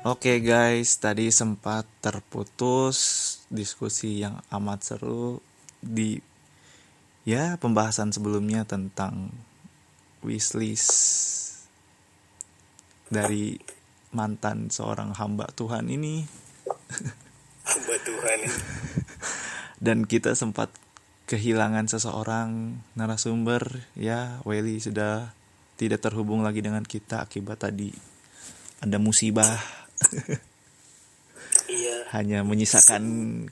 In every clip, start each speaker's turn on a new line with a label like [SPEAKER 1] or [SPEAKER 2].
[SPEAKER 1] Oke guys, tadi sempat terputus diskusi yang amat seru di ya pembahasan sebelumnya tentang wishlist dari mantan seorang hamba Tuhan ini
[SPEAKER 2] Buat Tuhan ya.
[SPEAKER 1] dan kita sempat kehilangan seseorang narasumber ya Welly sudah tidak terhubung lagi dengan kita akibat tadi ada musibah
[SPEAKER 2] Iya
[SPEAKER 1] hanya menyisakan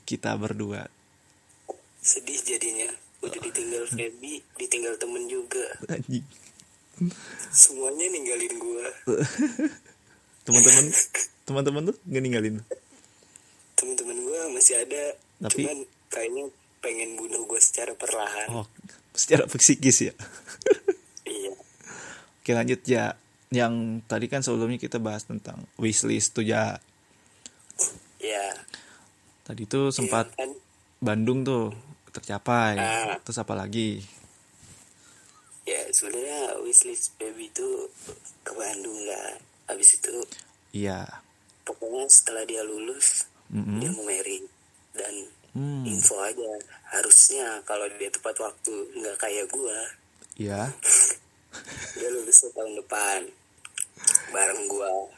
[SPEAKER 1] kita berdua
[SPEAKER 2] sedih jadinya Udah ditinggal Feby Ditinggal temen juga
[SPEAKER 1] Anjing.
[SPEAKER 2] Semuanya ninggalin gua
[SPEAKER 1] teman-teman teman-teman tuh gak ninggalin
[SPEAKER 2] Temen-temen gua masih ada
[SPEAKER 1] Tapi-
[SPEAKER 2] Cuman kayaknya pengen bunuh gua secara perlahan
[SPEAKER 1] oh secara psikis ya
[SPEAKER 2] Iya
[SPEAKER 1] oke lanjut ya yang tadi kan sebelumnya kita bahas tentang wishlist tuh ya
[SPEAKER 2] Ya
[SPEAKER 1] tadi tuh sempat
[SPEAKER 2] Iya kan?
[SPEAKER 1] Bandung tuh tercapai
[SPEAKER 2] Ah.
[SPEAKER 1] terus apa lagi
[SPEAKER 2] Ya sebenarnya wishlist Feby itu Ke Bandung lah Habis itu
[SPEAKER 1] iya
[SPEAKER 2] Pokoknya setelah dia lulus
[SPEAKER 1] Mm-mm.
[SPEAKER 2] Dia mau marry Dan
[SPEAKER 1] Hmm.
[SPEAKER 2] info aja Harusnya kalau dia tepat waktu nggak kayak gua
[SPEAKER 1] iya
[SPEAKER 2] Dia lulus tahun depan Bareng gua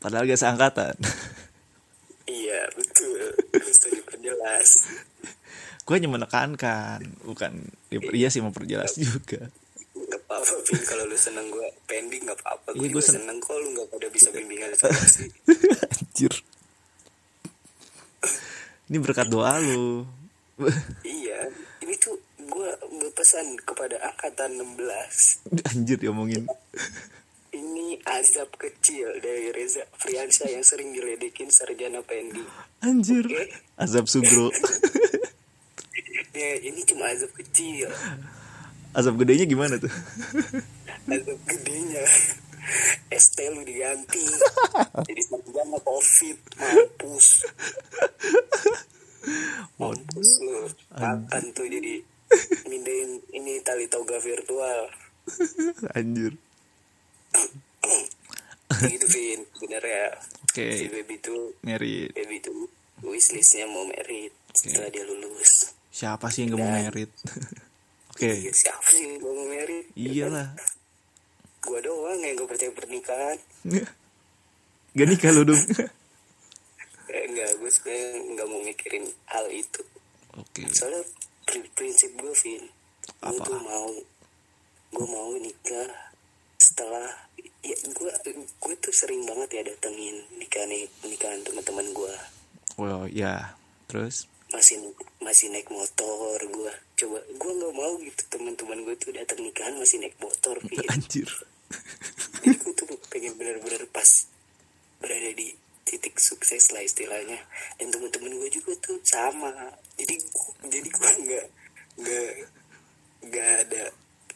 [SPEAKER 1] padahal gak seangkatan
[SPEAKER 2] Iya betul Setuju perjelas
[SPEAKER 1] gue hanya menekankan bukan iya sih memperjelas juga
[SPEAKER 2] Gak apa-apa Vin Kalau lu seneng gua pending gak apa-apa Gue
[SPEAKER 1] Iya, gua
[SPEAKER 2] juga
[SPEAKER 1] sen-
[SPEAKER 2] seneng kok lu gak pada bisa bimbingan sama sih
[SPEAKER 1] anjir ini berkat doa lu
[SPEAKER 2] Iya Ini tuh gua berpesan kepada angkatan 16
[SPEAKER 1] anjir diomongin
[SPEAKER 2] Ini azab kecil dari Reza Friansyah yang sering diledekin sarjana pending
[SPEAKER 1] anjir azab sugro
[SPEAKER 2] Ya ini cuma azab kecil
[SPEAKER 1] azab gedenya gimana tuh
[SPEAKER 2] Azab gedenya ST lu diganti Jadi sarjana covid Mampus Mampus lu Makan tuh jadi Mindahin ini tali toga virtual
[SPEAKER 1] anjir
[SPEAKER 2] Gitu Vin Bener ya
[SPEAKER 1] Oke.
[SPEAKER 2] Si baby tuh
[SPEAKER 1] merit
[SPEAKER 2] Baby tuh Wishlistnya mau merit Setelah dia lulus
[SPEAKER 1] siapa sih yang gak mau
[SPEAKER 2] Dan-
[SPEAKER 1] merit oke
[SPEAKER 2] Iya, Siapa sih yang gak mau merit
[SPEAKER 1] iyalah
[SPEAKER 2] Gue doang yang gak percaya pernikahan
[SPEAKER 1] gak nikah lu dong
[SPEAKER 2] Eh, Enggak, gue sebenernya gak mau mikirin hal itu
[SPEAKER 1] oke
[SPEAKER 2] soalnya pri- prinsip gue Vin gue
[SPEAKER 1] Apa?
[SPEAKER 2] tuh mau gue mau nikah setelah ya gue gue tuh sering banget ya datengin nikah nikahan teman-teman gue
[SPEAKER 1] well ya terus
[SPEAKER 2] masih masih naik motor gue coba gue nggak mau gitu teman-teman gue tuh datang nikahan masih naik motor Vin
[SPEAKER 1] anjir
[SPEAKER 2] jadi gue tuh pengen bener-bener pas berada di titik sukses lah istilahnya dan teman-teman gue juga tuh sama jadi gu- jadi gue nggak nggak nggak ada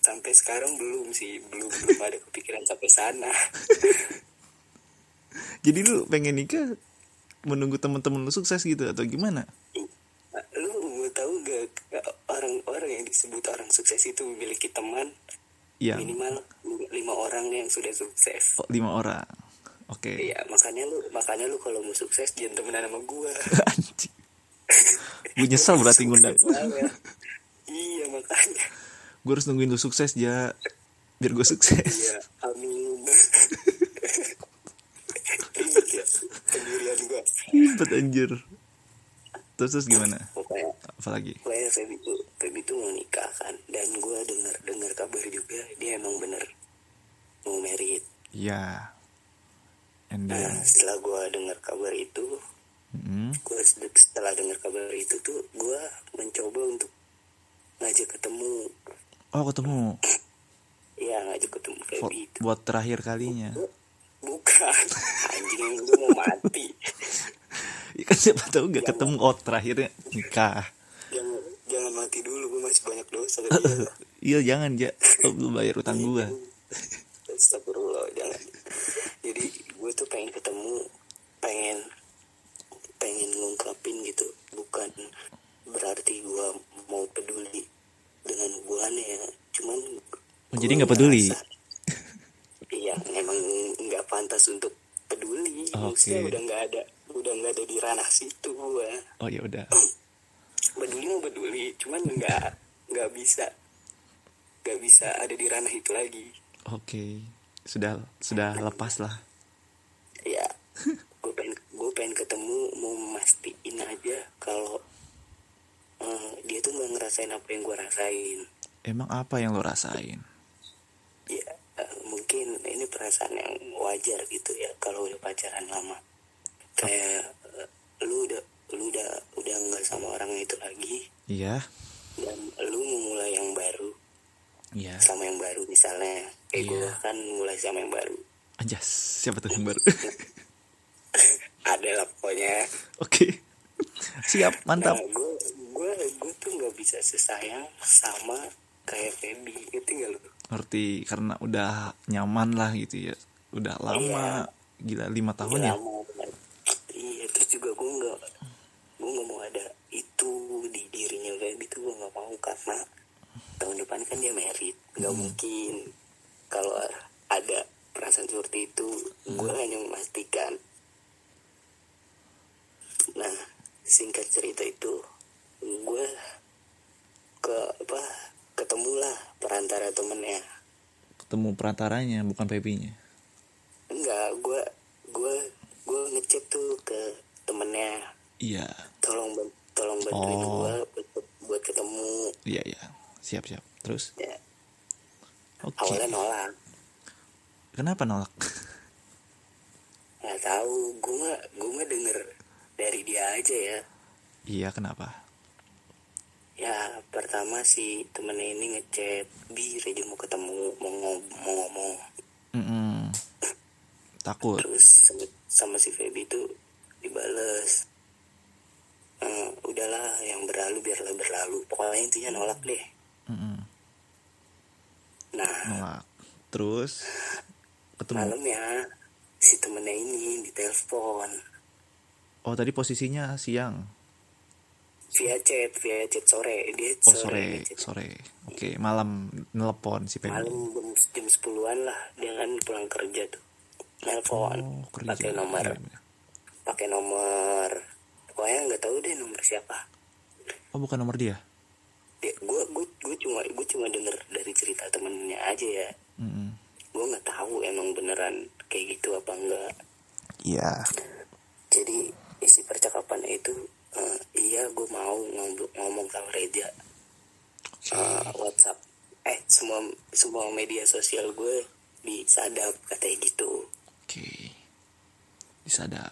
[SPEAKER 2] sampai sekarang belum sih belum belum ada kepikiran sampai sana
[SPEAKER 1] jadi lu pengen nikah menunggu temen-temen lu sukses gitu atau gimana
[SPEAKER 2] lu mau tahu gak orang-orang yang disebut orang sukses itu memiliki teman
[SPEAKER 1] yang
[SPEAKER 2] minimal lima orang yang sudah sukses
[SPEAKER 1] Ya. oh, lima orang oke
[SPEAKER 2] Iya makanya lu makanya lu kalau mau sukses jangan temenan sama gue
[SPEAKER 1] anjing gue nyesel berarti ngundang
[SPEAKER 2] Soalnya. iya makanya
[SPEAKER 1] gue harus nungguin lu sukses ya biar gue sukses
[SPEAKER 2] iya amin Iya, sendirian gua
[SPEAKER 1] ribet anjir terus terus gimana
[SPEAKER 2] pokoknya
[SPEAKER 1] apalagi
[SPEAKER 2] pokoknya Feby tuh Feby tuh mau nikah kan dan gua dengar dengar kabar juga dia emang bener mau merit
[SPEAKER 1] ya and uh,
[SPEAKER 2] nah
[SPEAKER 1] then
[SPEAKER 2] setelah gua dengar kabar itu
[SPEAKER 1] mm,
[SPEAKER 2] gua sed- setelah dengar kabar itu tuh gua mencoba untuk ngajak ketemu
[SPEAKER 1] oh ketemu
[SPEAKER 2] ya ngajak ketemu
[SPEAKER 1] For-
[SPEAKER 2] Feby itu
[SPEAKER 1] buat terakhir kalinya
[SPEAKER 2] bukan anjing lu mau mati
[SPEAKER 1] ya kan siapa tahu gak ketemu oh terakhirnya nikah
[SPEAKER 2] jangan jangan mati dulu gue masih banyak dosa ke dia
[SPEAKER 1] iya jangan ja Lu belum bayar utang gue
[SPEAKER 2] astagfirullah jangan jadi gue tuh pengen ketemu pengen pengen ngungkapin gitu bukan berarti gue mau peduli dengan hubungannya ya cuman
[SPEAKER 1] Oh,
[SPEAKER 2] gua
[SPEAKER 1] jadi nggak peduli?
[SPEAKER 2] ngerasa- iya emang nggak pantas untuk peduli maksudnya
[SPEAKER 1] Oke.
[SPEAKER 2] udah nggak ada udah nggak ada di ranah situ gua
[SPEAKER 1] oh ya udah
[SPEAKER 2] peduli mau peduli cuman nggak nggak bisa nggak bisa ada di ranah itu lagi
[SPEAKER 1] oke sudah sudah lepas lah
[SPEAKER 2] ya gue pengen gue pengen ketemu mau mastiin aja kalau eh, dia tuh nggak ngerasain apa yang gue rasain
[SPEAKER 1] emang apa yang lo rasain
[SPEAKER 2] ya eh, mungkin ini perasaan yang wajar gitu ya kalau udah pacaran lama kayak eh, lu udah lu udah udah nggak sama orang itu lagi
[SPEAKER 1] iya
[SPEAKER 2] dan lu memulai yang baru
[SPEAKER 1] iya
[SPEAKER 2] sama yang baru misalnya kayak gue
[SPEAKER 1] Iya.
[SPEAKER 2] kan mulai sama yang baru
[SPEAKER 1] anjas siapa tuh yang baru
[SPEAKER 2] ada lah pokoknya
[SPEAKER 1] oke siap mantap
[SPEAKER 2] Nah, gue gue gue tuh nggak bisa sesayang sama kayak Feby ngerti nggak lu?
[SPEAKER 1] ngerti karena udah nyaman lah gitu ya udah lama gila lima tahun ya
[SPEAKER 2] Lama banget. Iya terus juga gue nggak gue nggak mau ada itu di dirinya kayak gitu gue nggak mau karena tahun depan kan dia merit nggak mungkin kalau ada perasaan seperti itu gue hanya memastikan nah singkat cerita itu gue ke apa ketemulah perantara temennya
[SPEAKER 1] ketemu perantaranya bukan Feby-nya
[SPEAKER 2] enggak gue gue gue ngechat tuh ke temennya
[SPEAKER 1] iya
[SPEAKER 2] tolong ban- tolong bantuin
[SPEAKER 1] Oh.
[SPEAKER 2] gue buat, buat ketemu
[SPEAKER 1] iya iya siap siap terus
[SPEAKER 2] ya,
[SPEAKER 1] oke
[SPEAKER 2] awalnya nolak
[SPEAKER 1] kenapa nolak
[SPEAKER 2] nggak tahu gue mah gue mah denger dari dia aja ya
[SPEAKER 1] iya kenapa
[SPEAKER 2] ya pertama si temennya ini ngechat bi Rejo mau ketemu mau, ngom- mau ngomong
[SPEAKER 1] Mm-mm. takut
[SPEAKER 2] terus sama, sama si Feby tuh dibales Eh, udahlah yang berlalu biarlah berlalu pokoknya intinya nolak deh
[SPEAKER 1] Mm-mm.
[SPEAKER 2] nah
[SPEAKER 1] nolak terus ketemu
[SPEAKER 2] malamnya ya, si temennya ini ditelepon
[SPEAKER 1] oh tadi posisinya siang
[SPEAKER 2] via chat via chat sore dia
[SPEAKER 1] oh
[SPEAKER 2] sore,
[SPEAKER 1] sore
[SPEAKER 2] ngechat.
[SPEAKER 1] sore oke malam nelpon si Feby
[SPEAKER 2] malam jam, jam 10-an lah dia kan pulang kerja tuh telepon
[SPEAKER 1] oh kerja ya.
[SPEAKER 2] pakai nomor pakai nomor pokoknya nggak tahu deh nomor siapa
[SPEAKER 1] oh bukan nomor dia
[SPEAKER 2] dia gue gue cuma gue cuma denger dari cerita temennya aja ya
[SPEAKER 1] Mm-mm.
[SPEAKER 2] gue nggak tahu emang beneran kayak gitu apa enggak
[SPEAKER 1] iya
[SPEAKER 2] jadi isi percakapan itu eh, iya gue mau ngomong ngomong sama Reja Eh, WhatsApp eh semua semua media sosial gue disadap katanya gitu
[SPEAKER 1] oke disadap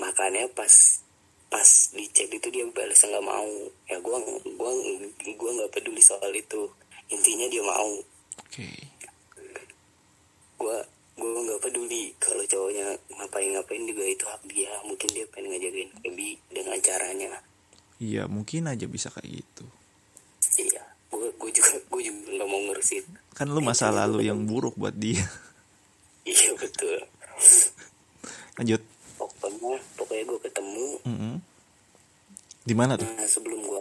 [SPEAKER 2] makanya pas pas di chat itu dia balas nggak mau ya gue gua gua nggak peduli soal itu intinya dia mau
[SPEAKER 1] oke
[SPEAKER 2] gue gue nggak peduli kalau cowoknya ngapain ngapain juga itu hak dia mungkin dia pengen ngajakin Feby dengan caranya
[SPEAKER 1] iya mungkin aja bisa kayak gitu
[SPEAKER 2] iya gue gue juga gue juga nggak mau ngurusin
[SPEAKER 1] kan lu masa lalu yang buruk buat dia
[SPEAKER 2] iya betul
[SPEAKER 1] lanjut
[SPEAKER 2] pokoknya pokoknya gue ketemu
[SPEAKER 1] Mm-mm. di mana tuh
[SPEAKER 2] nah, sebelum gue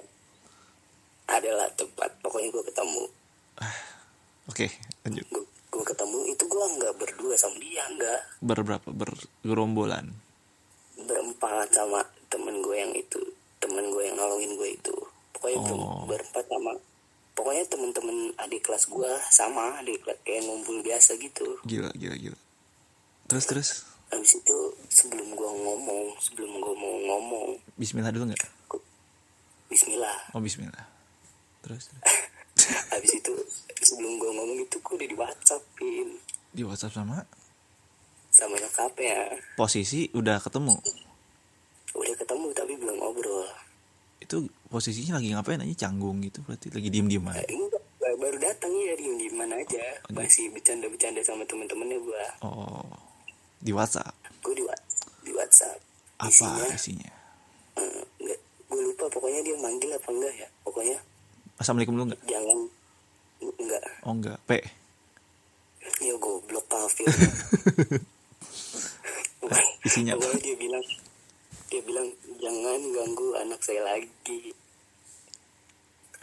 [SPEAKER 2] adalah tempat pokoknya gue ketemu
[SPEAKER 1] oke lanjut
[SPEAKER 2] gue gue ketemu itu gue nggak berdua sama dia nggak
[SPEAKER 1] berberapa bergerombolan
[SPEAKER 2] berempat sama temen gue yang itu temen gue yang nolongin gue itu pokoknya itu
[SPEAKER 1] Oh.
[SPEAKER 2] berempat sama pokoknya temen-temen adik kelas gue sama adik kelas kayak ngumpul biasa gitu
[SPEAKER 1] gila gila gila terus terus
[SPEAKER 2] habis itu sebelum gue ngomong sebelum gue mau ngomong
[SPEAKER 1] Bismillah dulu nggak
[SPEAKER 2] Bismillah
[SPEAKER 1] oh Bismillah terus, terus.
[SPEAKER 2] habis itu sebelum gue ngomong itu gue udah di WhatsAppin
[SPEAKER 1] di WhatsApp sama
[SPEAKER 2] sama nyokapnya
[SPEAKER 1] posisi udah ketemu
[SPEAKER 2] udah ketemu tapi belum ngobrol
[SPEAKER 1] itu posisinya lagi ngapain aja canggung gitu berarti lagi diem dieman
[SPEAKER 2] Eh, enggak, ba- baru datang ya di gimana aja masih bercanda-bercanda sama temen-temennya gue
[SPEAKER 1] oh di WhatsApp
[SPEAKER 2] gue di, wa- di WhatsApp
[SPEAKER 1] apa
[SPEAKER 2] isinya
[SPEAKER 1] isinya
[SPEAKER 2] eh, enggak gue lupa pokoknya dia manggil apa enggak ya pokoknya
[SPEAKER 1] assalamualaikum dulu nggak
[SPEAKER 2] jangan enggak
[SPEAKER 1] oh nggak p
[SPEAKER 2] ya goblok kafir Bukan.
[SPEAKER 1] Isinya apa?
[SPEAKER 2] pokoknya dia bilang dia bilang jangan ganggu anak saya lagi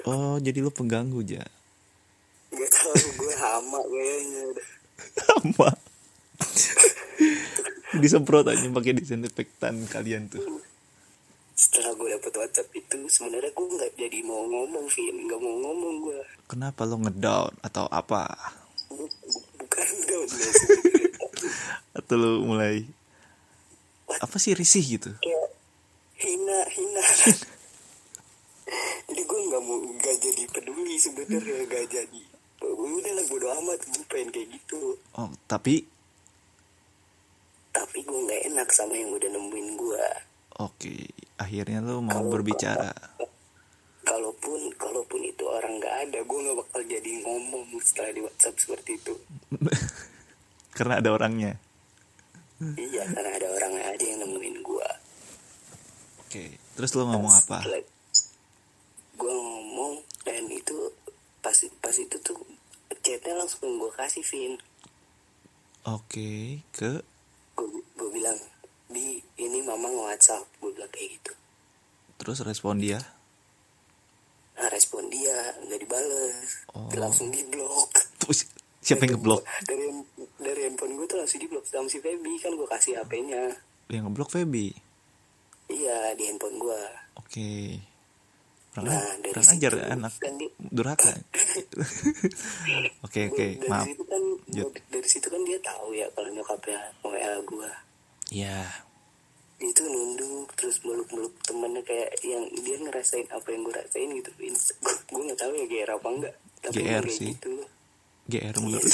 [SPEAKER 1] oh jadi lu pengganggu ja
[SPEAKER 2] Gak tau gue hama kayaknya udah.
[SPEAKER 1] sama disemprot aja pakai disinfektan kalian tuh
[SPEAKER 2] setelah gue dapet WhatsApp itu sebenarnya gue nggak jadi mau ngomong Vin nggak mau ngomong gue
[SPEAKER 1] kenapa lo ngedown atau apa
[SPEAKER 2] Bu- bu- bukan down ya
[SPEAKER 1] atau lo mulai apa sih risih gitu
[SPEAKER 2] kayak hina hina jadi gue nggak mau nggak jadi peduli sebenarnya nggak jadi udah lah bodo amat gue pengen kayak gitu
[SPEAKER 1] oh tapi
[SPEAKER 2] tapi gue nggak enak sama yang udah nemuin gue
[SPEAKER 1] oke akhirnya lo mau
[SPEAKER 2] Kalau-
[SPEAKER 1] berbicara
[SPEAKER 2] kalaupun kalaupun itu orang nggak ada gue nggak bakal jadi ngomong setelah di WhatsApp seperti itu
[SPEAKER 1] karena ada orangnya
[SPEAKER 2] iya karena ada orang aja yang nemuin gue
[SPEAKER 1] oke terus lo ngomong apa
[SPEAKER 2] gue ngomong dan itu pas pas itu tuh chatnya langsung gue kasih Vin
[SPEAKER 1] oke ke
[SPEAKER 2] gue gue bilang di ini mama nge WhatsApp gue bilang kayak gitu
[SPEAKER 1] terus respon dia
[SPEAKER 2] nah, respon dia nggak dibales
[SPEAKER 1] Oh.
[SPEAKER 2] langsung diblok
[SPEAKER 1] Terus siapa yang ngeblok
[SPEAKER 2] dari dari handphone gue tuh langsung diblok sama si Feby kan gue kasih HP-nya
[SPEAKER 1] yang ngeblok Feby
[SPEAKER 2] iya di handphone gue
[SPEAKER 1] oke kurang,
[SPEAKER 2] Nah, dari
[SPEAKER 1] kurang ajar
[SPEAKER 2] situ
[SPEAKER 1] anak
[SPEAKER 2] kan dia-
[SPEAKER 1] durhaka oke oke
[SPEAKER 2] dari
[SPEAKER 1] maaf
[SPEAKER 2] situ kan
[SPEAKER 1] Jut.
[SPEAKER 2] dari situ kan dia tahu ya kalau nyokapnya WL gue
[SPEAKER 1] ya
[SPEAKER 2] dia tuh nunduk terus meluk meluk temennya kayak yang dia ngerasain apa yang gue rasain gitu gue nggak tahu ya GR apa enggak tapi
[SPEAKER 1] GR
[SPEAKER 2] kayak
[SPEAKER 1] sih.
[SPEAKER 2] gitu.
[SPEAKER 1] GR menurut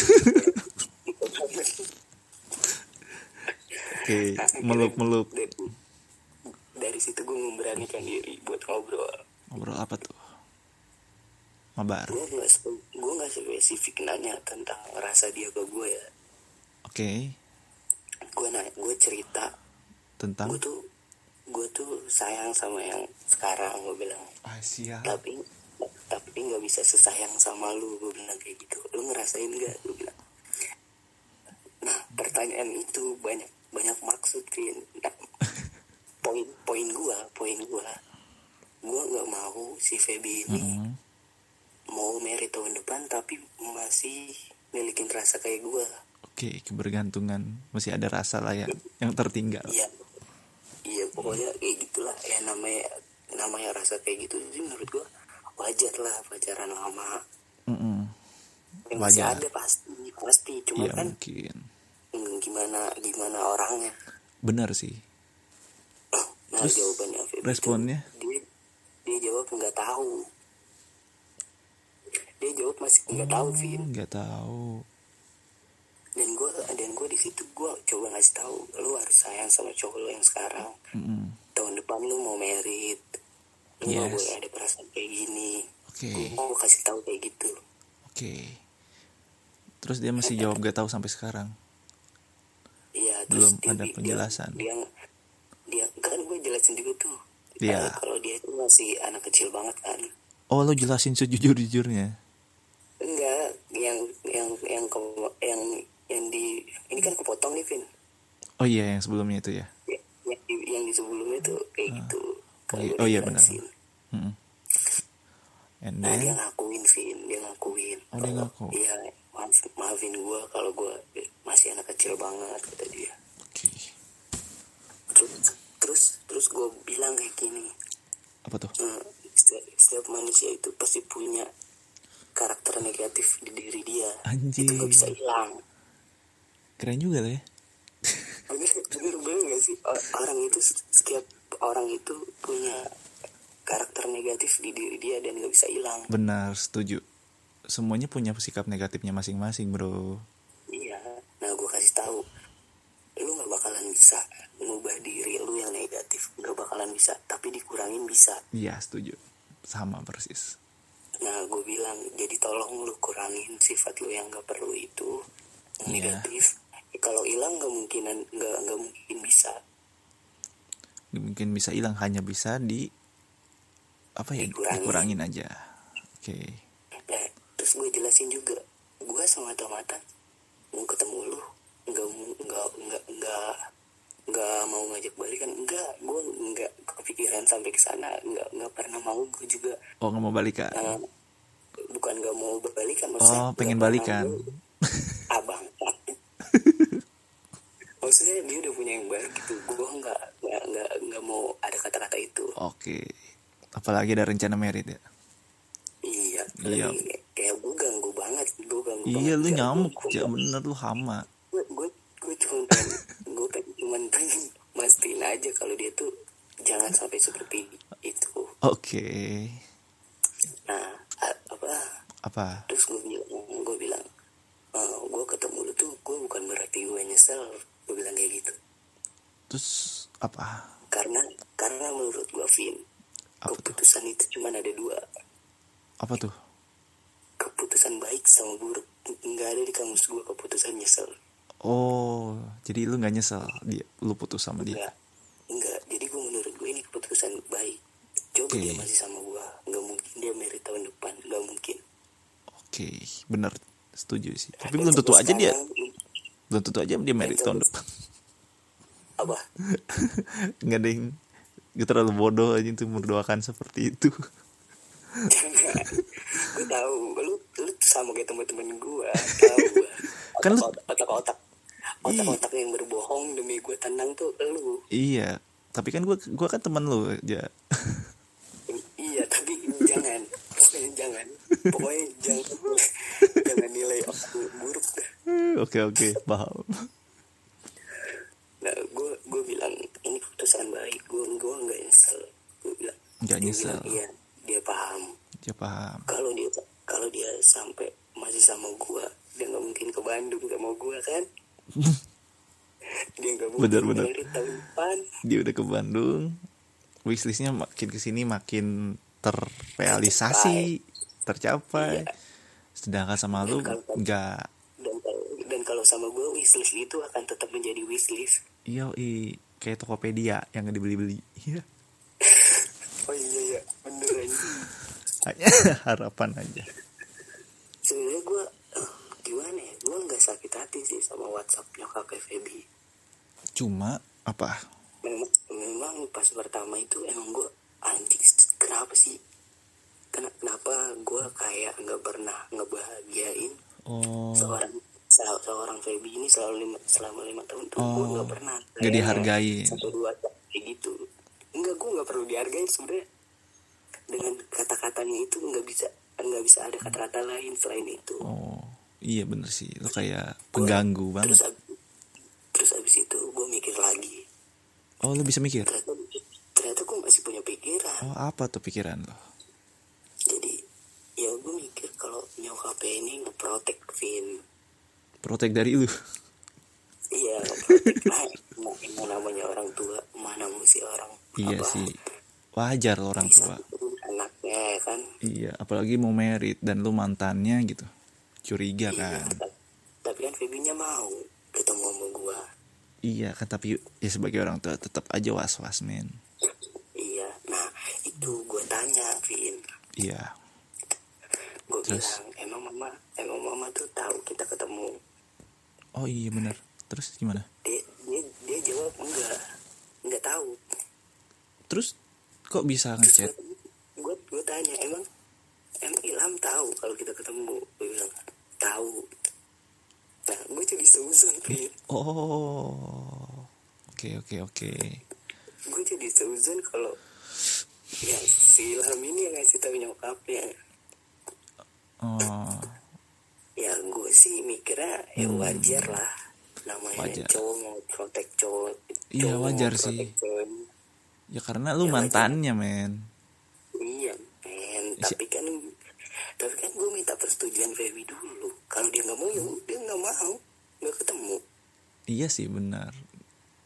[SPEAKER 2] Iya.
[SPEAKER 1] oke
[SPEAKER 2] Nah,
[SPEAKER 1] meluk meluk
[SPEAKER 2] dari, dari situ gue memberanikan diri buat ngobrol
[SPEAKER 1] ngobrol apa tuh mabar
[SPEAKER 2] gue nggak spe- gue nggak spesifik nanya tentang rasa dia ke gue ya
[SPEAKER 1] oke
[SPEAKER 2] gue na gue cerita gue
[SPEAKER 1] tentang
[SPEAKER 2] tuh gue tuh sayang sama yang sekarang gue bilang
[SPEAKER 1] Asia
[SPEAKER 2] tapi tapi nggak bisa sesayang sama lu gue bilang kayak gitu lu ngerasain gak gue bilang nah pertanyaan itu banyak banyak maksud Vin Nah, poin poin gua poin gua gua nggak mau si Feby ini
[SPEAKER 1] Mhm.
[SPEAKER 2] mau merit tahun depan tapi masih milikin rasa kayak gua
[SPEAKER 1] oke kebergantungan masih ada rasa lah ya yang tertinggal
[SPEAKER 2] iya iya pokoknya kayak gitulah ya namanya namanya rasa kayak gitu sih menurut gua wajar lah pacaran lama
[SPEAKER 1] Mm-mm.
[SPEAKER 2] Ya, masih
[SPEAKER 1] Wajar.
[SPEAKER 2] ada pasti pasti cuma
[SPEAKER 1] ya
[SPEAKER 2] kan
[SPEAKER 1] mungkin
[SPEAKER 2] hmm, gimana gimana orangnya
[SPEAKER 1] benar sih
[SPEAKER 2] nah
[SPEAKER 1] Terus,
[SPEAKER 2] jawabannya Feb itu,
[SPEAKER 1] responnya?
[SPEAKER 2] dia dia jawab nggak tahu dia jawab masih nggak tahu
[SPEAKER 1] Hmm.
[SPEAKER 2] Vin
[SPEAKER 1] nggak tahu
[SPEAKER 2] dan gue dan gue di situ gue coba ngasih tahu lu harus sayang sama cowok lu yang sekarang
[SPEAKER 1] Mm-mm.
[SPEAKER 2] tahun depan lu mau merit lu nggak
[SPEAKER 1] Hmm. Yes. Iya.
[SPEAKER 2] boleh ada perasaan kayak gini
[SPEAKER 1] oke
[SPEAKER 2] gue mau kasih tahu kayak gitu
[SPEAKER 1] oke terus dia masih jawab gak tahu sampai sekarang
[SPEAKER 2] Iya,
[SPEAKER 1] Belum ada penjelasan.
[SPEAKER 2] Dia, dia, kan gue jelasin juga tuh.
[SPEAKER 1] Iya.
[SPEAKER 2] Kalau- Kalau dia itu masih anak kecil banget kan.
[SPEAKER 1] oh lo jelasin sejujur jujurnya
[SPEAKER 2] Enggak, yang yang yang ke, yang yang di ini kan kepotong nih, Vin.
[SPEAKER 1] oh iya yang sebelumnya itu ya
[SPEAKER 2] Ya, Yang, di, yang di sebelumnya tuh kayak gitu. Kalau
[SPEAKER 1] iya-
[SPEAKER 2] gue
[SPEAKER 1] oh iya,
[SPEAKER 2] dijelasin.
[SPEAKER 1] benar. Mm-mm. and
[SPEAKER 2] Nah, dia
[SPEAKER 1] then
[SPEAKER 2] ngakuin, Vin. Dia ngakuin.
[SPEAKER 1] Oh, dia
[SPEAKER 2] Kalau-
[SPEAKER 1] ngaku.
[SPEAKER 2] Iya, maaf, maafin gue kalau gue masih anak kecil banget, kata dia.
[SPEAKER 1] oke
[SPEAKER 2] Terus, terus, terus gue bilang kayak gini.
[SPEAKER 1] apa tuh
[SPEAKER 2] Hmm, setiap, setiap manusia itu pasti punya karakter negatif di diri dia
[SPEAKER 1] Anjing.
[SPEAKER 2] itu gak bisa hilang
[SPEAKER 1] keren juga lah ya
[SPEAKER 2] bener bener bener gak sih O- orang itu setiap orang itu punya karakter negatif di diri dia dan gak bisa hilang
[SPEAKER 1] benar setuju semuanya punya sikap negatifnya masing-masing bro
[SPEAKER 2] iya nah gue kasih tahu lu gak bakalan bisa mengubah diri lu yang negatif gak bakalan bisa tapi dikurangin bisa
[SPEAKER 1] iya setuju sama persis
[SPEAKER 2] Nah, gue bilang, jadi tolong lu kurangin sifat lu yang gak perlu itu yang
[SPEAKER 1] Iya.
[SPEAKER 2] negatif. Kalau hilang nggak mungkinan nggak nggak mungkin bisa.
[SPEAKER 1] mungkin bisa hilang hanya bisa di apa ya
[SPEAKER 2] Dikurangin.
[SPEAKER 1] dikurangin aja oke
[SPEAKER 2] Nah, terus gue jelasin juga, gue semata-mata mau ketemu lu, nggak mau- nggak nggak nggak nggak mau ngajak balikan, enggak, gue nggak kepikiran sampai ke sana, nggak nggak pernah mau gue juga
[SPEAKER 1] oh nggak mau balikan
[SPEAKER 2] eh, bukan nggak mau balikan maksudnya
[SPEAKER 1] oh pengen
[SPEAKER 2] nggak pernah
[SPEAKER 1] balikan
[SPEAKER 2] mau abang maksudnya dia udah punya yang bareng gitu gue nggak nggak nggak nggak mau ada kata-kata itu
[SPEAKER 1] Oke. Apalagi ada rencana merit ya.
[SPEAKER 2] iya
[SPEAKER 1] Iya.
[SPEAKER 2] lebih kayak- kayak gue ganggu banget gue ganggu
[SPEAKER 1] Iya lu
[SPEAKER 2] banget.
[SPEAKER 1] nyamuk, ya bener lu hama.
[SPEAKER 2] gue gue gue cuma pengen gue pengen cuma pengen mastiin aja kalau dia tuh jangan sampai seperti itu
[SPEAKER 1] Oke.
[SPEAKER 2] nah a- apa
[SPEAKER 1] Apa?
[SPEAKER 2] terus gue bilang gue bilang "Eh, gue ketemu lu tuh gue bukan berarti gue nyesel gue bilang kayak gitu
[SPEAKER 1] Terus apa?
[SPEAKER 2] karena karena menurut gue Vin
[SPEAKER 1] Apa tuh?
[SPEAKER 2] keputusan itu cuma ada dua
[SPEAKER 1] Apa tuh?
[SPEAKER 2] keputusan baik sama buruk nggak ada di kamus gue keputusan nyesel
[SPEAKER 1] Oh, jadi lu nggak nyesel dia lu putus sama dia.
[SPEAKER 2] nggak nggak jadi gue menurut gue ini keputusan baik coba
[SPEAKER 1] Oke.
[SPEAKER 2] dia masih sama gue nggak mungkin dia merit tahun depan nggak mungkin
[SPEAKER 1] Oke, bener setuju sih. Tapi
[SPEAKER 2] Dan
[SPEAKER 1] belum tentu
[SPEAKER 2] sampai
[SPEAKER 1] aja dia,
[SPEAKER 2] Iya, sekarang,
[SPEAKER 1] belum tentu aja dia merit tahun depan.
[SPEAKER 2] apa
[SPEAKER 1] Nggak ada yang gue terlalu bodoh aja untuk mendoakan seperti itu.
[SPEAKER 2] gue tahu lu lu tuh sama kayak teman-teman gue tahu gue
[SPEAKER 1] Kan lu-
[SPEAKER 2] otak otak otak otak yang berbohong demi gue tenang tuh lu
[SPEAKER 1] Iya, tapi kan gue gua kan teman lu aja.
[SPEAKER 2] iya tapi jangan pokoknya jangan pokoknya jangan jangan nilai otak lu buruk dah
[SPEAKER 1] Oke oke, paham.
[SPEAKER 2] nah gue gue bilang ini keputusan baik gue gue nggak nyesel gue bilang
[SPEAKER 1] Nggak
[SPEAKER 2] dia
[SPEAKER 1] nyesel.
[SPEAKER 2] bilang, iya dia paham
[SPEAKER 1] Ya paham.
[SPEAKER 2] kalau dia kalau dia sampai masih sama gua dia nggak mungkin ke Bandung sama gua kan dia nggak mungkin
[SPEAKER 1] Benar, benar.
[SPEAKER 2] dari tahun depan
[SPEAKER 1] Dia udah ke Bandung. Wishlistnya makin kesini makin terrealisasi, tercapai. Sedangkan sama lu nggak.
[SPEAKER 2] dan kalau dan kalau sama gua wishlist itu akan tetap menjadi wishlist
[SPEAKER 1] Iya, kayak Tokopedia yang nggak dibeli-beli. Iya.
[SPEAKER 2] oh iya iya beneran
[SPEAKER 1] Hanya harapan aja.
[SPEAKER 2] sebenarnya gua eh, gimana ya gua nggak sakit hati sih sama WhatsApp nyokap Febi
[SPEAKER 1] Cuma apa?
[SPEAKER 2] memang memang pas pertama itu emang gue anjing kenapa sih Ken- kenapa gua kayak nggak pernah ngebahagiain
[SPEAKER 1] Oh,
[SPEAKER 2] seorang se- seorang Feby ini selalu lima, selama lima tahun tuh gue
[SPEAKER 1] Oh,
[SPEAKER 2] nggak pernah
[SPEAKER 1] nggak
[SPEAKER 2] kayak
[SPEAKER 1] dihargain.
[SPEAKER 2] satu dua ta- kayak gitu enggak gue nggak perlu dihargain sebenarnya dengan kata-katanya itu nggak bisa nggak bisa ada kata-kata lain selain itu
[SPEAKER 1] oh, iya bener sih. Lu kayak pengganggu banget.
[SPEAKER 2] terus ab- terus abis itu gue mikir lagi
[SPEAKER 1] Oh, lu bisa mikir.
[SPEAKER 2] ternyata ternyata gue masih punya pikiran
[SPEAKER 1] Oh, apa tuh pikiran lo?
[SPEAKER 2] jadi ya gue mikir kalau nyokapnya ini ngeprotek Vin
[SPEAKER 1] Protek dari lu.
[SPEAKER 2] Iya, praktik lah. Mau- mau namanya orang tua, mana mesti orang
[SPEAKER 1] Iya
[SPEAKER 2] apa,
[SPEAKER 1] sih. Wajar lo orang tua.
[SPEAKER 2] disakitin Anaknya ya kan.
[SPEAKER 1] Iya, apalagi mau merit dan lu mantannya gitu. Curiga
[SPEAKER 2] Iya,
[SPEAKER 1] kan.
[SPEAKER 2] ta- tapi kan Febinya mau ketemu sama gua.
[SPEAKER 1] Iya kan tapi ya sebagai orang tua tetap aja was-was men.
[SPEAKER 2] Iya, nah itu gua tanya Vin.
[SPEAKER 1] Iya.
[SPEAKER 2] Gua
[SPEAKER 1] Terus?
[SPEAKER 2] bilang emang mama, emang mama tuh tahu kita ketemu.
[SPEAKER 1] Oh iya bener. Terus gimana?
[SPEAKER 2] Dia dia, dia jawab enggak, enggak tahu.
[SPEAKER 1] Terus kok bisa
[SPEAKER 2] Terus
[SPEAKER 1] ngechat?
[SPEAKER 2] gua, gua, gua tanya emang emang Ilham tahu kalau kita ketemu? Gua bilang tahu. Nah, gue jadi seuzon, Vin.
[SPEAKER 1] Oh. Oke oke oke.
[SPEAKER 2] gue jadi seuzon kalau ya si Ilham ini yang ngasih tahu nyokapnya
[SPEAKER 1] Oh.
[SPEAKER 2] ya gue sih mikirnya ya wajar lah namanya
[SPEAKER 1] Hmm. Wajar.
[SPEAKER 2] cowok mau protek cowok
[SPEAKER 1] Iya,
[SPEAKER 2] cowok mau
[SPEAKER 1] wajar
[SPEAKER 2] protek
[SPEAKER 1] sih.
[SPEAKER 2] cowoknya.
[SPEAKER 1] Ya karena lu
[SPEAKER 2] Ya,
[SPEAKER 1] mantannya men.
[SPEAKER 2] iya men
[SPEAKER 1] Si-
[SPEAKER 2] tapi kan tapi kan gue minta persetujuan Feby dulu kalau dia nggak mau ya dia nggak mau nggak ketemu
[SPEAKER 1] Iya sih benar.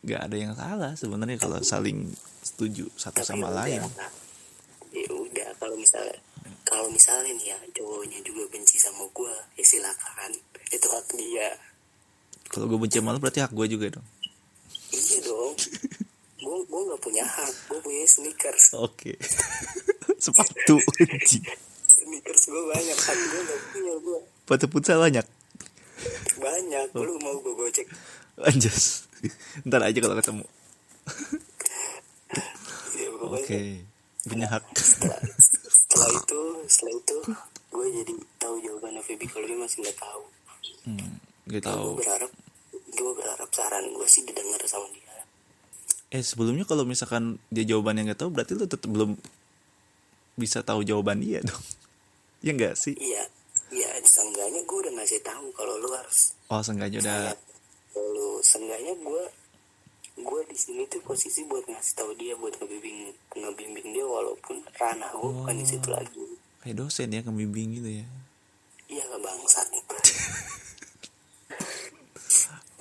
[SPEAKER 1] Gak ada yang salah sebenarnya kalau saling setuju satu
[SPEAKER 2] tapi
[SPEAKER 1] sama
[SPEAKER 2] udah.
[SPEAKER 1] lain.
[SPEAKER 2] ya udah kalau misalnya kalau misalnya nih ya cowoknya juga benci sama gue ya silakan itu hak dia
[SPEAKER 1] Kalau gue benci sama lu berarti hak gue juga dong.
[SPEAKER 2] Iya dong. gue gue nggak punya hak. Gue punya sneakers.
[SPEAKER 1] Oke. Sepatu kunci.
[SPEAKER 2] Sneakers gue banyak. Hak gue nggak punya gue.
[SPEAKER 1] Sepatu futsal banyak.
[SPEAKER 2] Banyak. Lu mau gue gocek?
[SPEAKER 1] Anjas. Ntar aja kalau ketemu.
[SPEAKER 2] Ya,
[SPEAKER 1] Oke.
[SPEAKER 2] pokoknya
[SPEAKER 1] Punya hak.
[SPEAKER 2] Setelah, setelah itu, setelah itu gue jadi tahu jawabannya Feby kalau dia masih nggak tahu.
[SPEAKER 1] Hmm, gak
[SPEAKER 2] Gue
[SPEAKER 1] tahu.
[SPEAKER 2] berharap gue berharap saran gue sih didengar sama dia.
[SPEAKER 1] eh sebelumnya kalau misalkan dia jawabannya nggak tahu berarti lu tetap belum bisa tahu jawaban dia dong ya enggak sih
[SPEAKER 2] iya iya seenggaknya gue udah ngasih tahu kalau lu harus
[SPEAKER 1] oh sengaja udah
[SPEAKER 2] lu seenggaknya gue gue di sini tuh posisi buat ngasih tahu dia buat ngebimbing ngebimbing dia walaupun ranah gue bukan di situ lagi
[SPEAKER 1] kayak dosen ya kembimbing gitu ya
[SPEAKER 2] iya nggak bangsat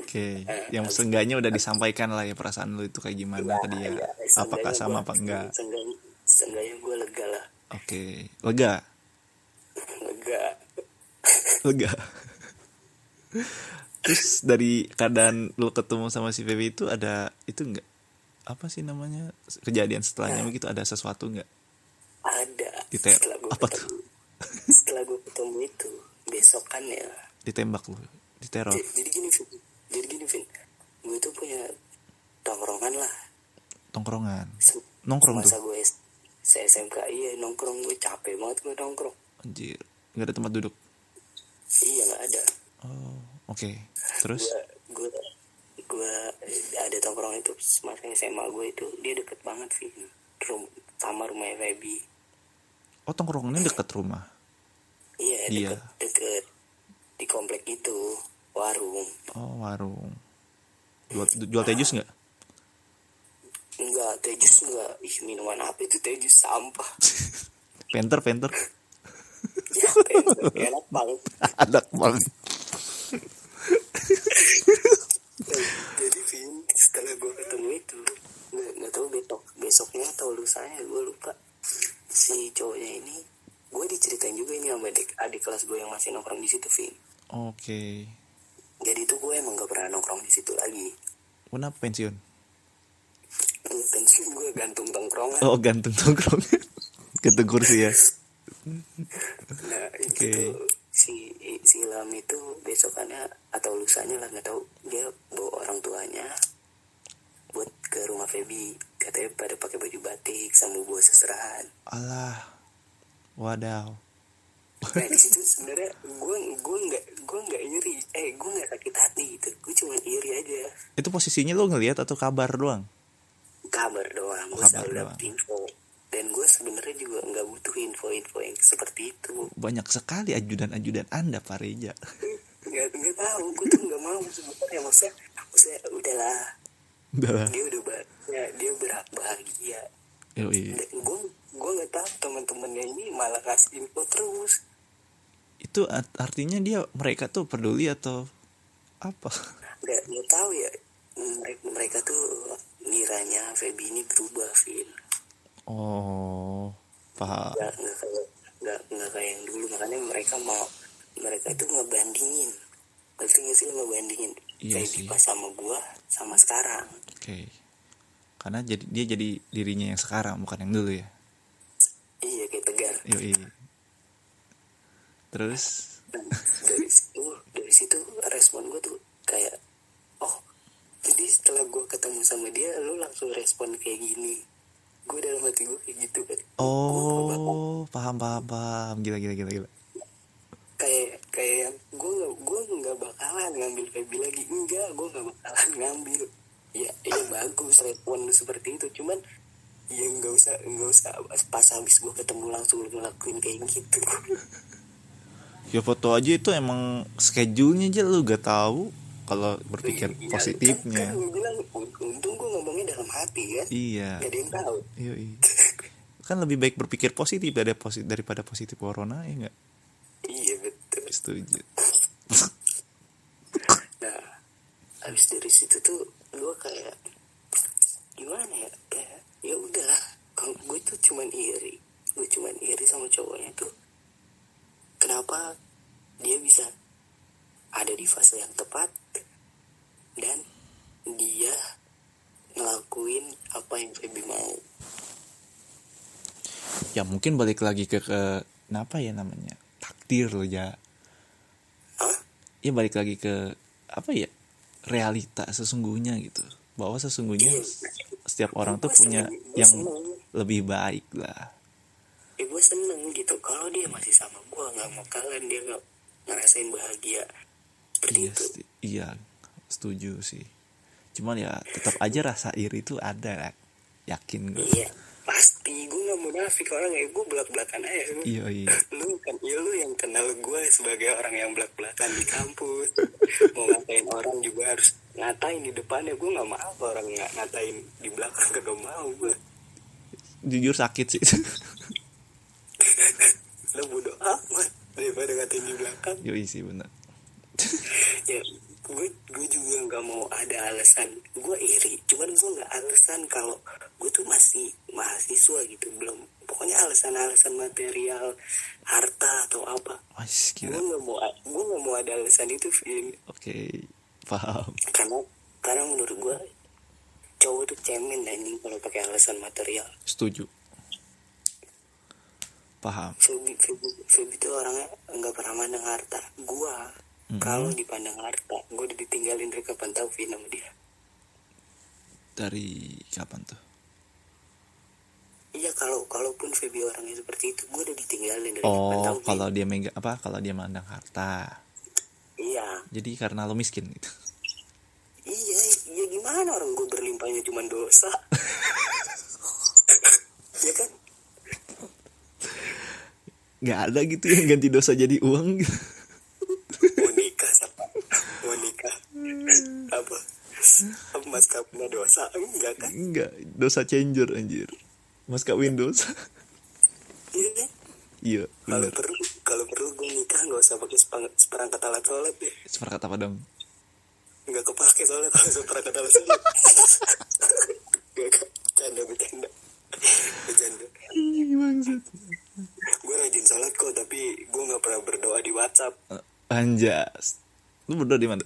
[SPEAKER 1] oke yang seenggaknya udah disampaikan lah ya perasaan lu itu kayak gimana tadi ya
[SPEAKER 2] Iya,
[SPEAKER 1] apakah
[SPEAKER 2] seenggaknya
[SPEAKER 1] sama
[SPEAKER 2] gua-
[SPEAKER 1] apa enggak
[SPEAKER 2] seenggaknya, seenggaknya gue lega lah
[SPEAKER 1] oke lega
[SPEAKER 2] lega
[SPEAKER 1] lega terus dari keadaan lu ketemu sama si Feby itu ada itu enggak apa sih namanya kejadian setelahnya begitu ada sesuatu enggak
[SPEAKER 2] ada
[SPEAKER 1] Dite-
[SPEAKER 2] gua
[SPEAKER 1] Gitu ya? apa
[SPEAKER 2] ketemu-
[SPEAKER 1] tuh?
[SPEAKER 2] setelah gue ketemu itu besokan ya
[SPEAKER 1] Oh. ditembak lu diteror
[SPEAKER 2] J- jadi gini Vin jadi gini Vin gue tuh punya tongkrongan lah
[SPEAKER 1] tongkrongan
[SPEAKER 2] Se-
[SPEAKER 1] Nongkrong
[SPEAKER 2] masa gue S- se SMK iya nongkrong gue capek banget gue nongkrong
[SPEAKER 1] anjir nggak ada tempat duduk
[SPEAKER 2] iya nggak ada
[SPEAKER 1] oh oke terus
[SPEAKER 2] gue gue gue ada tongkrong itu semasa SMA gue itu dia deket banget sih Rum, sama rumah Feby
[SPEAKER 1] oh tongkrongannya dekat rumah
[SPEAKER 2] iya
[SPEAKER 1] Iya.
[SPEAKER 2] deket deket di komplek itu warung
[SPEAKER 1] oh warung jual jual teh jus nggak
[SPEAKER 2] enggak teh jus enggak ih minuman apa itu teh jus sampah
[SPEAKER 1] penter penter
[SPEAKER 2] ya teh jus, enak banget
[SPEAKER 1] anak banget
[SPEAKER 2] Eh, jadi Vin setelah gue ketemu itu nggak nggak tahu besok besoknya atau lusanya gue lupa si cowoknya ini gue diceritain juga ini sama adik, adik kelas gue yang masih nongkrong di situ Vin
[SPEAKER 1] oke
[SPEAKER 2] jadi itu gue emang gak pernah nongkrong di situ lagi
[SPEAKER 1] kenapa pensiun
[SPEAKER 2] Nggak pensiun gue gantung tongkrongan
[SPEAKER 1] oh gantung tongkrongan gantung kursi ya
[SPEAKER 2] nah
[SPEAKER 1] Oke.
[SPEAKER 2] itu tuh si si Ilham itu besokannya atau lusanya lah nggak tahu dia bawa orang tuanya buat ke rumah Feby katanya pada pakai baju batik sama bawa seserahan
[SPEAKER 1] alah wadaw
[SPEAKER 2] Nah di situ sebenarnya gue gue nggak gue nggak iri, eh gue nggak sakit hati gitu, gue cuma iri aja.
[SPEAKER 1] itu posisinya lo ngelihat atau kabar doang
[SPEAKER 2] Kabar doang, gue
[SPEAKER 1] Kabar
[SPEAKER 2] selalu
[SPEAKER 1] doang.
[SPEAKER 2] dapet info. Dan gue sebenarnya juga nggak butuh info-info yang seperti itu.
[SPEAKER 1] banyak sekali ajudan-ajudan anda Pak Reja
[SPEAKER 2] Nggak nggak tahu, gue tuh nggak mau sebenarnya maksudnya, maksudnya udahlah
[SPEAKER 1] udah
[SPEAKER 2] dia udah bah, ya, dia berhak
[SPEAKER 1] Iya.
[SPEAKER 2] bahagia.
[SPEAKER 1] Yoi.
[SPEAKER 2] Dan gue gue nggak tahu teman-temannya ini malah kasih info terus.
[SPEAKER 1] itu art- artinya dia mereka tuh peduli atau apa
[SPEAKER 2] Nggak nggak tahu ya mereka, mereka tuh ngiranya Feby ini berubah, Vin.
[SPEAKER 1] oh pak
[SPEAKER 2] nggak nggak kayak nggak nggak kayak yang dulu makanya mereka mau mereka itu ngebandingin ngerti nggak sih lu ngebandingin
[SPEAKER 1] Iya
[SPEAKER 2] kayak
[SPEAKER 1] sih.
[SPEAKER 2] Dipa sama gua sama sekarang
[SPEAKER 1] oke karena jadi dia jadi dirinya yang sekarang bukan yang dulu ya
[SPEAKER 2] iya kayak tegar
[SPEAKER 1] Yoi. terus
[SPEAKER 2] Dan dari situ dari situ respon gua tuh kayak oh jadi setelah gua ketemu sama dia lu langsung respon kayak gini gua dalam hati gua kayak gitu kan
[SPEAKER 1] oh paham paham paham gila gila gila gila
[SPEAKER 2] kayak kayak yang gue nggak gue nggak bakalan ngambil baby lagi enggak gue nggak bakalan ngambil ya ya bagus respon lu seperti itu cuman ya nggak usah nggak usah pas habis gue ketemu langsung lu ngelakuin kayak gitu
[SPEAKER 1] ya foto aja itu emang schedule-nya aja lu gak tahu kalau berpikir
[SPEAKER 2] Iya, kan,
[SPEAKER 1] positifnya
[SPEAKER 2] kan gue bilang "Un- untung gue ngomongnya dalam hati kan
[SPEAKER 1] iya
[SPEAKER 2] gak ada yang tahu
[SPEAKER 1] Yoi. kan lebih baik berpikir positif daripada positif daripada positif corona ya enggak
[SPEAKER 2] iya betul
[SPEAKER 1] setuju
[SPEAKER 2] nah habis dari situ tuh gue kayak gimana ya kayak ya udahlah kalau gue tuh cuman iri gue cuman iri sama cowoknya tuh kenapa dia bisa ada di fase yang tepat dan dia ngelakuin apa yang Feby mau
[SPEAKER 1] ya mungkin balik lagi ke, ke kenapa ya namanya takdir loh ya
[SPEAKER 2] Hah?
[SPEAKER 1] ya balik lagi ke apa ya realita sesungguhnya gitu bahwa sesungguhnya
[SPEAKER 2] Iya.
[SPEAKER 1] setiap orang tuh punya yang lebih baik lah
[SPEAKER 2] ya gue seneng gitu kalau dia masih sama gue nggak mau kalian dia nggak ngerasain bahagia seperti
[SPEAKER 1] iya
[SPEAKER 2] itu
[SPEAKER 1] sti- iya setuju sih cuman ya tetap aja rasa iri itu ada Rak. yakin gue
[SPEAKER 2] iya pasti gue nggak munafik orang ya gue belak belakan aja
[SPEAKER 1] iya iya
[SPEAKER 2] lu kan ya lu yang kenal gue sebagai orang yang belak belakan di kampus mau ngatain orang juga harus ngatain di depannya gue nggak mau orang nggak ngatain di belakang kagak mau gue
[SPEAKER 1] jujur sakit sih
[SPEAKER 2] lu bodoh amat daripada ngatain di belakang
[SPEAKER 1] yo sih bener
[SPEAKER 2] ya gue gue juga nggak mau ada alasan gue iri cuman gue nggak alasan kalau gue tuh masih mahasiswa gitu belum pokoknya alasan-alasan material harta atau apa
[SPEAKER 1] wah
[SPEAKER 2] gue
[SPEAKER 1] gila oke
[SPEAKER 2] nggak mau gue nggak mau ada alasan itu Vin
[SPEAKER 1] paham
[SPEAKER 2] karena karena menurut gue cowok tuh cemen anjing kalau pakai alasan material
[SPEAKER 1] setuju paham
[SPEAKER 2] Feby Feby Feby tuh orangnya nggak pernah mandang harta gue
[SPEAKER 1] Mhm.
[SPEAKER 2] kalau dipandang harta gue udah ditinggalin dari kapan tahu Vin sama dia
[SPEAKER 1] dari kapan tuh
[SPEAKER 2] Iya kalau kalaupun Feby orangnya seperti itu gue udah ditinggalin dari kapan tahu,
[SPEAKER 1] oh
[SPEAKER 2] Vin.
[SPEAKER 1] kalau dia mega apa kalau dia mandang harta
[SPEAKER 2] iya
[SPEAKER 1] jadi karena lo miskin gitu
[SPEAKER 2] iya ya gimana orang gue berlimpahnya cuma dosa ya kan
[SPEAKER 1] nggak ada gitu yang ganti dosa jadi uang gitu.
[SPEAKER 2] mau nikah siapa mau nikah apa apa mas kamu dosa enggak kan
[SPEAKER 1] nggak dosa changer anjir mas kawin dosa
[SPEAKER 2] iya kan
[SPEAKER 1] iya
[SPEAKER 2] kalau
[SPEAKER 1] bener
[SPEAKER 2] perlu kalau perlu gue nikah nggak usah pakai sepang- seperangkat alat sholat deh
[SPEAKER 1] seperangkat apa dong
[SPEAKER 2] nggak kepake soalnya kalau seperangkat alat sholat nggak nggak. bercanda bercanda bercanda
[SPEAKER 1] Bangsat.
[SPEAKER 2] gue rajin sholat kok tapi gue nggak pernah berdoa di WhatsApp
[SPEAKER 1] Eh, anjas lu berdoa di mana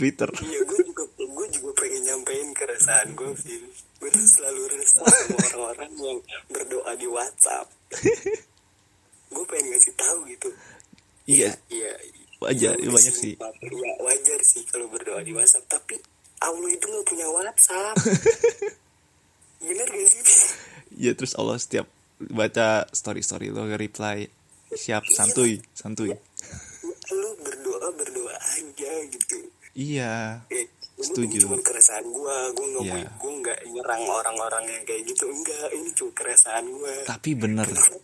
[SPEAKER 1] Twitter
[SPEAKER 2] iya gue juga gue juga pengen nyampein keresahan gue Vin gue tuh selalu resah sama orang-orang yang berdoa di WhatsApp gue pengen ngasih tahu gitu
[SPEAKER 1] iya
[SPEAKER 2] iya
[SPEAKER 1] Wajar,
[SPEAKER 2] iya,
[SPEAKER 1] banyak
[SPEAKER 2] sih. Iya, wajar sih kalau berdoa di WhatsApp tapi Allah itu nggak punya WhatsApp bener gak sih Vin?
[SPEAKER 1] iya terus Allah setiap baca story story lo reply siap santuy santuy
[SPEAKER 2] lu berdoa berdoa aja gitu
[SPEAKER 1] iya
[SPEAKER 2] Eh, ini-
[SPEAKER 1] Setuju.
[SPEAKER 2] Ini cuma keresahan gua, gua nggak
[SPEAKER 1] Iya.
[SPEAKER 2] mau, gua nggak nyerang orang-orang yang kayak gitu, enggak. Ini cuma keresahan gua.
[SPEAKER 1] tapi bener
[SPEAKER 2] Kenapa,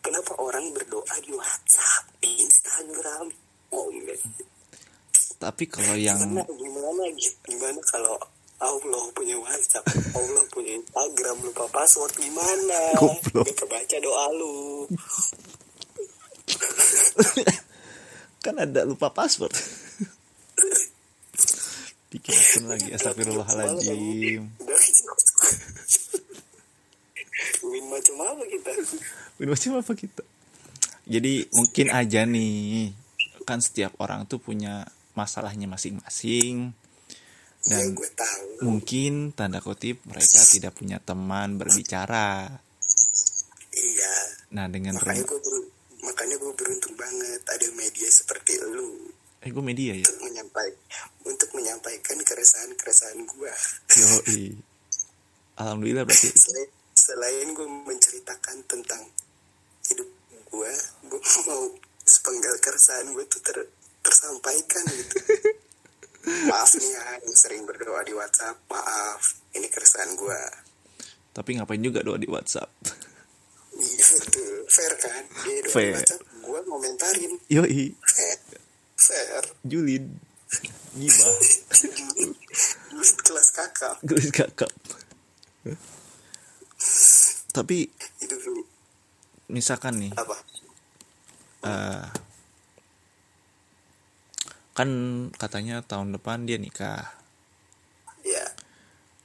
[SPEAKER 2] kenapa orang berdoa di WhatsApp, di Instagram? Oh, enggak.
[SPEAKER 1] tapi kalau
[SPEAKER 2] Gimana,
[SPEAKER 1] yang
[SPEAKER 2] gimana, gimana kalau Allah punya WhatsApp, Allah punya Instagram lupa password gimana?
[SPEAKER 1] Goblok.
[SPEAKER 2] Gak kebaca doa lu.
[SPEAKER 1] kan ada lupa password bikin akun lagi astagfirullahaladzim
[SPEAKER 2] Dari gitu. Win macam apa kita? Ya,
[SPEAKER 1] Win wajib apa kita? Jadi mungkin aja nih kan setiap orang tuh punya masalahnya masing-masing
[SPEAKER 2] Ya,
[SPEAKER 1] dan
[SPEAKER 2] gue tahu.
[SPEAKER 1] mungkin tanda kutip mereka tidak punya teman berbicara.
[SPEAKER 2] Iya.
[SPEAKER 1] Nah dengan
[SPEAKER 2] makanya
[SPEAKER 1] rem-
[SPEAKER 2] gue beru- makanya gue beruntung banget ada media seperti lu
[SPEAKER 1] eh gue media ya.
[SPEAKER 2] untuk menyampaikan untuk menyampaikan keresahan keresahan gue
[SPEAKER 1] Yoi. Alhamdulillah berarti
[SPEAKER 2] selain, selain gue menceritakan tentang hidup gue gue mau sepenggal keresahan gue tuh ter- tersampaikan gitu maaf nih ya yang sering berdoa di WhatsApp maaf ini keresahan gue
[SPEAKER 1] tapi ngapain juga doa di WhatsApp.
[SPEAKER 2] iya betul fair kan dia doa
[SPEAKER 1] Fair.
[SPEAKER 2] di WhatsApp gue ngomentarin
[SPEAKER 1] Yoi,
[SPEAKER 2] fair fair
[SPEAKER 1] Julid. Gibah,
[SPEAKER 2] kelas kakak
[SPEAKER 1] gelis kakap. Tapi
[SPEAKER 2] itu dulu
[SPEAKER 1] misalkan nih
[SPEAKER 2] apa
[SPEAKER 1] eh kan katanya tahun depan dia nikah
[SPEAKER 2] ya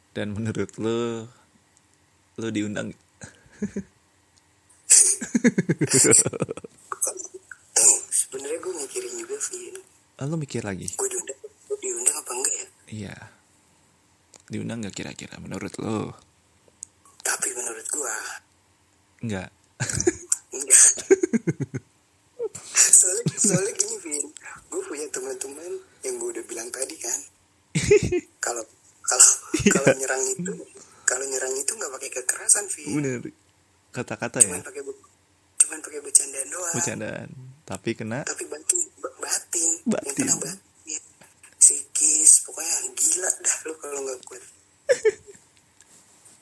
[SPEAKER 1] dan menurut lu lu diundang
[SPEAKER 2] sebenarnya gue mikirin juga Vin
[SPEAKER 1] Ah, lu mikir lagi
[SPEAKER 2] gue diundang gue diundang apa enggak ya
[SPEAKER 1] iya diundang nggak kira-kira menurut lu
[SPEAKER 2] tapi menurut gue
[SPEAKER 1] nggak
[SPEAKER 2] enggak soalnya soalnya gini Vin gue punya teman-teman yang gue udah bilang tadi kan kalau kalau
[SPEAKER 1] Iya.
[SPEAKER 2] kalau nyerang itu kalau nyerang itu nggak pakai kekerasan Vin
[SPEAKER 1] bener kata-kata ya
[SPEAKER 2] cuman pakai be- cuman pakai bercandaan doang
[SPEAKER 1] bercandaan tapi kena
[SPEAKER 2] tapi batin ba- batin,
[SPEAKER 1] Batin.
[SPEAKER 2] yang kena batin psikis pokoknya gila dah lu kalau nggak kuat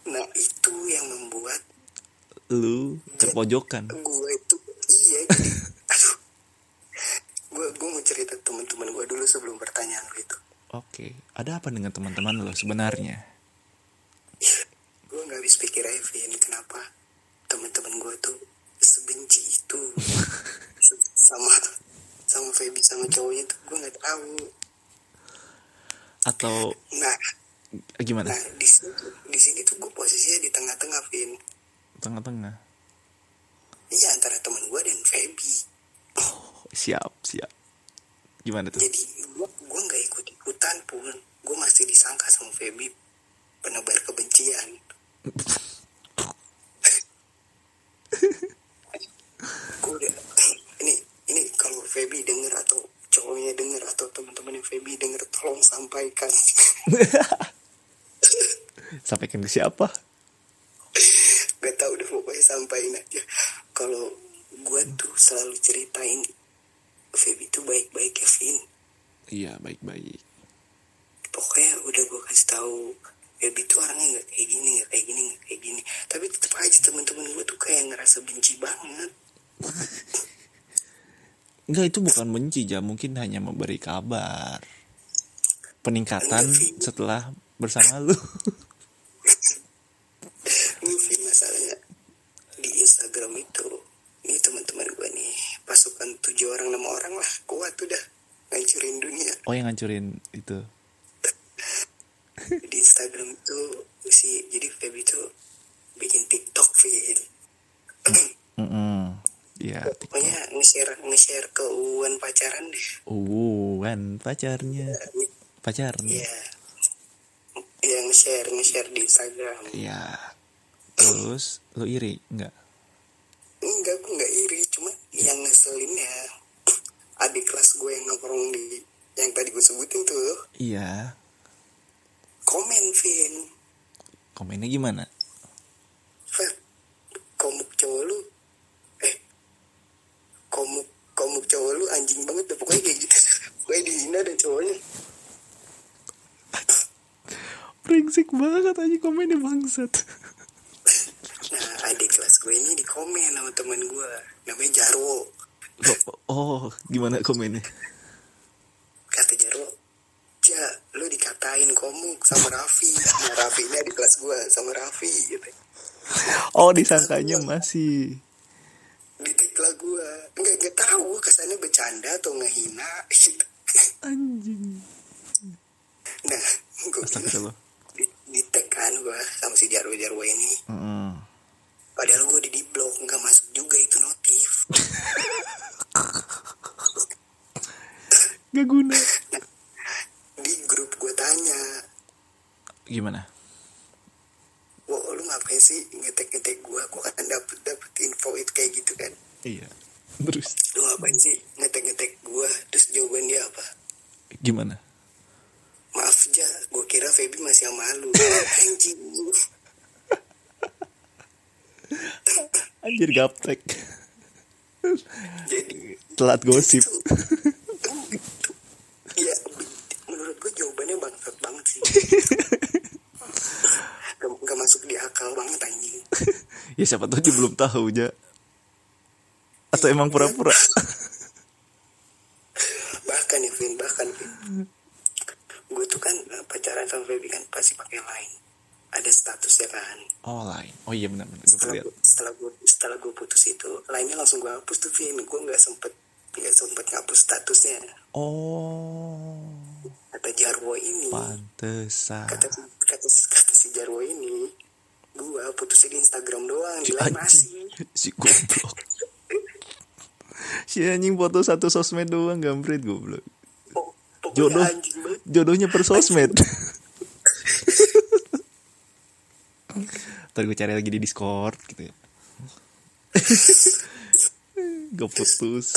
[SPEAKER 2] nah itu yang membuat
[SPEAKER 1] lu terpojokan
[SPEAKER 2] gue itu iya jadi, aduh gue gue mau cerita teman-teman gue dulu sebelum pertanyaan lu itu
[SPEAKER 1] oke ada apa dengan teman-teman lo sebenarnya
[SPEAKER 2] gue nggak habis pikir aja Vin kenapa teman-teman gue tuh sebenci itu S- sama sama Feby sama cowoknya tuh gue nggak tahu
[SPEAKER 1] atau
[SPEAKER 2] nah
[SPEAKER 1] gimana
[SPEAKER 2] nah di sini di sini tuh gue posisinya di tengah-tengah Vin
[SPEAKER 1] tengah-tengah
[SPEAKER 2] iya antara teman gue dan Feby
[SPEAKER 1] siap siap gimana tuh
[SPEAKER 2] jadi gue gue nggak ikut ikutan pun gue masih disangka sama Feby penebar kebencian gue udah ini ini kalau Feby denger atau cowoknya denger atau teman-teman yang Feby denger tolong sampaikan
[SPEAKER 1] sampaikan ke siapa
[SPEAKER 2] gak tau udah pokoknya sampaikan aja kalau gue tuh selalu ceritain Feby tuh baik-baik ya Vin
[SPEAKER 1] iya baik-baik
[SPEAKER 2] pokoknya udah gue kasih tahu Baby tuh orangnya nggak kayak gini nggak kayak gini nggak kayak gini tapi tetap aja teman-teman gue tuh kayak ngerasa benci banget
[SPEAKER 1] Enggak itu bukan benci ya mungkin hanya memberi kabar peningkatan setelah bersama lu
[SPEAKER 2] ini Vin, masalahnya di Instagram itu ini teman-teman gue nih pasukan tujuh orang enam orang lah kuat udah ngancurin dunia
[SPEAKER 1] oh yang ngancurin itu
[SPEAKER 2] di Instagram tuh si jadi Feby tuh bikin TikTok Vin
[SPEAKER 1] Mm-mm. ya TikTok.
[SPEAKER 2] pokoknya nge-share nge-share keuangan pacaran deh
[SPEAKER 1] Wuan pacarnya pacarnya
[SPEAKER 2] Iya. Yang share nge-share di Instagram.
[SPEAKER 1] ya terus lu iri nggak
[SPEAKER 2] Enggak, gue nggak iri, cuma yang ngeselin ya adik kelas gue yang nongkrong di yang tadi gue sebutin tuh
[SPEAKER 1] iya
[SPEAKER 2] komen Vin
[SPEAKER 1] komennya gimana
[SPEAKER 2] Feb komuk cowok lu eh komuk komuk cowok lu anjing banget dah pokoknya kayak gitu pokoknya dihina dan cowoknya
[SPEAKER 1] brengsek banget aja komennya bangsat
[SPEAKER 2] nah adik kelas gue ini di komen sama teman gue namanya Jarwo
[SPEAKER 1] oh gimana komennya
[SPEAKER 2] kata Jarwo ja lu dikatain komuk sama Raffi sama Raffi ini di kelas gua sama Raffi gitu
[SPEAKER 1] oh disangkanya masih
[SPEAKER 2] ditikla gua nggak nggak tahu kesannya bercanda atau ngehina gitu
[SPEAKER 1] anjing
[SPEAKER 2] nah gua bilang
[SPEAKER 1] astagfirullah
[SPEAKER 2] di, ditek kan gua sama si Jarwo Jarwo ini
[SPEAKER 1] Mm-mm.
[SPEAKER 2] padahal gua di blok nggak masuk juga itu notif
[SPEAKER 1] Gak guna.
[SPEAKER 2] di grup gua tanya
[SPEAKER 1] Gimana?
[SPEAKER 2] Wo, lu ngapain sih ngetek-ngetek gua? Gua kan dapet dapet info itu kayak gitu kan.
[SPEAKER 1] Iya. Terus
[SPEAKER 2] Lu ngapain sih ngetek-ngetek gua? Terus jawaban dia apa?
[SPEAKER 1] gimana?
[SPEAKER 2] Maaf aja, gue kira Feby masih sama lu. Anjing.
[SPEAKER 1] Anjir gaptek.
[SPEAKER 2] Jadi
[SPEAKER 1] Telat gosip.
[SPEAKER 2] itu. Ya, menurut gue jawabannya bangsat banget sih. gak, gak masuk di akal banget anjing.
[SPEAKER 1] Ya siapa tahu dia belum tahu aja. Atau emang pura-pura?
[SPEAKER 2] Bahkan ya, Vin, bahkan Vin. Gue tuh kan eh, pacaran sama Feby kan pasti pakai lain. Ada status ya kan.
[SPEAKER 1] Oh lain. Oh iya benar-benar gue
[SPEAKER 2] Setelah
[SPEAKER 1] lihat.
[SPEAKER 2] gue setelah gue setelah gue putus itu, lainnya langsung gue hapus tuh Vin. Gue nggak sempet nggak sempet ngapus statusnya.
[SPEAKER 1] Oh
[SPEAKER 2] Kata Jarwo ini.
[SPEAKER 1] pantesan.
[SPEAKER 2] kata kata kata si Jarwo ini gua putusin di Instagram doang di
[SPEAKER 1] Si
[SPEAKER 2] lain
[SPEAKER 1] anjing.
[SPEAKER 2] masih
[SPEAKER 1] Si goblok. Si anjing foto satu sosmed doang gampret goblok.
[SPEAKER 2] Po- pokoknya
[SPEAKER 1] Jodoh.
[SPEAKER 2] anjing banget
[SPEAKER 1] Jodohnya per sosmed. Ntar gue cari lagi di Discord gitu ya. gue putus.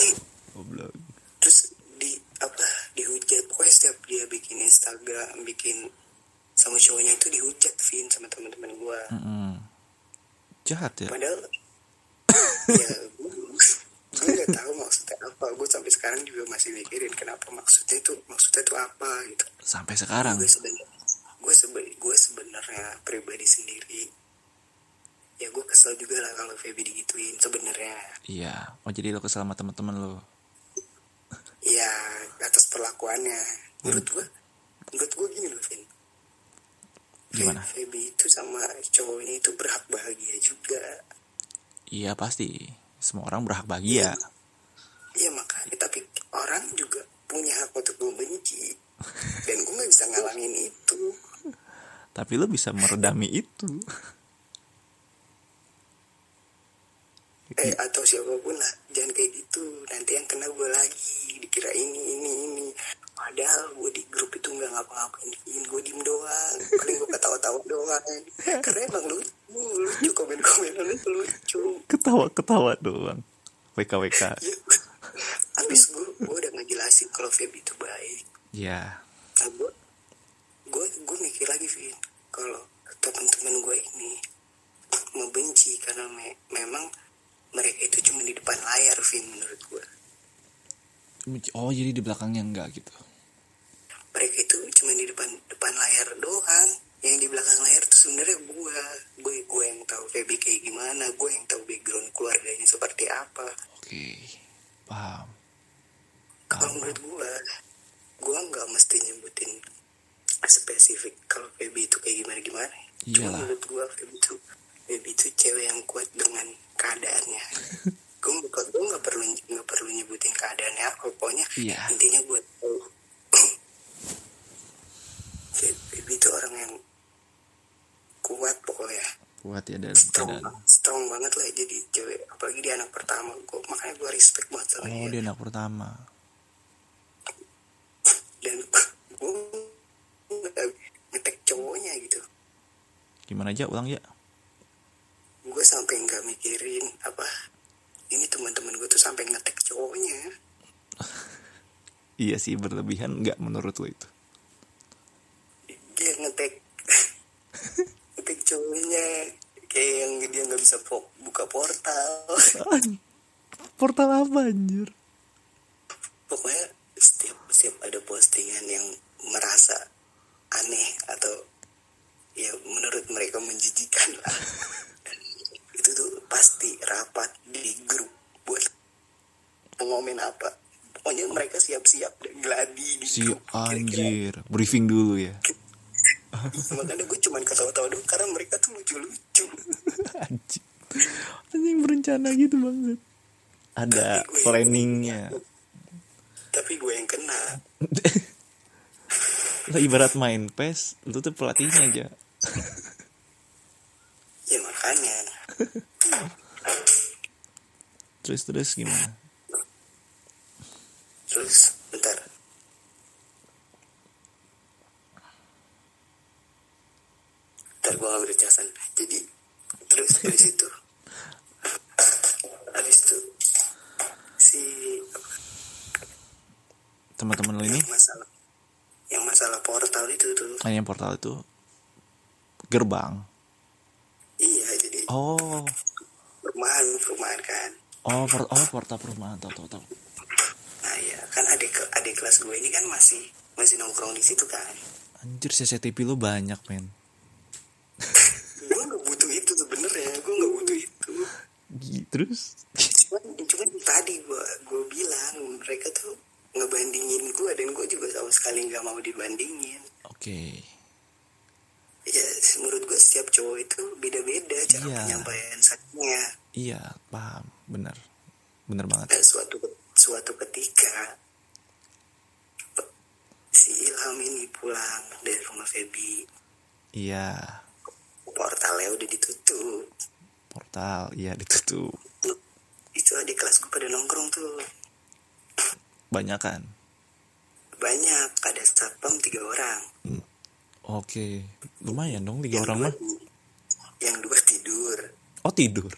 [SPEAKER 1] Goblok.
[SPEAKER 2] terus di apa dihujat pokoknya setiap dia bikin Instagram bikin sama cowoknya itu dihujat Vin sama teman-teman gua
[SPEAKER 1] Mm-mm. Hmm. Jahat ya.
[SPEAKER 2] padahal ya gua gue gak tahu maksudnya apa gue sampai sekarang juga masih mikirin kenapa maksudnya itu maksudnya itu apa gitu
[SPEAKER 1] Sampai sekarang.
[SPEAKER 2] gue sedang gue sebe gue sebenarnya pribadi sendiri ya gue kesel juga lah kalau Feby digituin sebenarnya
[SPEAKER 1] Iya. Oh jadi lo kesel sama teman-teman lo.
[SPEAKER 2] ya atas perlakuannya menurut gue menurut gue gini loh Vin Fe-
[SPEAKER 1] Gimana?
[SPEAKER 2] Feby itu sama cowoknya itu berhak bahagia juga
[SPEAKER 1] Iya pasti. Semua orang berhak bahagia.
[SPEAKER 2] Iya makanya tapi orang juga punya hak untuk membenci dan gue nggak bisa ngalangin itu
[SPEAKER 1] Tapi lo bisa meredami itu.
[SPEAKER 2] eh atau siapapun lah jangan kayak gitu nanti yang kena gue lagi dikira ini ini ini padahal gue di grup itu nggak ngapa-ngapain gue diem doang paling gue ketawa-tawa doang karena emang lucu lucu komen-komenan itu lucu
[SPEAKER 1] Ketawa-ketawa doang. WKWK.
[SPEAKER 2] ya abis gue gue udah ngejelasin kalau Feb itu baik
[SPEAKER 1] Iya.
[SPEAKER 2] Nah, gue gue gue mikir lagi Vin kalau teman-teman gue ini membenci karena me- memang mereka itu cuma di depan layar Vin menurut gue
[SPEAKER 1] Oh jadi di belakangnya enggak gitu.
[SPEAKER 2] mereka itu cuma di depan depan layar doang yang di belakang layar tuh sebenarnya gue gue gue yang tahu Feby kayak gimana gue yang tahu background keluarganya seperti apa
[SPEAKER 1] Oke. Paham.
[SPEAKER 2] kalau
[SPEAKER 1] Paham.
[SPEAKER 2] menurut gue gue nggak mesti nyebutin spesifik kalau Feby itu kayak gimana gimana
[SPEAKER 1] Iyalah.
[SPEAKER 2] cuma menurut gue Feby itu Feby itu cewek yang kuat dengan keadaannya gue nggak gue nggak perlu nggak perlu nyebutin keadaannya apa pokoknya
[SPEAKER 1] Iya.
[SPEAKER 2] intinya gue tahu Fe- Feby itu orang yang kuat pokoknya
[SPEAKER 1] Kuat ya dalam
[SPEAKER 2] strong
[SPEAKER 1] keadaan.
[SPEAKER 2] strong banget lah jadi cewek apalagi dia anak pertama gue makanya gue respect banget sama
[SPEAKER 1] Oh
[SPEAKER 2] dia
[SPEAKER 1] dia anak pertama.
[SPEAKER 2] dan gue ngetek cowoknya gitu
[SPEAKER 1] Gimana aja ulang ya?
[SPEAKER 2] gue sampai nggak mikirin apa ini teman-teman gue tuh sampai ngetek cowoknya
[SPEAKER 1] Iya sih berlebihan nggak menurut lo itu.
[SPEAKER 2] dia ngetek ngetek cowoknya kayak yang dia nggak bisa po- buka portal
[SPEAKER 1] Portal apa anjir?
[SPEAKER 2] pokoknya setiap setiap ada postingan yang merasa aneh atau ya menurut mereka menjijikan lah itu tuh pasti rapat di grup buat ngomen apa pokoknya mereka siap-siap dan gladi di
[SPEAKER 1] Si
[SPEAKER 2] grup kira-kira
[SPEAKER 1] anjir. Briefing dulu ya.
[SPEAKER 2] makanya gue cuman ketawa-tawa doang karena mereka tuh lucu-lucu
[SPEAKER 1] anjing. Anjing berencana gitu banget. Ada planningnya.
[SPEAKER 2] tapi gue yang kena
[SPEAKER 1] Lo ibarat main PES, lu tuh pelatihnya aja.
[SPEAKER 2] ya makanya
[SPEAKER 1] Terus terus gimana?
[SPEAKER 2] terus bentar bentar gue ngambil jelasan jadi terus dari situ habis itu si
[SPEAKER 1] Teman-teman lo ini,
[SPEAKER 2] yang masalah yang masalah portal itu tuh
[SPEAKER 1] ah, yang portal itu gerbang.
[SPEAKER 2] iya jadi
[SPEAKER 1] Oh,
[SPEAKER 2] perumahan perumahan kan
[SPEAKER 1] oh, por- oh portal perumahan tau tau tau.
[SPEAKER 2] nah ya kan adik ke- adik kelas gue ini kan masih masih nongkrong di situ kan
[SPEAKER 1] Anjir CCTV lo banyak men.
[SPEAKER 2] gue nggak butuh itu sebenernya gue nggak butuh itu
[SPEAKER 1] Gi- Terus?
[SPEAKER 2] cuman cuman tadi gua gua bilang mereka tuh ngebandingin gua dan gua juga sama sekali nggak mau dibandingin
[SPEAKER 1] Oke.
[SPEAKER 2] ya menurut gua setiap cowok itu beda-beda cara
[SPEAKER 1] Iya.
[SPEAKER 2] penyampaian sakitnya
[SPEAKER 1] Iya, paham, bener, bener banget.
[SPEAKER 2] dan Nah, suatu suatu ketika pe- si Ilham ini pulang dari rumah Feby
[SPEAKER 1] Iya,
[SPEAKER 2] portalnya udah ditutup
[SPEAKER 1] portal, iya ditutup,
[SPEAKER 2] itu adik kelas gua pada nongkrong tuh
[SPEAKER 1] banyak kan?
[SPEAKER 2] banyak ada satpam tiga orang
[SPEAKER 1] Oke, lumayan dong tiga orang mah.
[SPEAKER 2] yang dua tidur
[SPEAKER 1] Oh tidur.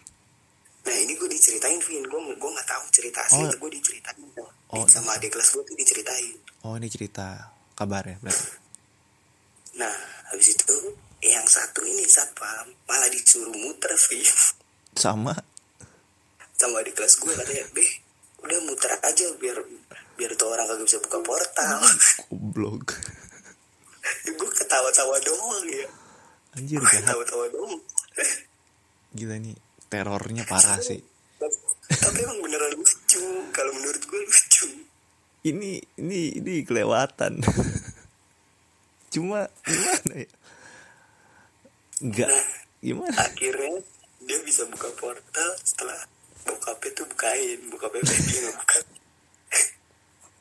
[SPEAKER 2] Nah ini gue diceritain Vin, gue gue nggak tahu cerita asli,
[SPEAKER 1] Oh.
[SPEAKER 2] gue diceritain tuh.
[SPEAKER 1] Oh.
[SPEAKER 2] sama adik kelas gue tuh diceritain.
[SPEAKER 1] Oh ini cerita kabarnya berarti.
[SPEAKER 2] Nah habis itu eh, yang satu ini satpam malah disuruh muter Vin
[SPEAKER 1] Sama.
[SPEAKER 2] sama adik kelas gue katanya, beh udah muter aja biar biar tuh orang kagak bisa buka portal.
[SPEAKER 1] Goblok.
[SPEAKER 2] gue ketawa-tawa doang ya
[SPEAKER 1] Anjir
[SPEAKER 2] gue
[SPEAKER 1] jahat.
[SPEAKER 2] ketawa-tawa doang
[SPEAKER 1] Gila nih terornya parah sih.
[SPEAKER 2] tapi emang beneran lucu kalau menurut gue lucu
[SPEAKER 1] Ini ini ini kelewatan. Cuma gimana ya? Enggak gimana?
[SPEAKER 2] akhirnya dia bisa buka portal setelah bokapnya tuh bukain bokapnya dia nggak buka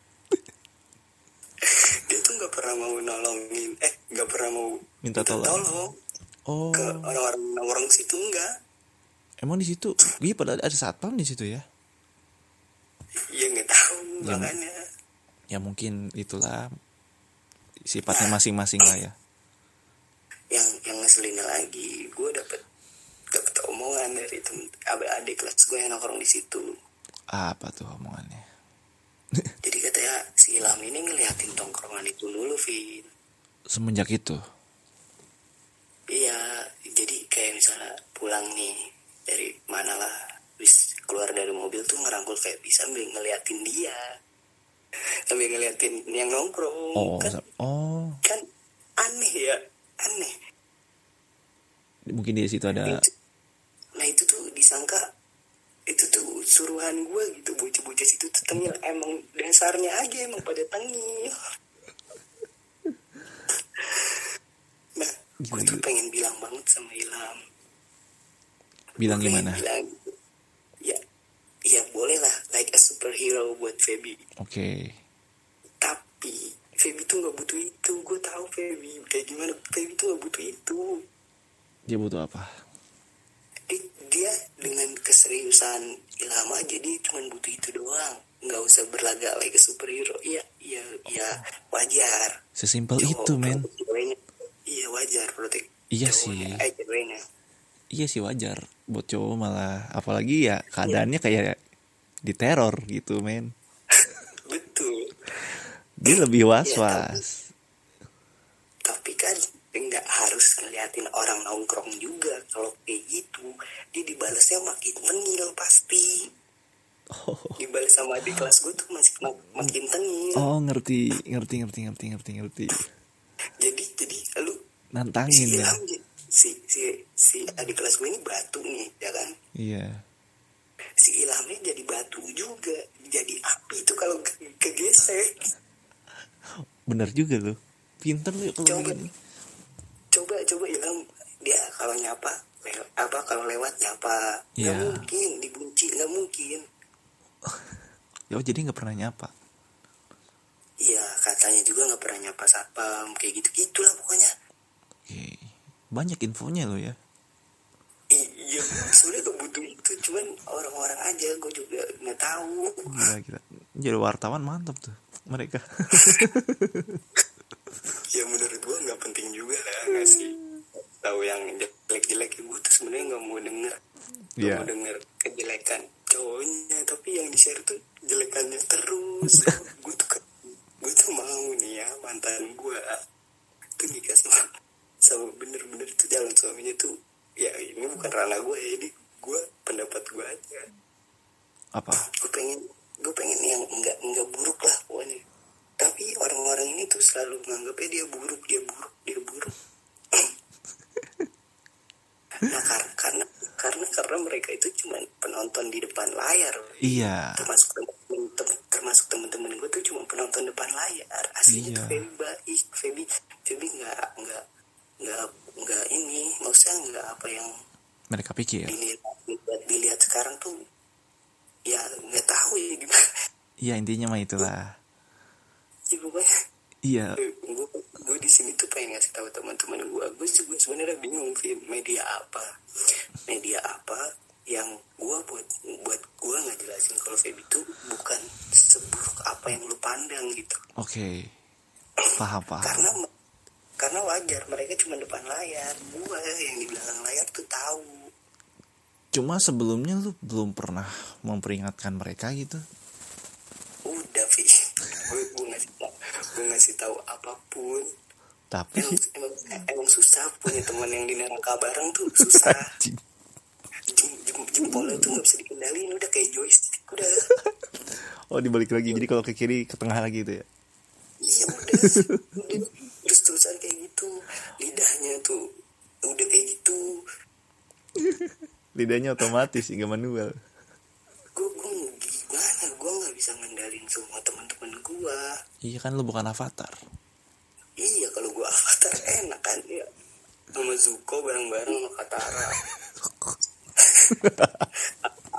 [SPEAKER 2] dia tuh nggak pernah mau nolongin eh nggak pernah mau
[SPEAKER 1] Minta tolong. Oh,
[SPEAKER 2] ke orang-orang orang situ enggak
[SPEAKER 1] emang di situ? Iya padahal ada satpam di situ ya.
[SPEAKER 2] ya nggak tahu
[SPEAKER 1] Ya.
[SPEAKER 2] makanya
[SPEAKER 1] Ya mungkin itulah sifatnya masing-masing lah ya.
[SPEAKER 2] yang yang ngeselinnya lagi gue dapet dapet omongan dari temen adik adik kelas gue yang nongkrong di situ
[SPEAKER 1] Apa tuh omongannya?
[SPEAKER 2] jadi katanya si Ilham ini ngeliatin tongkrongan itu dulu Vin
[SPEAKER 1] Semenjak itu.
[SPEAKER 2] Iya, jadi kayak misalnya pulang nih dari mana lah, wis keluar dari mobil tuh ngerangkul kayak bisa sambil ngeliatin dia, sambil ngeliatin yang nongkrong.
[SPEAKER 1] Oh,
[SPEAKER 2] kan,
[SPEAKER 1] sa- oh,
[SPEAKER 2] kan aneh ya, aneh.
[SPEAKER 1] mungkin di situ ada
[SPEAKER 2] Itu- nah itu tuh disangka itu tuh suruhan gue gitu bocah-bocah situ tuh tengil emang dasarnya aja emang pada tengil nah gue tuh
[SPEAKER 1] Gila-gila.
[SPEAKER 2] pengen bilang banget sama Ilham
[SPEAKER 1] bilang
[SPEAKER 2] Pengen
[SPEAKER 1] gimana?
[SPEAKER 2] bilang, ya ya boleh lah like a superhero buat Feby
[SPEAKER 1] Oke.
[SPEAKER 2] tapi Feby tuh nggak butuh itu gue tahu Feby kayak gimana Feby tuh nggak butuh itu
[SPEAKER 1] Dia butuh apa?
[SPEAKER 2] dia, dia dengan keseriusan Ilham aja dia cuma butuh itu doang nggak usah berlagak like a superhero iya iya iya wajar
[SPEAKER 1] Sesimpel
[SPEAKER 2] Cowok
[SPEAKER 1] Oh, itu, men.
[SPEAKER 2] protek ceweknya. iya wajar protek
[SPEAKER 1] Iya
[SPEAKER 2] cowoknya,
[SPEAKER 1] sih.
[SPEAKER 2] eh, ceweknya.
[SPEAKER 1] Iya sih wajar buat cowok malah apalagi ya keadaannya kayak diteror gitu, men.
[SPEAKER 2] betul
[SPEAKER 1] Dia lebih was-was.
[SPEAKER 2] tapi kan nggak harus ngeliatin orang nongkrong juga kalau kayak gitu dia dibalasnya makin tengil pasti
[SPEAKER 1] Oh.
[SPEAKER 2] dibalas sama adik kelas gue tuh masih ma- makin tengil
[SPEAKER 1] Oh ngerti ngerti ngerti ngerti ngerti ngerti
[SPEAKER 2] jadi jadi lu si
[SPEAKER 1] nantangin ya
[SPEAKER 2] Ilham j- si si si adik kelas gue ini batu nih ya kan
[SPEAKER 1] iya
[SPEAKER 2] si Ilhamnya jadi batu juga jadi api tuh kalau ke- kegesek
[SPEAKER 1] bener juga lu pinter lu ya kalau
[SPEAKER 2] Coba.
[SPEAKER 1] begini
[SPEAKER 2] coba coba Ilham dia kalau nyapa le- apa kalau lewat nyapa nggak
[SPEAKER 1] Iya.
[SPEAKER 2] mungkin dibenci nggak mungkin
[SPEAKER 1] ya oh, jadi nggak pernah nyapa
[SPEAKER 2] Iya, katanya juga nggak pernah nyapa satpam kayak gitu gitulah pokoknya.
[SPEAKER 1] Oke. Iya. banyak infonya lu ya
[SPEAKER 2] I- Iya, sebenarnya gak butuh itu, cuman orang-orang aja gue juga nggak tahu.
[SPEAKER 1] gila gila jadi wartawan mantap tuh mereka
[SPEAKER 2] Ya menurut gue nggak penting juga lah ngasih tahu yang jelek-jelek gue tuh sebenarnya nggak mau denger, nggak
[SPEAKER 1] Iya.
[SPEAKER 2] mau denger kejelekan cowoknya, tapi yang di share tuh jelekannya terus. gue tuh ke- gue tuh mau nih ya mantan gue tuh nikah sama sama bener-bener tuh jalan suaminya tuh ya ini bukan ranah gue ya ini gue pendapat gue aja
[SPEAKER 1] apa
[SPEAKER 2] gue pengen gue pengen yang enggak enggak buruk lah pokoknya tapi orang-orang ini tuh selalu menganggapnya dia buruk dia buruk dia buruk nah kar- karena karena karena mereka itu cuman penonton di depan layar
[SPEAKER 1] iya
[SPEAKER 2] termasuk temen, tem- termasuk temen-temen gue tuh cuma penonton depan layar
[SPEAKER 1] Iya.
[SPEAKER 2] aslinya tuh Feby baik Feby Feby nggak nggak nggak nggak ini maksudnya nggak apa yang
[SPEAKER 1] mereka pikir
[SPEAKER 2] dilihat dilihat, dilihat sekarang tuh ya nggak tahu ya gimana
[SPEAKER 1] iya intinya mah itulah
[SPEAKER 2] ya pokoknya
[SPEAKER 1] iya
[SPEAKER 2] gue gue di sini tuh pengen ngasih tahu teman-teman gue gue juga sebenarnya bingung sih media apa media apa yang gue buat buat gue nggak jelasin kalau Feby itu bukan seburuk apa yang lu pandang gitu
[SPEAKER 1] oke paham paham
[SPEAKER 2] karena karena wajar mereka cuma depan layar gue yang di belakang layar tuh tahu
[SPEAKER 1] cuma sebelumnya lu belum pernah memperingatkan mereka gitu
[SPEAKER 2] udah Vi gue gue ngasih tau gue ngasih tahu apapun
[SPEAKER 1] tapi
[SPEAKER 2] emang, emang, emang susah punya teman yang di neraka bareng tuh susah
[SPEAKER 1] Anjing.
[SPEAKER 2] Jem, jem, jempolnya tuh gak bisa dikendaliin udah kayak joystick udah
[SPEAKER 1] oh dibalik lagi jadi kalau ke kiri ke tengah lagi gitu ya
[SPEAKER 2] iya udah udah terus terusan kayak gitu lidahnya tuh udah kayak gitu
[SPEAKER 1] lidahnya otomatis nggak manual
[SPEAKER 2] gue gue gimana gue nggak bisa ngendalin semua teman-teman gue
[SPEAKER 1] iya kan lu bukan avatar
[SPEAKER 2] iya kalau gue avatar enak kan ya sama Zuko bareng-bareng sama Katara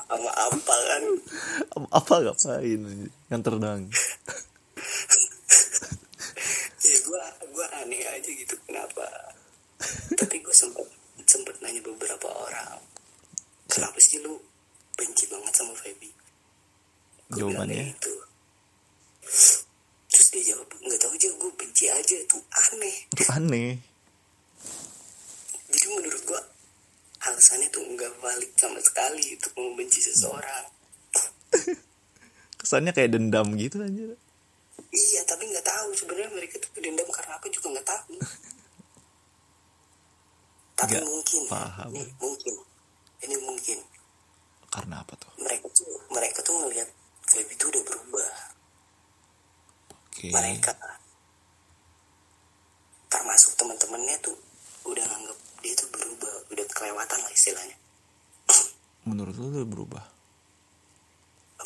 [SPEAKER 2] sama apa kan
[SPEAKER 1] Apa- apa ngapain nganter doang
[SPEAKER 2] ya gue gue aneh aja gitu kenapa tapi gue sempat sempat nanya beberapa orang kenapa sih lu benci banget sama Feby Gua bilang
[SPEAKER 1] jawabannya
[SPEAKER 2] kayak gitu. terus dia jawab nggak tahu aja gue benci aja tuh aneh
[SPEAKER 1] itu aneh
[SPEAKER 2] jadi menurut gua alasannya tuh nggak valid sama sekali untuk membenci seseorang
[SPEAKER 1] kesannya kayak dendam gitu aja
[SPEAKER 2] iya tapi nggak tahu sebenarnya mereka tuh dendam karena apa juga nggak tahu tapi
[SPEAKER 1] Nggak
[SPEAKER 2] mungkin ya,
[SPEAKER 1] paham.
[SPEAKER 2] ini mungkin ini mungkin
[SPEAKER 1] karena apa tuh
[SPEAKER 2] mereka tuh mereka tuh ngelihat Feby tuh udah berubah
[SPEAKER 1] oke
[SPEAKER 2] mereka termasuk teman-temannya tuh udah nganggep dia tuh berubah udah kelewatan lah istilahnya
[SPEAKER 1] menurut lu udah berubah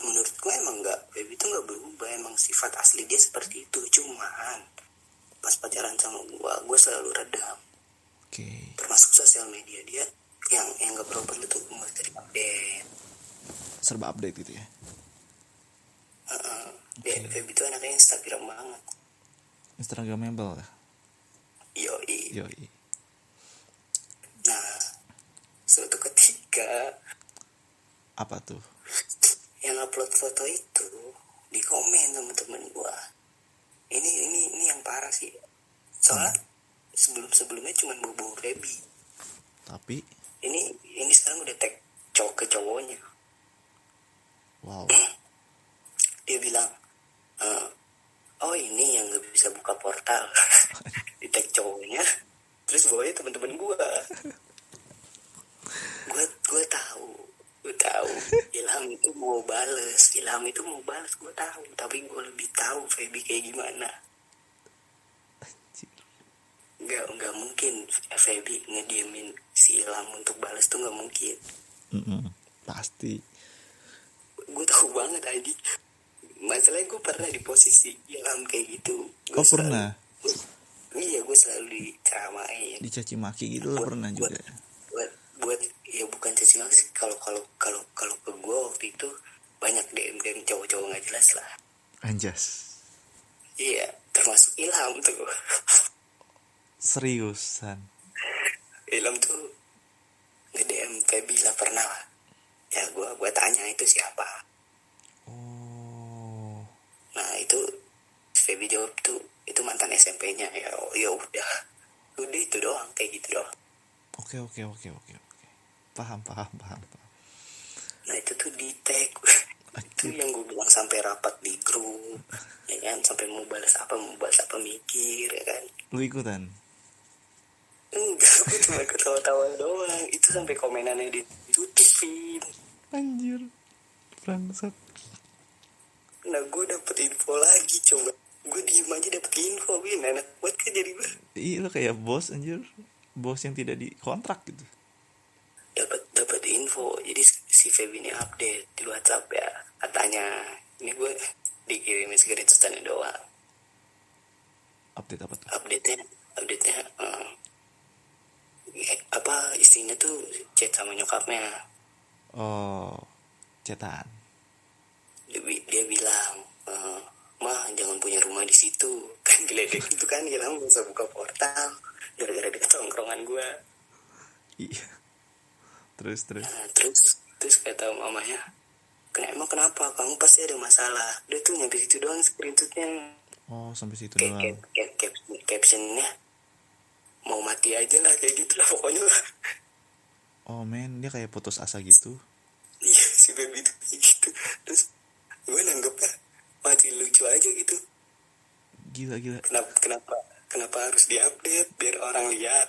[SPEAKER 2] menurut gue emang nggak baby itu nggak berubah emang sifat asli dia seperti itu cuman pas pacaran sama gue gue selalu redam
[SPEAKER 1] oke
[SPEAKER 2] termasuk sosial media dia yang yang nggak berubah itu mulai dari update
[SPEAKER 1] serba update gitu ya
[SPEAKER 2] Heeh. Dia- baby itu anaknya instagram banget
[SPEAKER 1] instagramable lah
[SPEAKER 2] yoi
[SPEAKER 1] yoi
[SPEAKER 2] nah suatu ketika
[SPEAKER 1] apa tuh
[SPEAKER 2] yang upload foto itu di komen temen-temen gua ini ini ini yang parah sih soalnya sebelum sebelumnya cuman bobo baby
[SPEAKER 1] tapi
[SPEAKER 2] ini ini sekarang udah tag cowok ke cowoknya
[SPEAKER 1] wow
[SPEAKER 2] dia bilang eh, oh ini yang nggak bisa buka portal di tag cowoknya terus bawahnya teman-teman gua gua gua tahu gua tahu Ilham itu mau bales Ilham itu mau bales gua tahu tapi gua lebih tahu Feby kayak gimana
[SPEAKER 1] Anjir.
[SPEAKER 2] nggak nggak mungkin Feby ngediemin si Ilham untuk bales tuh nggak mungkin
[SPEAKER 1] Mm-mm. pasti
[SPEAKER 2] gue tahu banget Adi masalahnya gue pernah di posisi Ilham kayak gitu
[SPEAKER 1] Oh,
[SPEAKER 2] Gua selalu-
[SPEAKER 1] pernah?
[SPEAKER 2] gua- iya gue selalu diceramain
[SPEAKER 1] dicaci maki gitu lo
[SPEAKER 2] Buat-
[SPEAKER 1] pernah
[SPEAKER 2] buat-
[SPEAKER 1] juga
[SPEAKER 2] buat buat ya bukan caci maki sih kalau kalau kalau kalau ke gue waktu itu banyak DM DM cowok-cowok nggak jelas lah
[SPEAKER 1] anjas
[SPEAKER 2] iya termasuk Ilham tuh
[SPEAKER 1] seriusan
[SPEAKER 2] Ilham tuh nge DM Feby lah pernah lah ya gue gue tanya itu siapa
[SPEAKER 1] oh
[SPEAKER 2] Nah itu Feby jawab tuh itu mantan SMP-nya ya oh, ya udah udah itu doang kayak gitu doang.
[SPEAKER 1] oke oke oke oke oke paham paham paham paham
[SPEAKER 2] Nah itu tuh di tag itu
[SPEAKER 1] Aduh.
[SPEAKER 2] yang gue bilang sampai rapat di grup ya kan sampai mau balas apa mau balas apa mikir ya kan
[SPEAKER 1] lu ikutan
[SPEAKER 2] enggak gue cuma ketawa-tawa doang itu sampai komenannya ditutupin
[SPEAKER 1] anjir bangsat
[SPEAKER 2] nah gue dapet info lagi coba gue diem aja dapet info bin enak buat kan jadi gue
[SPEAKER 1] iya lu kayak bos anjir bos yang tidak dikontrak gitu
[SPEAKER 2] dapat dapat info jadi si Feby ini update di WhatsApp ya katanya ini gue dikirimin screenshotannya doang
[SPEAKER 1] update apa tuh
[SPEAKER 2] update nya update nya eh, apa istrinya tuh chat sama nyokapnya
[SPEAKER 1] oh cetan
[SPEAKER 2] dia, bi- dia bilang eh, mah jangan punya rumah di situ kan diledek itu kan hilang nggak usah buka portal gara-gara dia tongkrongan gue
[SPEAKER 1] iya terus terus
[SPEAKER 2] Nah, terus terus kata mamanya "Ken- emang kenapa kamu pasti ada masalah dia tuh nyampe situ doang screenshotnya
[SPEAKER 1] oh sampai situ
[SPEAKER 2] kayak
[SPEAKER 1] doang
[SPEAKER 2] cap- cap- cap- captionnya mau mati aja lah kayak gitu lah pokoknya lah.
[SPEAKER 1] oh men dia kayak putus asa gitu
[SPEAKER 2] iya si baby itu kayak gitu terus gue nanggepnya mati lucu aja gitu
[SPEAKER 1] gila gila
[SPEAKER 2] kenapa kenapa kenapa harus diupdate biar orang lihat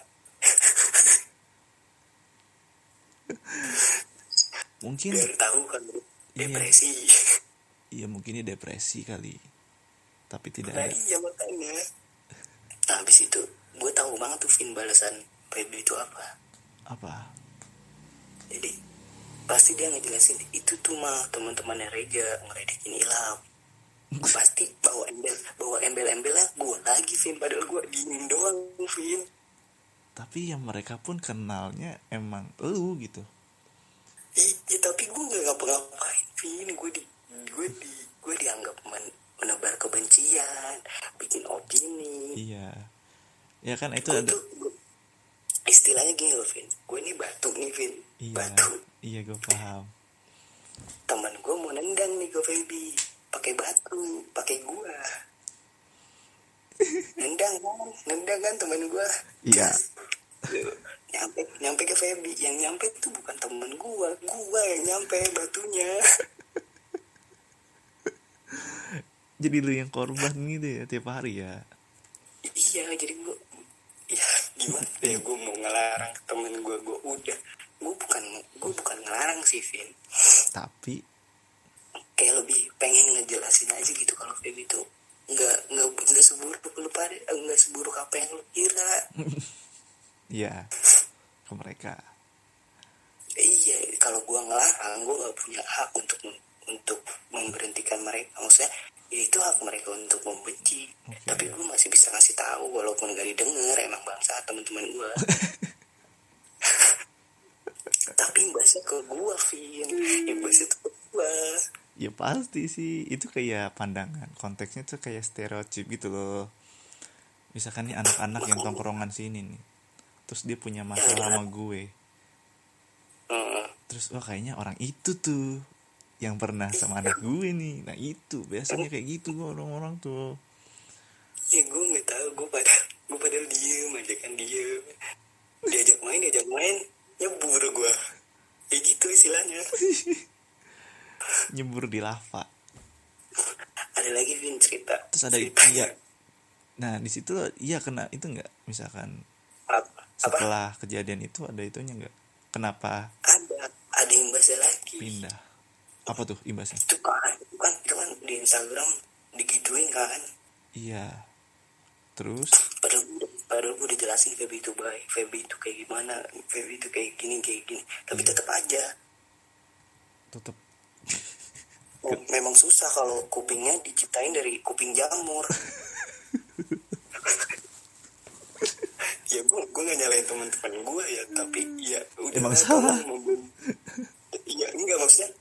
[SPEAKER 1] mungkin
[SPEAKER 2] biar tahu kan
[SPEAKER 1] Iya.
[SPEAKER 2] depresi
[SPEAKER 1] ya mungkin dia depresi kali tapi tidak
[SPEAKER 2] nah
[SPEAKER 1] ada
[SPEAKER 2] iya makanya nah habis itu gue tahu banget tuh Vin balasan Febri itu apa
[SPEAKER 1] apa
[SPEAKER 2] jadi pasti dia ngejelasin itu tuh mah teman-temannya Rega ngeredekin Ilham pasti bawa embel bawa embel-embelnya gue lagi Vin padahal gue dingin doang Vin
[SPEAKER 1] tapi yang mereka pun kenalnya emang lu gitu
[SPEAKER 2] Iya, tapi gue gak ngapa-ngapain Vin gue di gue di gue dianggap men- menebar kebencian bikin opini
[SPEAKER 1] iya ya kan itu
[SPEAKER 2] Gua
[SPEAKER 1] ada
[SPEAKER 2] tuh- gua- istilahnya gini loh Vin gue ini batu nih Vin
[SPEAKER 1] iya
[SPEAKER 2] batu
[SPEAKER 1] iya gue paham
[SPEAKER 2] teman gue mau nendang nih gue Feby pakai batu pakai gua nendang kan nendang kan teman gue
[SPEAKER 1] iya
[SPEAKER 2] nyampe nyampe ke Feby yang nyampe itu bukan teman gua gua yang nyampe batunya
[SPEAKER 1] jadi lu yang korban gitu ya tiap hari ya
[SPEAKER 2] iya jadi gue ya gimana ya gue mau ngelarang temen gue gue udah gue bukan gue bukan ngelarang sih Vin
[SPEAKER 1] tapi
[SPEAKER 2] kayak lebih pengen ngejelasin aja gitu kalau Feby itu nggak nggak nggak seburuk lu pada nggak seburuk apa yang lu kira
[SPEAKER 1] ya ke mereka
[SPEAKER 2] iya kalau gua ngelarang gua gak punya hak untuk untuk memberhentikan mereka maksudnya ya itu hak mereka untuk membenci
[SPEAKER 1] Oke.
[SPEAKER 2] tapi gua masih bisa ngasih tahu walaupun gak didengar emang bangsa teman-teman gua tapi bahasa ke gua Vin Ya imbasnya tuh ke gua
[SPEAKER 1] ya pasti sih itu kayak pandangan konteksnya tuh kayak stereotip gitu loh misalkan nih anak-anak yang tongkrongan sini nih terus dia punya masalah sama gue
[SPEAKER 2] Heeh.
[SPEAKER 1] terus wah kayaknya orang itu tuh yang pernah sama anak gue nih nah itu biasanya kayak gitu gue orang-orang tuh
[SPEAKER 2] ya gua nggak tahu gua pada gua padahal diem aja kan diem diajak main diajak main nyebur gua ya gitu istilahnya
[SPEAKER 1] nyebur di lava
[SPEAKER 2] ada lagi Vin cerita
[SPEAKER 1] terus ada
[SPEAKER 2] Cerita.
[SPEAKER 1] iya nah di situ iya kena itu nggak misalkan
[SPEAKER 2] apa, apa?
[SPEAKER 1] setelah kejadian itu ada itunya nggak kenapa
[SPEAKER 2] ada ada imbasnya lagi
[SPEAKER 1] pindah apa tuh imbasnya
[SPEAKER 2] itu kan itu kan itu kan di Instagram digituin kan
[SPEAKER 1] iya terus
[SPEAKER 2] padahal padahal gue udah jelasin Feby itu baik Feby itu kayak gimana Feby itu kayak gini kayak gini
[SPEAKER 1] Iya.
[SPEAKER 2] tapi tetap aja
[SPEAKER 1] tutup
[SPEAKER 2] mem- memang susah kalau kupingnya diciptain dari kuping jamur ya gue gue gak nyalain teman-teman gue ya tapi ya udah
[SPEAKER 1] Emang
[SPEAKER 2] lah,
[SPEAKER 1] salah.
[SPEAKER 2] tolong memben- ya enggak maksudnya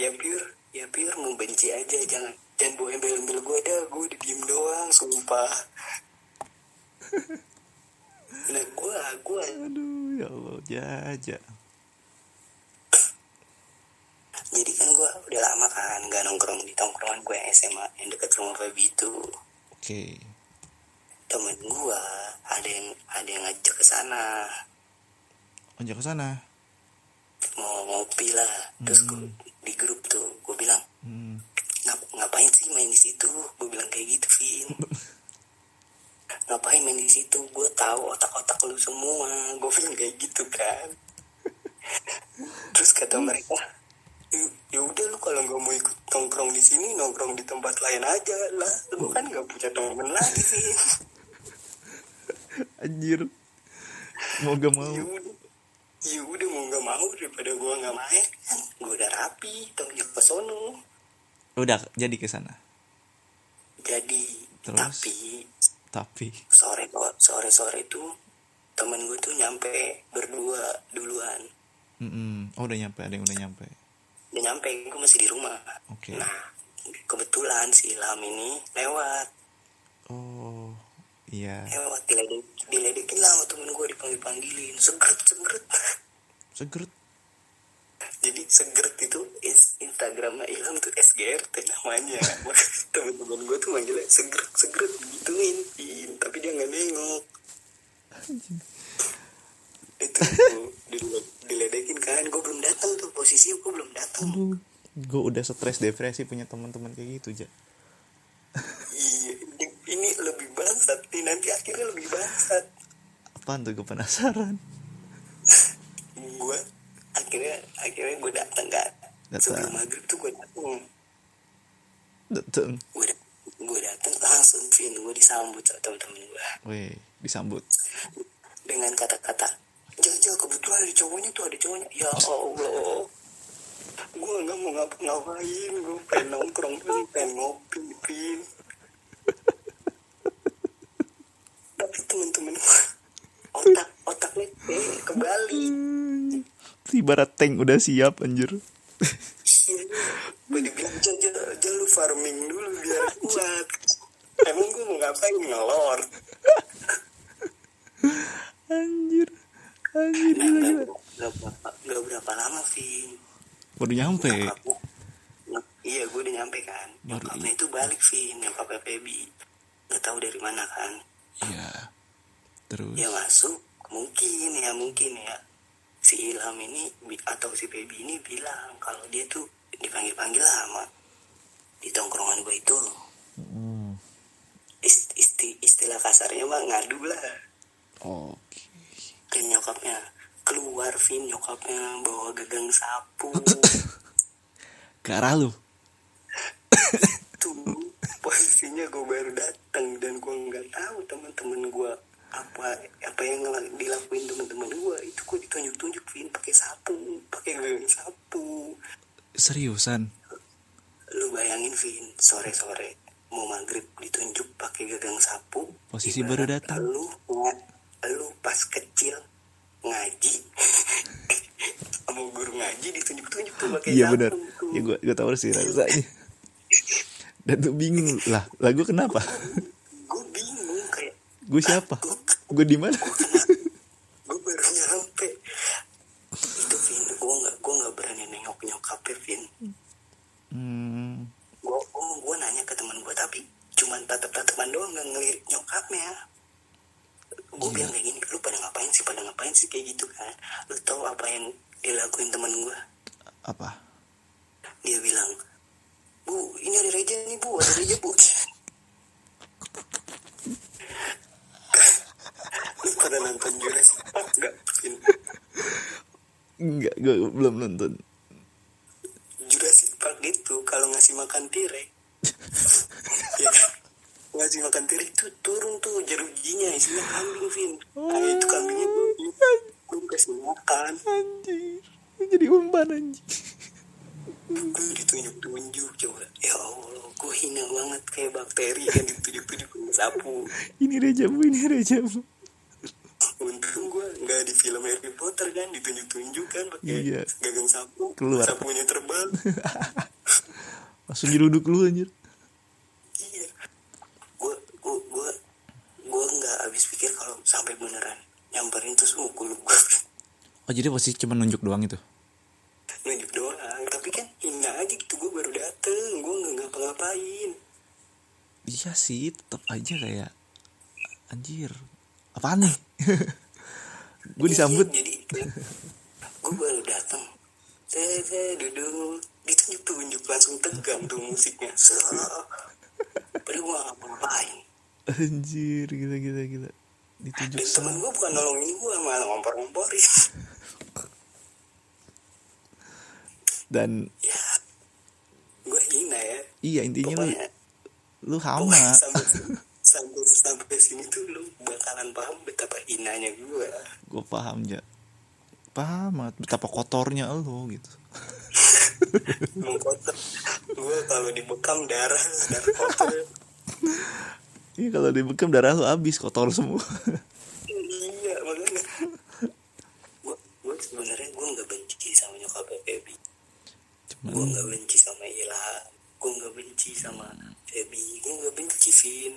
[SPEAKER 2] ya pure ya pure membenci aja jangan jangan bawa embel-embel gue dah gue udah diem doang sumpah nah gue gue
[SPEAKER 1] aduh ya allah jaja
[SPEAKER 2] jadi kan gue udah lama kan gak nongkrong di tongkrongan gue yang SMA yang deket rumah Feby itu
[SPEAKER 1] oke
[SPEAKER 2] temen gua ada yang ada yang ngajak ke sana
[SPEAKER 1] onjak ke sana
[SPEAKER 2] mau ngopi lah terus gua, di grup tuh gua bilang
[SPEAKER 1] hmm.
[SPEAKER 2] "Ngap- ngapain sih main di situ gua bilang kayak gitu Vin ngapain main di situ gua tahu otak-otak lu semua gua bilang kayak gitu kan terus kata mereka "Ya- ya udah lu kalau nggak mau ikut nongkrong di sini nongkrong di tempat lain aja lah lu kan nggak punya temen lagi sih
[SPEAKER 1] anjir mau gak mau
[SPEAKER 2] ya udah ya udah mau nggak mau daripada gua nggak main kan gua udah rapi tahunya ke sono
[SPEAKER 1] udah jadi ke sana
[SPEAKER 2] jadi
[SPEAKER 1] Terus?
[SPEAKER 2] tapi
[SPEAKER 1] tapi
[SPEAKER 2] sore sore sore itu temen gue tuh nyampe berdua duluan
[SPEAKER 1] mm oh udah nyampe ada yang udah nyampe
[SPEAKER 2] udah nyampe gue masih di rumah
[SPEAKER 1] Oke.
[SPEAKER 2] nah kebetulan si Ilham ini lewat
[SPEAKER 1] oh iya
[SPEAKER 2] lewat diledek diledekin lah sama temen gue dipanggil panggilin segeret segeret
[SPEAKER 1] seger
[SPEAKER 2] jadi segeret itu is Instagramnya Ilham tuh SGRT namanya temen-temen gue tuh manggilnya segeret segeret gituin Ih, tapi dia nggak nengok itu gua dile- diledekin kan gue belum datang tuh posisi gue belum datang
[SPEAKER 1] aduh gue udah stres depresi punya teman-teman kayak gitu ja
[SPEAKER 2] iya ini- ini lebih bangsat nih nanti akhirnya lebih bangsat
[SPEAKER 1] apaan tuh gue penasaran
[SPEAKER 2] gue akhirnya akhirnya gue datang kan
[SPEAKER 1] Datang.
[SPEAKER 2] sebelum maghrib tuh gue datang
[SPEAKER 1] dateng
[SPEAKER 2] gue gue datang lang langsung Vin gue disambut sama temen-temen gue
[SPEAKER 1] Weh, disambut.
[SPEAKER 2] dengan kata-kata jangan jangan kebetulan ada cowoknya tuh ada cowoknya ya allah gue nggak mau ngapa ngapain gue pengen nongkrong gue pengen ngopi pin tapi temen-temen gue otak otaknya eh, kebalik
[SPEAKER 1] Ibarat tank udah siap anjir.
[SPEAKER 2] Iya, gue dibilang jangan jangan jangan lu farming dulu biar kuat emang gue mau ngapain ngelor
[SPEAKER 1] Anjir. Anjir gila
[SPEAKER 2] nah, nggak
[SPEAKER 1] gila.
[SPEAKER 2] nggak berapa nggak berapa lama Vin
[SPEAKER 1] Baru nyampe.
[SPEAKER 2] Aku- iya gue udah nyampe kan
[SPEAKER 1] Baru
[SPEAKER 2] nyokapnya itu balik sih nyokapnya Feby nggak tahu dari mana kan
[SPEAKER 1] Iya. Terus
[SPEAKER 2] ya masuk mungkin ya mungkin ya si Ilham ini bi- atau si Feby ini bilang kalau dia tuh dipanggil-panggil lama di tongkrongan gue itu
[SPEAKER 1] Hmm,
[SPEAKER 2] Ist- isti- istilah kasarnya mah ngadu lah
[SPEAKER 1] oke.
[SPEAKER 2] ke nyokapnya keluar Vin nyokapnya bawa gagang sapu
[SPEAKER 1] Ke arah lu.
[SPEAKER 2] tuh posisinya gue baru datang dan gue nggak tahu teman-teman gue apa apa yang ngel- dilakuin teman-teman gue itu gue ditunjuk-tunjukin pakai sapu pakai gagang sapu
[SPEAKER 1] Seriusan.
[SPEAKER 2] lu bayangin Vin sore-sore mau maghrib ditunjuk pakai gagang sapu
[SPEAKER 1] Posisi
[SPEAKER 2] Ibarat
[SPEAKER 1] baru datang.
[SPEAKER 2] lu nga- lu pas kecil ngaji sama guru ngaji ditunjuk-tunjuk tuh pakai
[SPEAKER 1] Iya
[SPEAKER 2] sapu
[SPEAKER 1] benar.
[SPEAKER 2] tuh.
[SPEAKER 1] Ya gua gua tahu sih rasanya. Dan tuh bingung lah, lah gua kenapa?
[SPEAKER 2] gue bingung kayak
[SPEAKER 1] Gue siapa? Gue di mana?
[SPEAKER 2] gue baru nyampe itu Vin gue nggak gue nggak berani nengok nyokapnya Vin
[SPEAKER 1] Hmm,
[SPEAKER 2] gue gue gue nanya ke teman gue tapi cuman tatap tatapan doang nggak ngelirik nyokapnya gue bilang kayak gini lu pada ngapain sih pada ngapain sih kayak gitu kan lu tahu apa yang dilakuin teman gue
[SPEAKER 1] apa?
[SPEAKER 2] dia bilang bu ini ada reja nih bu ada reja bu lu pada nonton Jurassic Park nggak Vin
[SPEAKER 1] Enggak, gue belum nonton.
[SPEAKER 2] Jurassic Park itu kalau ngasih makan tirek ya kan? ngasih makan tirek itu turun tuh jerujinya isinya kambing Vin kayak itu kambingnya tuh gue kasih makan
[SPEAKER 1] Anjir. Jadi umpan anjir.
[SPEAKER 2] gue ditunjuk tunjuk coba ya Allah gue hina banget kayak bakteri yang ditunjuk tunjuk sama sapu
[SPEAKER 1] Ini rejabu, ini rejabu.
[SPEAKER 2] untung gue nggak di film Harry Potter kan ditunjuk tunjuk kan pakai
[SPEAKER 1] Iya.
[SPEAKER 2] gagang sapu
[SPEAKER 1] Keluar.
[SPEAKER 2] sapunya terbang
[SPEAKER 1] Langsung nyeruduk lu anjir.
[SPEAKER 2] iya gue gue gue gue nggak habis pikir kalau sampai beneran nyamperin terus mukul gue
[SPEAKER 1] Oh jadi posisi cuma nunjuk doang itu?
[SPEAKER 2] nunjuk doang tapi kan hina aja gitu gue baru dateng gue nggak ngapa-ngapain
[SPEAKER 1] Iya sih, tetap aja kayak anjir. Apaan nih? gue disambut.
[SPEAKER 2] Iya, jadi gue baru dateng saya saya duduk Gitu, ditunjuk tunjuk langsung tegang tuh musiknya Serah. padahal gue nggak ngapa-ngapain
[SPEAKER 1] Anjir, gila gila gila. Ditunjuk
[SPEAKER 2] dan temen
[SPEAKER 1] sama.
[SPEAKER 2] gue bukan nolongin gue malah ngompor-ngomporin
[SPEAKER 1] Dan
[SPEAKER 2] ya gue hina ya
[SPEAKER 1] iya intinya lu
[SPEAKER 2] pokoknya
[SPEAKER 1] lu hama.
[SPEAKER 2] Pokoknya sampai, sampai, sampai sini tuh lu bakalan paham betapa hinanya gue
[SPEAKER 1] gue paham ja. Paham banget betapa kotornya lu gitu.
[SPEAKER 2] Emang kotor Gue kalau dibekam darah Darah kotor
[SPEAKER 1] Iya kalau dibekam darah lu habis kotor semua.
[SPEAKER 2] Iya makanya Gue gue sebenarnya gue gak benci sama nyokap Feby Gue
[SPEAKER 1] Cuman
[SPEAKER 2] gak benci sama Ilham Gue gak benci sama Feby Gue gak benci Vin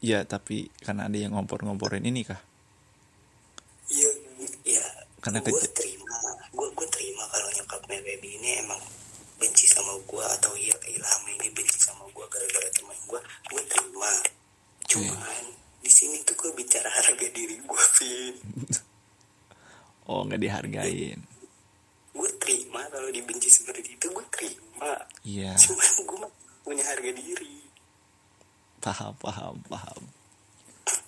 [SPEAKER 1] ya tapi karena ada yang ngompor-ngomporin ini kah?
[SPEAKER 2] Iya Iya
[SPEAKER 1] Karena
[SPEAKER 2] gue
[SPEAKER 1] kece-
[SPEAKER 2] terima Gue gue terima kalau nyokap Feby ini emang benci sama gue atau iya Ilham ini benci sama gue gara-gara teman gue gue terima
[SPEAKER 1] Iya.
[SPEAKER 2] cuman di sini tuh gue bicara harga diri gue Vin
[SPEAKER 1] Oh nggak dihargain.
[SPEAKER 2] gue terima kalau dibenci seperti itu gue terima
[SPEAKER 1] Iya
[SPEAKER 2] cuman gue punya harga diri
[SPEAKER 1] paham paham paham.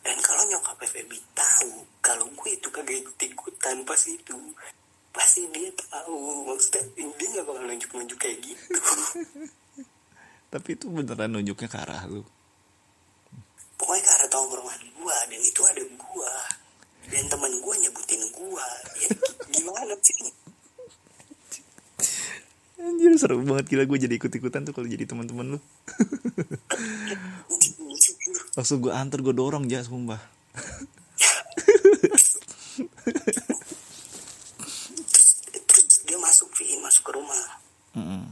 [SPEAKER 2] dan kalau nyokap FFB tahu kalau gue itu kagak ikut ikutan pas itu pasti dia tahu maksudnya dia nggak bakal nunjuk nunjuk kayak gitu
[SPEAKER 1] Tapi itu beneran nunjuknya ke arah lu.
[SPEAKER 2] pokoknya ke arah tongkrongan gua dan itu ada gua dan teman gua nyebutin gua ya gimana sih
[SPEAKER 1] Anjir seru banget gila gue jadi ikut-ikutan tuh kalau jadi teman-teman lu. Langsung gue antar gue dorong aja sumpah.
[SPEAKER 2] terus, terus dia masuk Vin masuk ke rumah
[SPEAKER 1] Mm-mm.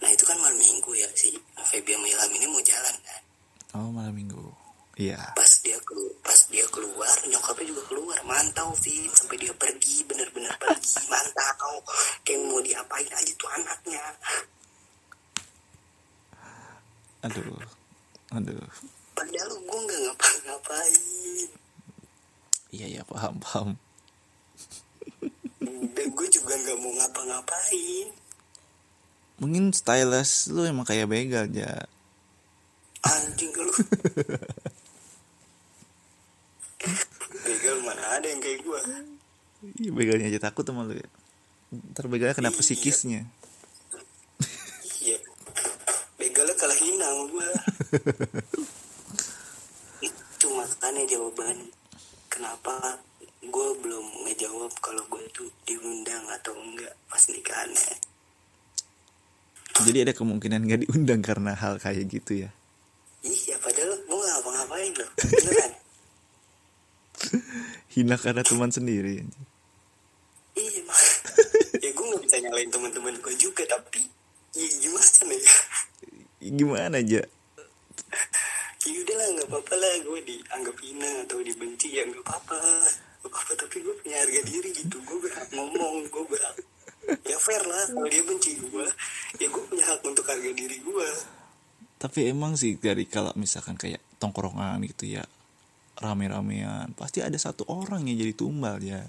[SPEAKER 2] nah itu kan malam minggu ya si Fabian Ilham ini mau jalan kan
[SPEAKER 1] Oh malam minggu. Iya.
[SPEAKER 2] pas dia kelu- pas dia keluar nyokapnya juga keluar mantau Vin sampai dia pergi bener-bener pergi mantau kayak mau diapain aja tuh anaknya
[SPEAKER 1] Aduh. Aduh.
[SPEAKER 2] padahal gue nggak ngapa-ngapain
[SPEAKER 1] Iya iya paham paham.
[SPEAKER 2] dan gue juga nggak mau ngapa-ngapain
[SPEAKER 1] Mungkin stylist lu emang kayak begal aja.
[SPEAKER 2] anjing lu begal mana ada yang kayak gue
[SPEAKER 1] Iya begalnya aja takut sama lu ya. Ntar begalnya kena psikisnya.
[SPEAKER 2] iya begalnya kalah hina sama gue itu makanya jawaban kenapa gue belum ngejawab kalau gue tuh diundang atau enggak pas ya? nikahannya
[SPEAKER 1] Jadi ada kemungkinan gak diundang karena hal kayak gitu ya.
[SPEAKER 2] iya padahal gue nggak ngapa-ngapain loh beneran
[SPEAKER 1] Hina karena teman sendiri. anjir.
[SPEAKER 2] Iya, mak. ya gue nggak bisa nyalain teman-teman gue juga, tapi ya gimana ya?
[SPEAKER 1] Gimana aja?
[SPEAKER 2] Ya udahlah, nggak apa-apa lah gue dianggap hina atau dibenci ya nggak apa-apa. Nggak apa-apa, tapi gue punya harga diri gitu. Gue berhak ngomong, gue berhak. Ya fair lah, kalau dia benci gue, ya gue punya hak untuk harga diri gue.
[SPEAKER 1] Tapi emang sih dari kalau misalkan kayak tongkrongan gitu ya rame-ramean pasti ada satu orang yang jadi tumbal ya.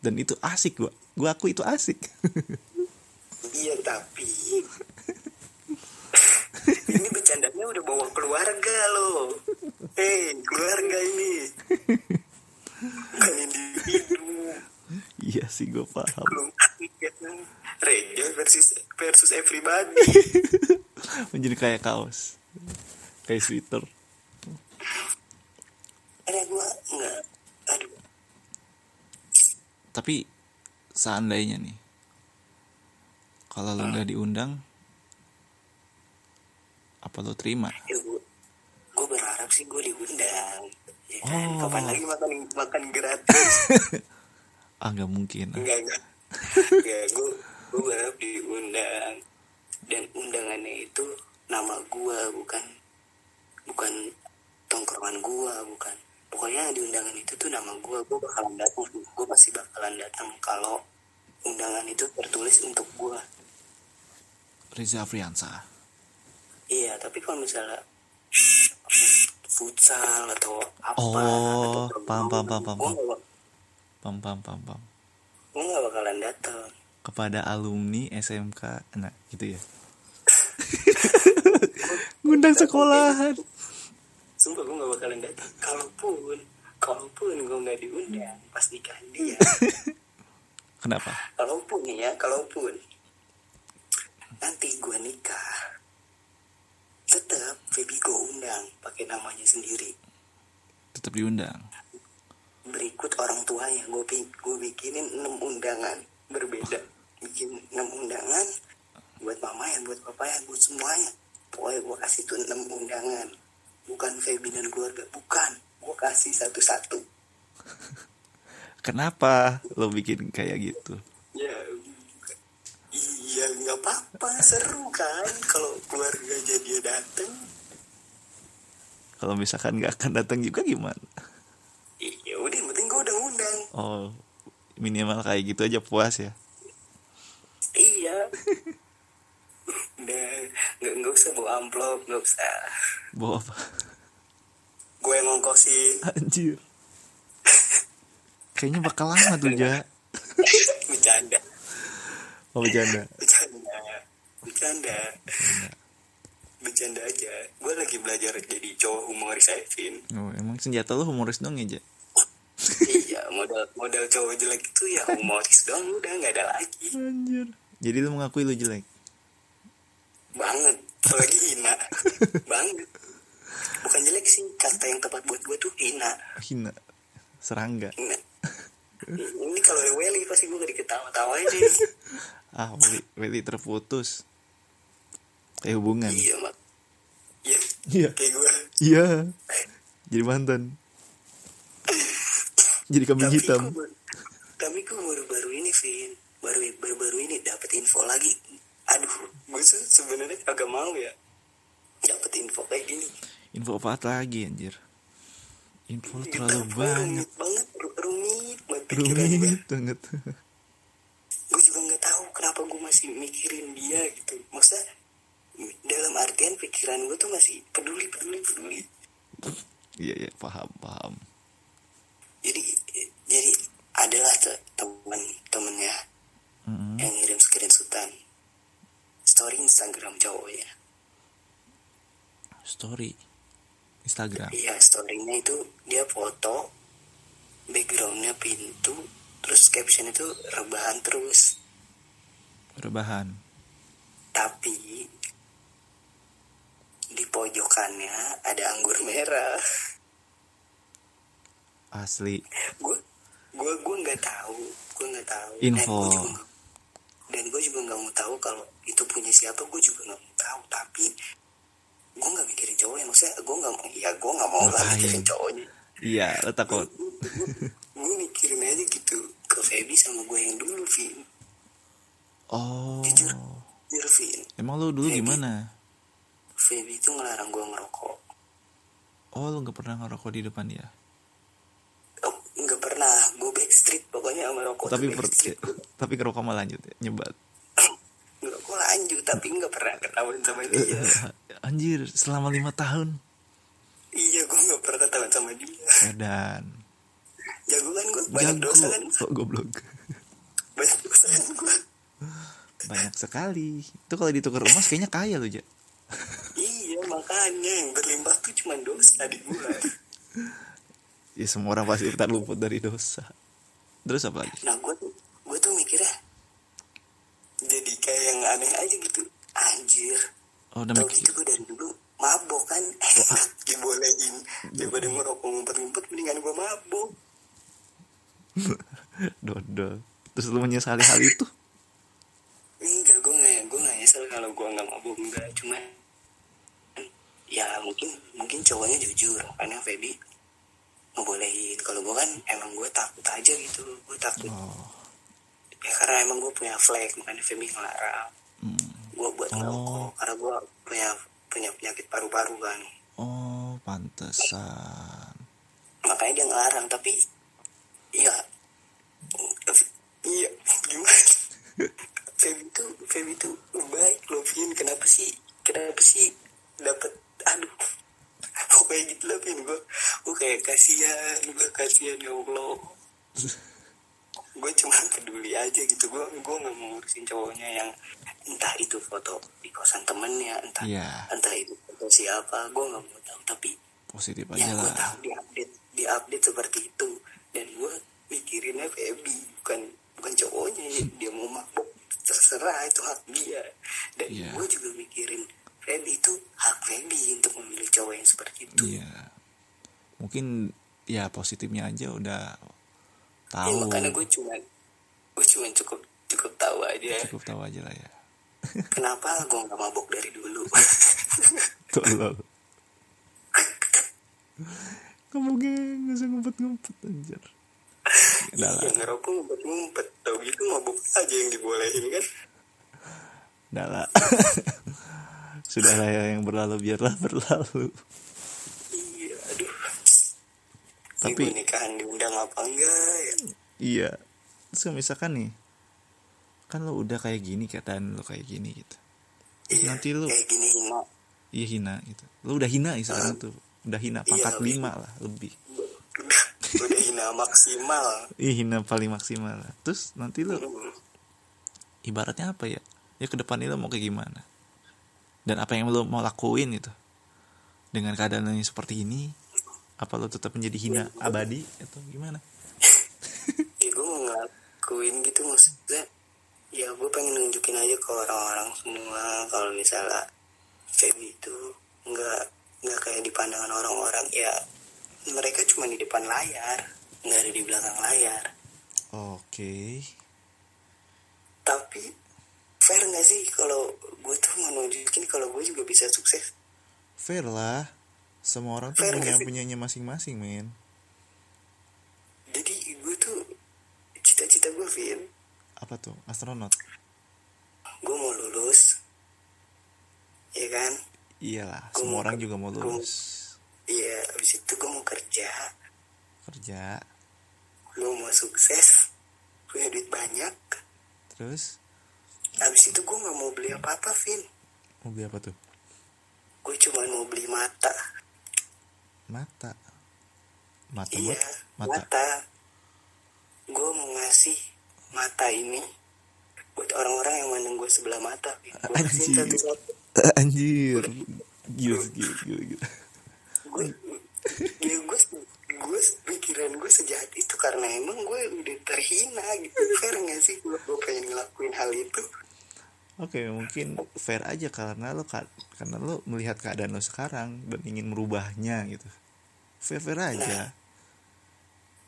[SPEAKER 1] Dan itu asik gua. Gua aku itu asik.
[SPEAKER 2] Iya, tapi ini bercandanya udah bawa keluarga loh. Hei, keluarga ini. Bukan individu.
[SPEAKER 1] Iya sih gua paham.
[SPEAKER 2] belum Rejo versus versus everybody
[SPEAKER 1] Menjadi kayak kaos. Kayak sweater.
[SPEAKER 2] karena gue nggak aduh
[SPEAKER 1] Tapi seandainya nih kalau lu nggak diundang apa lu terima?
[SPEAKER 2] ya gue gue berharap sih gue diundang ya kan
[SPEAKER 1] Oh.
[SPEAKER 2] kapan lagi makan makan gratis
[SPEAKER 1] Ah nggak mungkin.
[SPEAKER 2] enggak enggak enggak gue gue berharap diundang dan undangannya itu nama gue bukan bukan tongkrongan gue bukan pokoknya di undangan itu tuh nama gue gue bakalan datang gue pasti bakalan datang kalau undangan itu tertulis untuk gue
[SPEAKER 1] Reza Afriansa.
[SPEAKER 2] Iya, tapi kalau misalnya futsal atau apa
[SPEAKER 1] Oh,
[SPEAKER 2] atau
[SPEAKER 1] paham, paham, paham, paham.
[SPEAKER 2] Gue nggak bak-
[SPEAKER 1] Pam pam pam pam.
[SPEAKER 2] gua nggak bakalan datang.
[SPEAKER 1] kepada alumni SMK nah gitu ya ngundang sekolahan
[SPEAKER 2] Sumpah gue nggak bakalan datang. Kalaupun, kalaupun gue nggak diundang pas nikahan dia.
[SPEAKER 1] kenapa
[SPEAKER 2] kalaupun nih ya, kalaupun nanti gue nikah, tetap baby gue undang pakai namanya sendiri.
[SPEAKER 1] tetap diundang
[SPEAKER 2] berikut orang tuanya gue gue bikinin enam undangan berbeda bikin enam undangan buat mama ya buat papa ya buat semuanya pokoknya gue kasih tuh enam undangan bukan Feby dan keluarga bukan gue kasih satu-satu
[SPEAKER 1] kenapa lo bikin kayak gitu
[SPEAKER 2] ya iya nggak apa-apa seru kan kalau keluarga jadi dateng
[SPEAKER 1] kalau misalkan nggak akan datang juga gimana
[SPEAKER 2] ya udah yang penting gue udah undang
[SPEAKER 1] oh minimal kayak gitu aja puas ya
[SPEAKER 2] iya udah nggak nggak usah bawa amplop nggak usah
[SPEAKER 1] bawa apa
[SPEAKER 2] gue yang ngongkosin
[SPEAKER 1] anjir kayaknya bakal lama tuh ja
[SPEAKER 2] bercanda
[SPEAKER 1] oh bercanda
[SPEAKER 2] bercanda bercanda bercanda aja gue lagi belajar jadi cowok humoris Evin
[SPEAKER 1] oh, emang senjata lo humoris dong ya ja
[SPEAKER 2] iya modal modal cowok jelek itu ya humoris doang udah nggak ada lagi
[SPEAKER 1] anjir jadi lo mengakui lo jelek
[SPEAKER 2] banget apalagi hina banget bukan jelek sih kata yang tepat buat gue tuh hina
[SPEAKER 1] hina serangga
[SPEAKER 2] hina ini kalau Welly pasti gue gak diketawa-tawain sih
[SPEAKER 1] ah Weli, Weli terputus eh hubungan
[SPEAKER 2] iya mak iya
[SPEAKER 1] Iya.
[SPEAKER 2] kayak gue
[SPEAKER 1] iya jadi mantan jadi kambing
[SPEAKER 2] tapi
[SPEAKER 1] hitam
[SPEAKER 2] gua baru- tapi gue baru-baru ini Vin baru baru-baru ini dapat info lagi aduh gue sebenarnya agak mau ya dapat info kayak gini
[SPEAKER 1] info apa lagi anjir info lu
[SPEAKER 2] Gitu,
[SPEAKER 1] terlalu
[SPEAKER 2] gua
[SPEAKER 1] banyak
[SPEAKER 2] rumit banget ru- rumit banget pikiran gue
[SPEAKER 1] rumit banget
[SPEAKER 2] gue juga nggak tahu kenapa gue masih mikirin dia gitu maksudnya dalam artian pikiran gue tuh masih peduli peduli peduli
[SPEAKER 1] iya iya paham paham
[SPEAKER 2] jadi jadi adalah te- teman temennya
[SPEAKER 1] Mm-mm.
[SPEAKER 2] yang ngirim screenshotan story Instagram cowoknya
[SPEAKER 1] story Instagram
[SPEAKER 2] iya storynya itu dia foto backgroundnya pintu terus caption itu rebahan terus
[SPEAKER 1] rebahan
[SPEAKER 2] tapi di pojokannya ada anggur merah
[SPEAKER 1] asli
[SPEAKER 2] gue gue gue nggak tahu gue nggak tahu
[SPEAKER 1] Info.
[SPEAKER 2] dan gue juga, nggak- dan gue juga nggak mau tahu kalau itu punya siapa gue juga nggak mau tahu tapi gue nggak mikirin cowok ya maksudnya gue nggak mau ya gue nggak mau lah
[SPEAKER 1] Ngapain?
[SPEAKER 2] mikirin cowoknya
[SPEAKER 1] iya lo takut
[SPEAKER 2] gue mikirin aja gitu ke Feby sama gue yang dulu Vin
[SPEAKER 1] oh
[SPEAKER 2] Jujur. Jujur, Vin
[SPEAKER 1] emang lo dulu
[SPEAKER 2] Maybe.
[SPEAKER 1] gimana
[SPEAKER 2] Feby itu ngelarang gue ngerokok
[SPEAKER 1] oh lo nggak pernah ngerokok di depan dia
[SPEAKER 2] oh, nggak pernah gue backstreet pokoknya sama rokok tuh
[SPEAKER 1] tapi per-
[SPEAKER 2] backstreet.
[SPEAKER 1] tapi ngerokok malah lanjut ya, nyebat
[SPEAKER 2] ngerokok lanjut tapi nggak pernah ketahuan sama
[SPEAKER 1] Iya.
[SPEAKER 2] dia
[SPEAKER 1] anjir selama lima tahun
[SPEAKER 2] iya gue nggak pernah ketahuan sama dia
[SPEAKER 1] dan
[SPEAKER 2] jago kan gue banyak
[SPEAKER 1] jago
[SPEAKER 2] dosa kan
[SPEAKER 1] kok goblok
[SPEAKER 2] banyak dosa kan gue
[SPEAKER 1] banyak sekali itu kalau ditukar emas kayaknya kaya lo ja
[SPEAKER 2] iya makanya yang berlimpah tuh cuma dosa di gue
[SPEAKER 1] ya semua orang pasti tak luput dari dosa terus apa lagi
[SPEAKER 2] nah gue tuh gue tuh mikirnya jadi kayak yang aneh aja gitu anjir
[SPEAKER 1] oh udah
[SPEAKER 2] tau
[SPEAKER 1] mikir
[SPEAKER 2] gitu gue dari dulu mabok kan enak dibolehin
[SPEAKER 1] Iya.
[SPEAKER 2] daripada ngerokok ngumpet-ngumpet mendingan gue mabok
[SPEAKER 1] dodol terus lu menyesali hal itu
[SPEAKER 2] enggak gue nggak gue nggak nyesel kalau gue nggak mabuk enggak cuma ya mungkin mungkin cowoknya jujur karena Feby ngebolehin kalau gue kan emang gue takut aja gitu gue takut
[SPEAKER 1] oh
[SPEAKER 2] ya karena emang gue punya flag makanya Feby ngelarang
[SPEAKER 1] hmm.
[SPEAKER 2] gue buat
[SPEAKER 1] Oh.
[SPEAKER 2] ngerokok karena gue punya punya penyakit paru-paru kan
[SPEAKER 1] oh pantesan
[SPEAKER 2] makanya dia ngelarang tapi ya iya gimana Feby tuh Feby tuh lu baik lu Vin kenapa sih kenapa sih dapat aduh pokoknya gitu lah Vin gue gue kayak kasihan gue kasihan ya Allah gue cuma peduli aja gitu gue gue nggak mau ngurusin cowoknya yang entah itu foto di kosan temennya entah
[SPEAKER 1] Iya.
[SPEAKER 2] entah itu foto siapa gue nggak mau tahu tapi
[SPEAKER 1] positif
[SPEAKER 2] ya
[SPEAKER 1] aja
[SPEAKER 2] gue
[SPEAKER 1] lah
[SPEAKER 2] tahu di update di update seperti itu dan gue mikirinnya Feby bukan bukan cowoknya ya. dia mau mabok terserah itu hak dia dan
[SPEAKER 1] Iya.
[SPEAKER 2] gue juga mikirin Feby itu hak Feby untuk memilih cowok yang seperti itu
[SPEAKER 1] iya mungkin ya positifnya aja udah
[SPEAKER 2] Ya,
[SPEAKER 1] tahu
[SPEAKER 2] makanya gue cuman gue cuman cukup cukup tahu aja
[SPEAKER 1] cukup tahu aja lah ya
[SPEAKER 2] kenapa gue nggak mabok dari dulu
[SPEAKER 1] tolol kamu geng nggak usah ngumpet ngumpet anjir Udah lah.
[SPEAKER 2] yang Ya, ngerokok ngumpet ngumpet tau gitu mabok aja yang dibolehin kan
[SPEAKER 1] Udah lah. Sudah lah ya yang berlalu biarlah berlalu.
[SPEAKER 2] iya aduh
[SPEAKER 1] Tapi-
[SPEAKER 2] tapi nikahan diundang apa enggak ya
[SPEAKER 1] Iya. Terus kalau misalkan nih, kan lo udah kayak gini keadaan lo kayak gini gitu. Terus
[SPEAKER 2] Iya,
[SPEAKER 1] nanti lo
[SPEAKER 2] kayak gini hina
[SPEAKER 1] iya hina gitu. Lo udah hina nih sekarang tuh. Udah hina pangkat
[SPEAKER 2] Iya, lebih.
[SPEAKER 1] lima lah lebih.
[SPEAKER 2] udah udah hina maksimal
[SPEAKER 1] Iya hina paling maksimal lah. Terus nanti lo
[SPEAKER 2] Hmm.
[SPEAKER 1] ibaratnya apa ya? Ya ke depannya lo mau kayak gimana? Dan apa yang lo mau lakuin gitu? Dengan keadaan lo yang seperti ini, apa lo tetap menjadi hina abadi atau gimana?
[SPEAKER 2] ya gue mau ngelakuin gitu maksudnya ya gue pengen nunjukin aja ke orang-orang semua kalau misalnya Feby itu gitu. nggak nggak kayak di pandangan orang-orang ya mereka cuma di depan layar nggak ada di belakang layar
[SPEAKER 1] Oke.
[SPEAKER 2] tapi fair nggak sih kalau gue tuh mau nunjukin kalau gue juga bisa sukses
[SPEAKER 1] Fair lah. Semua orang tuh
[SPEAKER 2] Fair
[SPEAKER 1] punya
[SPEAKER 2] nggak sih?
[SPEAKER 1] punyanya masing-masing, men.
[SPEAKER 2] jadi gue tuh cita-cita gue Vin
[SPEAKER 1] Apa tuh? Astronot.
[SPEAKER 2] gue mau lulus ya kan
[SPEAKER 1] Iyalah,
[SPEAKER 2] Gua
[SPEAKER 1] Iya semua
[SPEAKER 2] mau
[SPEAKER 1] orang
[SPEAKER 2] ke-
[SPEAKER 1] juga mau
[SPEAKER 2] gua-
[SPEAKER 1] lulus.
[SPEAKER 2] iya abis itu gue mau kerja
[SPEAKER 1] Kerja.
[SPEAKER 2] gue mau sukses punya duit banyak
[SPEAKER 1] Terus
[SPEAKER 2] abis itu gue nggak mau beli apa-apa Vin
[SPEAKER 1] mau beli apa tuh?
[SPEAKER 2] gue cuma mau beli mata
[SPEAKER 1] Mata. Mata
[SPEAKER 2] iya
[SPEAKER 1] buat mata.
[SPEAKER 2] gue mau ngasih mata ini buat orang-orang yang mandang gue sebelah mata Vin. Gua kasihin
[SPEAKER 1] Anjir.
[SPEAKER 2] satu-satu
[SPEAKER 1] Anjir. Gila, gila, gila, gila.
[SPEAKER 2] gue ya gue gue pikiran gue sejahat itu karena emang gue udah terhina gitu fair nggak sih gue gue pengen ngelakuin hal itu
[SPEAKER 1] Oke, mungkin fair aja karena lo ka- karena lo melihat keadaan lo sekarang dan ingin merubahnya gitu. Fair-fair aja.
[SPEAKER 2] Nah.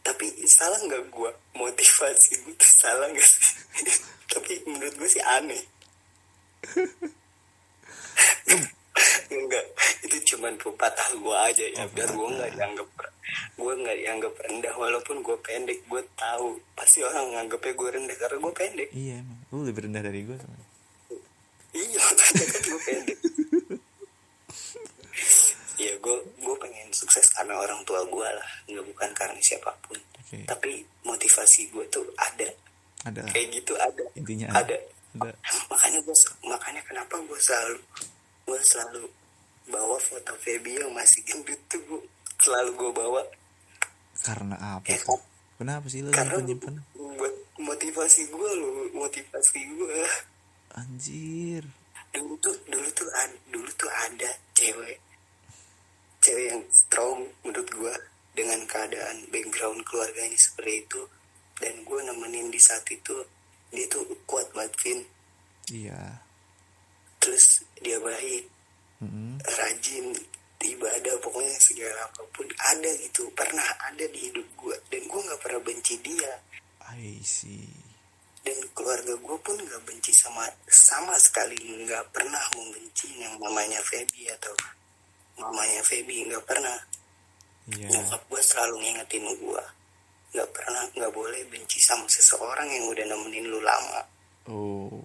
[SPEAKER 2] tapi salah nggak gue motivasi gue tuh salah nggak sih tapi menurut gue sih aneh enggak itu cuman pepatah gue aja ya
[SPEAKER 1] Oh,
[SPEAKER 2] biar gue nggak dianggap gue nggak dianggap rendah walaupun gue pendek gue tahu pasti orang nganggapnya gue rendah karena gue pendek
[SPEAKER 1] Iya emang. Lo lebih rendah dari gue. soalnya.
[SPEAKER 2] Iya, makanya kan gue pendek. Iya, gue gue pengen sukses karena orang tua gue lah, nggak bukan karena siapapun.
[SPEAKER 1] Oke.
[SPEAKER 2] Tapi motivasi gue tuh ada,
[SPEAKER 1] Ada. lah.
[SPEAKER 2] kayak gitu ada.
[SPEAKER 1] Intinya
[SPEAKER 2] ada.
[SPEAKER 1] Ada.
[SPEAKER 2] Makanya gue makanya kenapa gue selalu gue selalu bawa foto Feby yang masih gendut tuh gue selalu gue bawa
[SPEAKER 1] Karena apa
[SPEAKER 2] Ya,
[SPEAKER 1] tuh? Kenapa sih lo
[SPEAKER 2] karena
[SPEAKER 1] nyimpen nyimpen?
[SPEAKER 2] buat motivasi gue loh motivasi gue.
[SPEAKER 1] Anjir.
[SPEAKER 2] dulu tuh dulu tuh ad- dulu tuh ada cewek cewek yang strong menurut gua dengan keadaan background keluarganya seperti itu dan gua nemenin di saat itu dia tuh kuat banget Vin
[SPEAKER 1] Iya.
[SPEAKER 2] terus dia baik
[SPEAKER 1] Mm-mm.
[SPEAKER 2] rajin ibadah pokoknya segala apapun ada gitu pernah ada di hidup gua dan gua nggak pernah benci dia
[SPEAKER 1] I see.
[SPEAKER 2] dan keluarga gue pun nggak benci sama sama sekali nggak pernah membenci yang mamanya Feby atau mamanya Feby nggak pernah
[SPEAKER 1] Iya.
[SPEAKER 2] nyokap gue selalu ngingetin gue nggak pernah nggak boleh benci sama seseorang yang udah nemenin lu lama
[SPEAKER 1] Oh.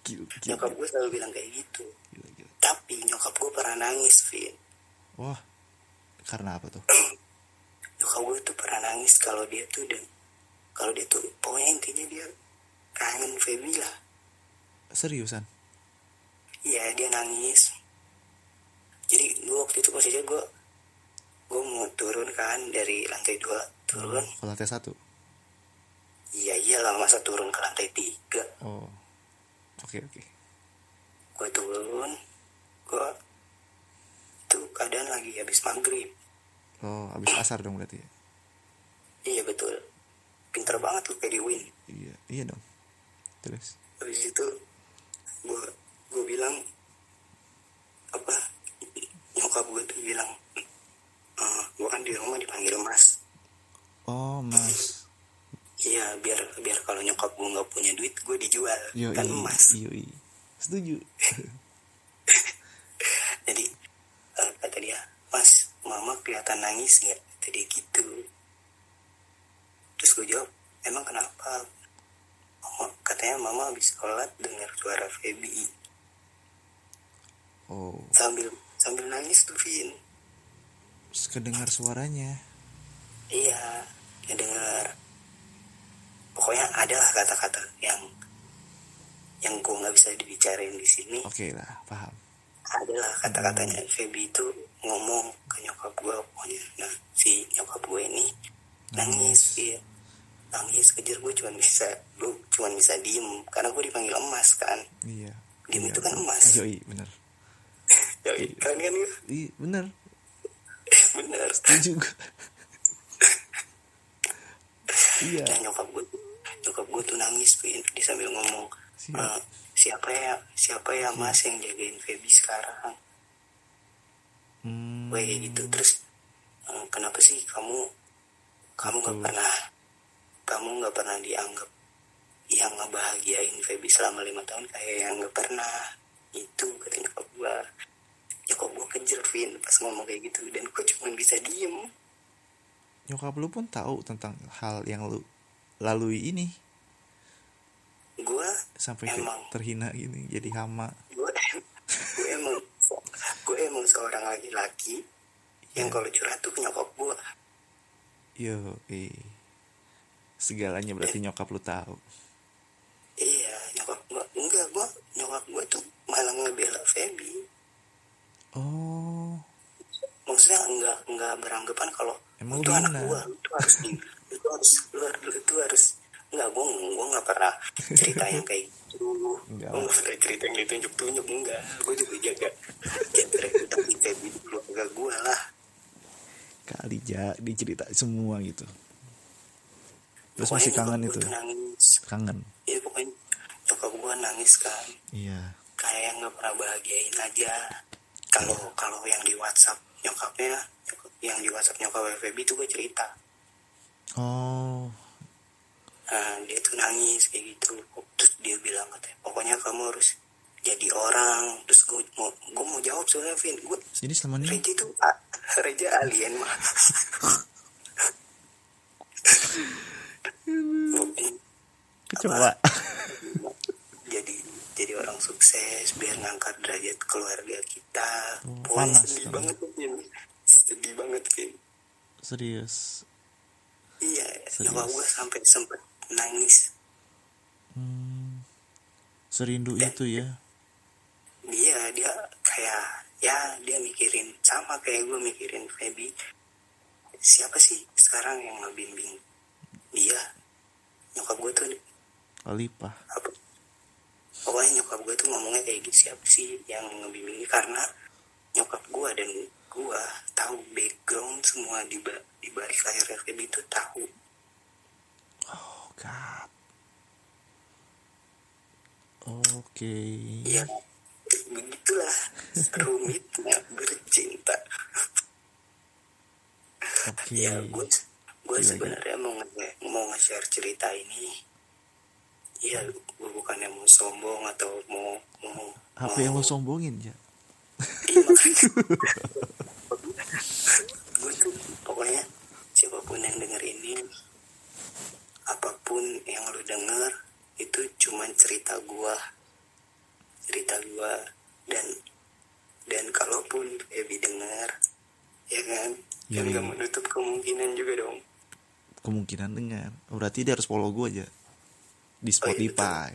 [SPEAKER 1] Gila, gila,
[SPEAKER 2] nyokap gue selalu bilang kayak gitu
[SPEAKER 1] gila, gila.
[SPEAKER 2] tapi nyokap gue pernah nangis Vin
[SPEAKER 1] Wah. Karena apa tuh?
[SPEAKER 2] nyokap gue tuh pernah nangis kalau dia tuh dan kalau dia tuh pokoknya intinya dia kangen Feby lah
[SPEAKER 1] Seriusan.
[SPEAKER 2] Iya dia nangis Jadi gue waktu itu posisinya gue Gue mau turun kan dari lantai dua Turun
[SPEAKER 1] Oh, Kalau lantai satu.
[SPEAKER 2] Iya iyalah masa turun ke lantai tiga
[SPEAKER 1] Oh. Oke oke.
[SPEAKER 2] Gue turun Gue Itu keadaan lagi habis maghrib
[SPEAKER 1] Oh, habis asar dong berarti ya?
[SPEAKER 2] Iya betul Pinter banget lu kayak di win
[SPEAKER 1] Iya, iya dong. Terus.
[SPEAKER 2] Habis itu Gue Gue bilang Apa Nyokap gue tuh bilang Gue kan di rumah dipanggil mas
[SPEAKER 1] Oh, Mas.
[SPEAKER 2] Iya, biar biar kalau nyokap gue nggak punya duit, gue dijual
[SPEAKER 1] Yo,
[SPEAKER 2] kan emas.
[SPEAKER 1] Yo, Setuju.
[SPEAKER 2] Jadi eh, kata dia, Mas, Mama kelihatan nangis nggak? Tadi gitu. Terus gue jawab, emang kenapa? Mama, katanya Mama habis sholat dengar suara Feby
[SPEAKER 1] Oh,
[SPEAKER 2] sambil sambil nangis tuh Vin.
[SPEAKER 1] terus kedengar suaranya.
[SPEAKER 2] Iya, dia dengar. Pokoknya adalah kata-kata yang yang gue nggak bisa dibicarain di sini.
[SPEAKER 1] Oke lah, paham.
[SPEAKER 2] adalah kata-katanya Feby itu ngomong ke nyokap gue pokoknya nah si nyokap gue ini nangis iya nangis kejar gue cuman bisa gue cuman bisa diem karena gue dipanggil emas kan
[SPEAKER 1] Iya.
[SPEAKER 2] Dia
[SPEAKER 1] Iya,
[SPEAKER 2] itu kan
[SPEAKER 1] bener.
[SPEAKER 2] emas.
[SPEAKER 1] Yoi, bener.
[SPEAKER 2] ya kan kan ya?
[SPEAKER 1] Iya, bener.
[SPEAKER 2] bener
[SPEAKER 1] Setuju gua. iya.
[SPEAKER 2] nah nyokap gue nyokap gue tuh nangis Vin. dia sambil ngomong
[SPEAKER 1] Siap.
[SPEAKER 2] "Eh, siapa ya siapa ya mas yang jagain Feby sekarang
[SPEAKER 1] Hmm,
[SPEAKER 2] gue kayak gitu terus eh, kenapa sih kamu kamu nggak pernah kamu nggak pernah dianggap yang ngebahagiain Feby selama lima tahun kayak yang nggak pernah itu kata nyokap gue nyokap gue kejer Vin pas ngomong kayak gitu dan gue cuma bisa diem
[SPEAKER 1] Nyokap lu pun tahu tentang hal yang lu lalui ini
[SPEAKER 2] gue
[SPEAKER 1] sampai ke-
[SPEAKER 2] Emang.
[SPEAKER 1] terhina gini jadi hama.
[SPEAKER 2] gue gue emang gue emang seorang laki-laki yang kalau curhat tuh ke nyokap gue
[SPEAKER 1] Yo, eh. Segalanya berarti nyokap lu tahu.
[SPEAKER 2] iya nyokap gue enggak gue nyokap gue tuh malah ngebela Feby
[SPEAKER 1] Oh,
[SPEAKER 2] maksudnya enggak enggak beranggapan kalau
[SPEAKER 1] Emang
[SPEAKER 2] itu
[SPEAKER 1] lu
[SPEAKER 2] anak
[SPEAKER 1] gimana?
[SPEAKER 2] gua itu harus di itu harus lu, lu- itu harus enggak gua gua enggak pernah cerita yang kayak gitu gua
[SPEAKER 1] Enggak.
[SPEAKER 2] enggak pernah cerita yang ditunjuk tunjuk enggak gua juga jaga jaga reputasi gitu keluarga gua lah
[SPEAKER 1] kali ja dicerita semua gitu. Terus masih
[SPEAKER 2] Pokoknya
[SPEAKER 1] kangen
[SPEAKER 2] nyokap
[SPEAKER 1] itu.
[SPEAKER 2] gua tuh nangis
[SPEAKER 1] Kangen.
[SPEAKER 2] ya pokoknya nyokap gua nangis kan
[SPEAKER 1] Iya.
[SPEAKER 2] kayak yang nggak pernah bahagiain aja kalau kalau yang di WhatsApp nyokapnya yang di WhatsApp nyokap FB itu gua cerita
[SPEAKER 1] Oh,
[SPEAKER 2] Nah, dia tuh nangis kayak gitu terus dia bilang katanya pokoknya kamu harus jadi orang terus gue mau gue mau jawab soalnya Vin gue
[SPEAKER 1] jadi selama ini
[SPEAKER 2] Reja itu a- Reja ah, alien mah Pokoknya gitu,
[SPEAKER 1] kecoba.
[SPEAKER 2] jadi jadi orang sukses biar ngangkat derajat keluarga kita
[SPEAKER 1] Oh,
[SPEAKER 2] Wah,
[SPEAKER 1] panas
[SPEAKER 2] sedih
[SPEAKER 1] dong.
[SPEAKER 2] banget Vin sedih banget Vin
[SPEAKER 1] Serius.
[SPEAKER 2] iya
[SPEAKER 1] Serius.
[SPEAKER 2] nyokap gue sampai sempet nangis
[SPEAKER 1] Hmm. Serindu itu ya.
[SPEAKER 2] dia Iya, dia kayak ya dia mikirin sama kayak gue mikirin Feby siapa sih sekarang yang ngebimbing dia nyokap gue tuh gitu.
[SPEAKER 1] Kalipah.
[SPEAKER 2] apa pokoknya nyokap gue tuh ngomongnya kayak gitu siapa sih yang ngebimbing ini karena nyokap gue dan gue tahu background semua di ba- di balik layar Feby itu tahu
[SPEAKER 1] Oh god. Oke.
[SPEAKER 2] ya begitulah rumitnya bercinta
[SPEAKER 1] Oke.
[SPEAKER 2] Ya, gue gue
[SPEAKER 1] Gila,
[SPEAKER 2] sebenarnya mau nge- mau nge-share cerita ini. Ya, gue bukannya mau sombong atau mau mau
[SPEAKER 1] Apa
[SPEAKER 2] mau-
[SPEAKER 1] yang lo sombongin ya?
[SPEAKER 2] Iya, makanya. gue tuh pokoknya siapapun yang denger ini apapun yang lu denger itu cuman cerita gua cerita gua dan dan kalaupun Feby denger ya kan
[SPEAKER 1] Iya,
[SPEAKER 2] kan
[SPEAKER 1] iya.
[SPEAKER 2] gak menutup kemungkinan juga dong
[SPEAKER 1] Kemungkinan dengar. Oh, Berarti dia harus follow gue aja di
[SPEAKER 2] Oh, iya,
[SPEAKER 1] Spotify.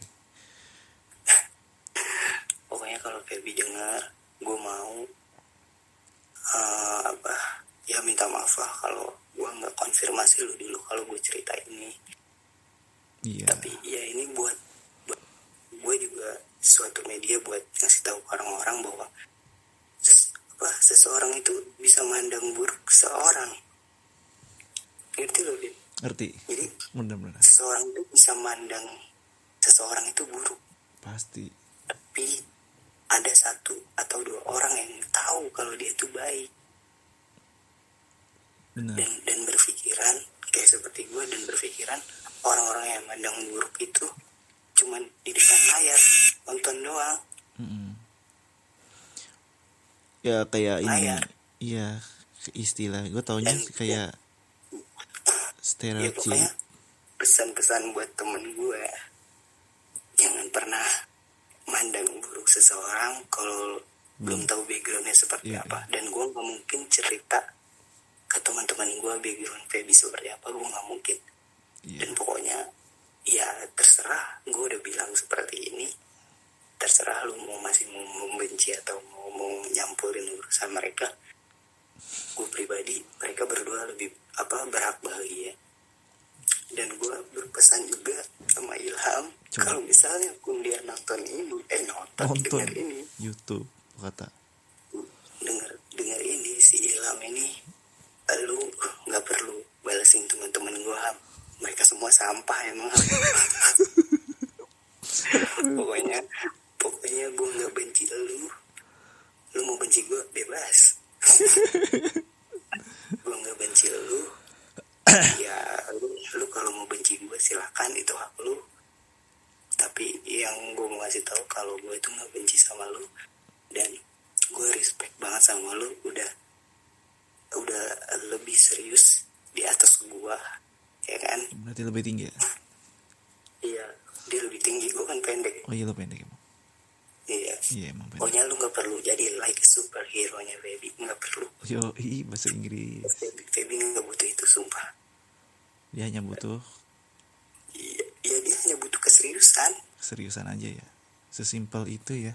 [SPEAKER 2] pokoknya kalau Feby dengar gue mau eh, apa ya minta maaf lah kalau gue nggak konfirmasi lu dulu kalau gue cerita ini
[SPEAKER 1] Iya.
[SPEAKER 2] tapi ya ini buat, buat gue juga suatu media buat ngasih tahu ke orang-orang bahwa ses- apa, seseorang itu bisa mandang buruk seorang ngerti lo Bib?
[SPEAKER 1] Ngerti?
[SPEAKER 2] jadi
[SPEAKER 1] Bener-bener.
[SPEAKER 2] seseorang itu bisa mandang seseorang itu buruk
[SPEAKER 1] Pasti.
[SPEAKER 2] tapi ada satu atau dua orang yang tahu kalau dia itu baik
[SPEAKER 1] Bener.
[SPEAKER 2] dan dan berpikiran kayak seperti gue dan berpikiran orang-orang yang mandang buruk itu cuman di depan layar nonton doang
[SPEAKER 1] Mm-mm. Ya kayak ini.
[SPEAKER 2] Layar.
[SPEAKER 1] Iya. Istilah. Gue taunya
[SPEAKER 2] Dan-
[SPEAKER 1] kayak
[SPEAKER 2] ya pokoknya
[SPEAKER 1] stereotip.
[SPEAKER 2] pesan-pesan buat temen gue jangan pernah mandang buruk seseorang kalau belum tahu backgroundnya seperti
[SPEAKER 1] Iya,
[SPEAKER 2] apa dan gue nggak mungkin cerita ke teman-teman gue background Feby seperti apa gue nggak mungkin
[SPEAKER 1] Iya.
[SPEAKER 2] dan pokoknya ya terserah gue udah bilang seperti ini terserah lu mau masih mau membenci atau mau mau nyampurin urusan mereka gue pribadi mereka berdua lebih apa berhak bahagia dan gue berpesan juga sama Ilham
[SPEAKER 1] Coba.
[SPEAKER 2] kalau misalnya pun dia nonton ini eh nonton,
[SPEAKER 1] Nonton
[SPEAKER 2] denger ini
[SPEAKER 1] YouTube. Lu Kata.
[SPEAKER 2] dengar dengar ini si Ilham ini lu nggak perlu balesin teman-teman gue ham mereka semua sampah emang Ham. pokoknya pokoknya gue nggak benci lu lu mau benci gue bebas Ya, yang gue mau kasih tahu kalau gue itu nggak benci sama lu dan gue respect banget sama lu udah udah lebih serius di atas gua ya kan
[SPEAKER 1] Berarti lebih tinggi ya?
[SPEAKER 2] iya dia lebih tinggi gua kan pendek
[SPEAKER 1] Oh iya lo pendek emang.
[SPEAKER 2] iya
[SPEAKER 1] Iya emang pendek.
[SPEAKER 2] pokoknya lu nggak perlu jadi like superhero nya baby nggak perlu
[SPEAKER 1] Yo, ih bahasa Inggris.
[SPEAKER 2] baby baby nggak butuh itu sumpah
[SPEAKER 1] Dia hanya butuh
[SPEAKER 2] iya iya dia hanya butuh keseriusan
[SPEAKER 1] keseriusan aja ya. Sesimpel itu ya.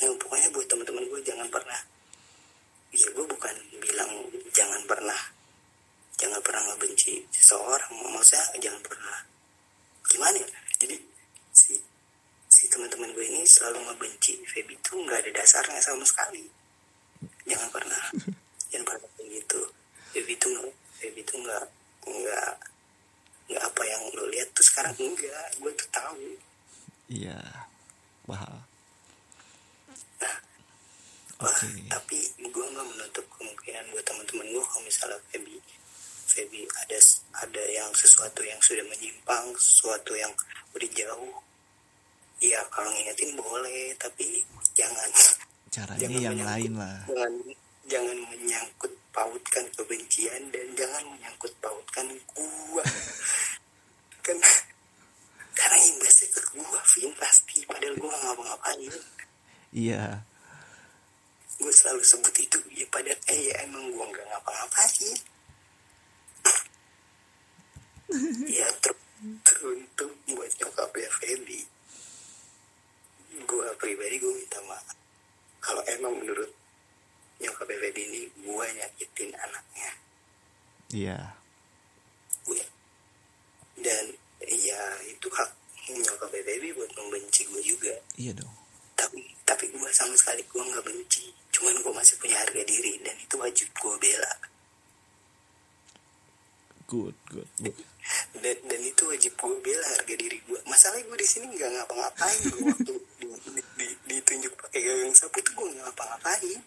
[SPEAKER 2] yang Eh, pokoknya buat teman-teman gue jangan pernah ya gue bukan bilang jangan pernah jangan pernah ngebenci seseorang maksudnya jangan pernah gimana ya jadi si si teman-teman gue ini selalu ngebenci Feby itu nggak ada dasarnya sama sekali jangan pernah jangan pernah kayak gitu Feby itu nggak Feby itu nggak nggak nggak apa yang lo lihat tuh sekarang enggak gue tuh tahu
[SPEAKER 1] Iya. Paham.
[SPEAKER 2] Wah,
[SPEAKER 1] Oke.
[SPEAKER 2] tapi gue nggak menutup kemungkinan buat teman-teman gue kalau misalnya Feby Feby ada ada yang sesuatu yang sudah menyimpang sesuatu yang udah jauh ya kalau ngingetin boleh tapi jangan
[SPEAKER 1] Caranya Nah,
[SPEAKER 2] Jangan
[SPEAKER 1] yang
[SPEAKER 2] menyangkut.
[SPEAKER 1] lain lah.
[SPEAKER 2] jangan jangan menyangkut pautkan kebencian dan jangan menyangkut pautkan gua kan karena imbasnya ke gua Vin pasti padahal gua nggak ngapa-ngapain
[SPEAKER 1] Iya.
[SPEAKER 2] gue selalu sebut itu ya padahal eh ya emang gue nggak ngapa-ngapain ya ter teruntung buat nyokap ya Feby gue pribadi gue minta maaf kalau emang menurut nyokap ya Feby ini gue nyakitin anaknya
[SPEAKER 1] Iya.
[SPEAKER 2] gue dan ya itu hak nyokap ya Feby buat membenci gue juga
[SPEAKER 1] Iya dong.
[SPEAKER 2] tapi tapi gue sama sekali gue nggak benci cuman gue masih punya harga diri dan itu wajib gue bela
[SPEAKER 1] Good, good. good.
[SPEAKER 2] dan, dan itu wajib gue bela harga diri gue masalahnya gue di sini nggak ngapa-ngapain waktu di, di- di- ditunjuk pakai gagang sapu itu gue nggak ngapa-ngapain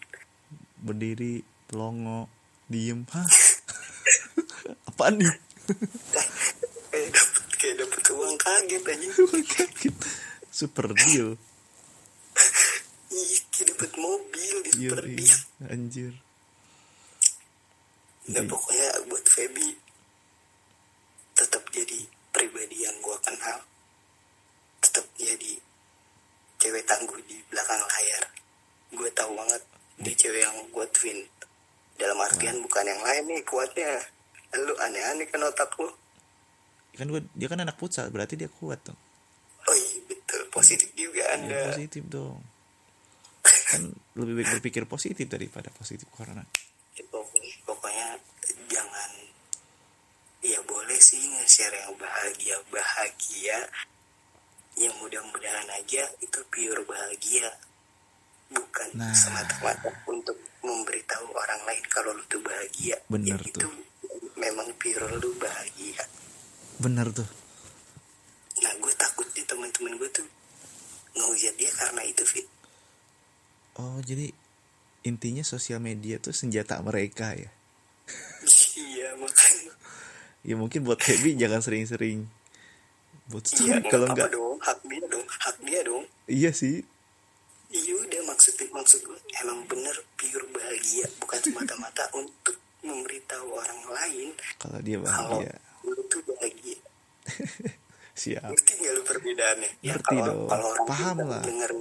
[SPEAKER 1] Berdiri, pelongo, diem. Hah? Apaan nih?
[SPEAKER 2] Kayak- kayak dapet kayak dapet uang kaget aja
[SPEAKER 1] Super deal.
[SPEAKER 2] Ih, kayak dapet mobil di
[SPEAKER 1] Iya,
[SPEAKER 2] super
[SPEAKER 1] iya.
[SPEAKER 2] deal.
[SPEAKER 1] anjir.
[SPEAKER 2] Nah,
[SPEAKER 1] Iya.
[SPEAKER 2] pokoknya buat Feby tetap jadi pribadi yang gua kenal, tetap jadi cewek tangguh di belakang layar. Gue tahu banget dia cewek yang kuat Vin. Dalam artian bukan yang lain nih kuatnya. Lu aneh-aneh kan otak lu.
[SPEAKER 1] Kan gua, dia kan anak futsal, berarti dia kuat dong.
[SPEAKER 2] Oh iya betul, positif juga
[SPEAKER 1] Dia
[SPEAKER 2] anda.
[SPEAKER 1] positif dong. Kan lebih baik berpikir positif daripada positif corona.
[SPEAKER 2] Pokoknya, Gitu, pokoknya jangan ya boleh sih nge-share yang bahagia bahagia yang mudah-mudahan aja itu pure bahagia bukan
[SPEAKER 1] Nah.
[SPEAKER 2] semata-mata untuk memberitahu orang lain kalau lu tuh bahagia
[SPEAKER 1] Bener
[SPEAKER 2] Ya,
[SPEAKER 1] tuh.
[SPEAKER 2] itu memang pure lu bahagia
[SPEAKER 1] Bener tuh.
[SPEAKER 2] nah gue takut di teman-teman gue tuh ngehujat dia karena itu fit
[SPEAKER 1] Oh, jadi intinya sosial media tuh senjata mereka ya.
[SPEAKER 2] iya makanya
[SPEAKER 1] Ya mungkin buat Feby jangan sering-sering. Buat
[SPEAKER 2] iya
[SPEAKER 1] story kalau
[SPEAKER 2] apa-apa
[SPEAKER 1] enggak.
[SPEAKER 2] dong hak dia dong hak dia dong
[SPEAKER 1] Iya sih.
[SPEAKER 2] Iya udah maksud maksud gue emang bener pure bahagia bukan semata-mata untuk memberitahu orang lain
[SPEAKER 1] Kalau dia
[SPEAKER 2] kalau
[SPEAKER 1] bahagia.
[SPEAKER 2] lu tuh bahagia.
[SPEAKER 1] Siap.
[SPEAKER 2] Ngerti nggak lu perbedaannya?
[SPEAKER 1] Ah.
[SPEAKER 2] Ya,
[SPEAKER 1] Ngerti
[SPEAKER 2] kalau,
[SPEAKER 1] dong.
[SPEAKER 2] Kalau orang
[SPEAKER 1] Paham
[SPEAKER 2] pintar
[SPEAKER 1] lah.
[SPEAKER 2] denger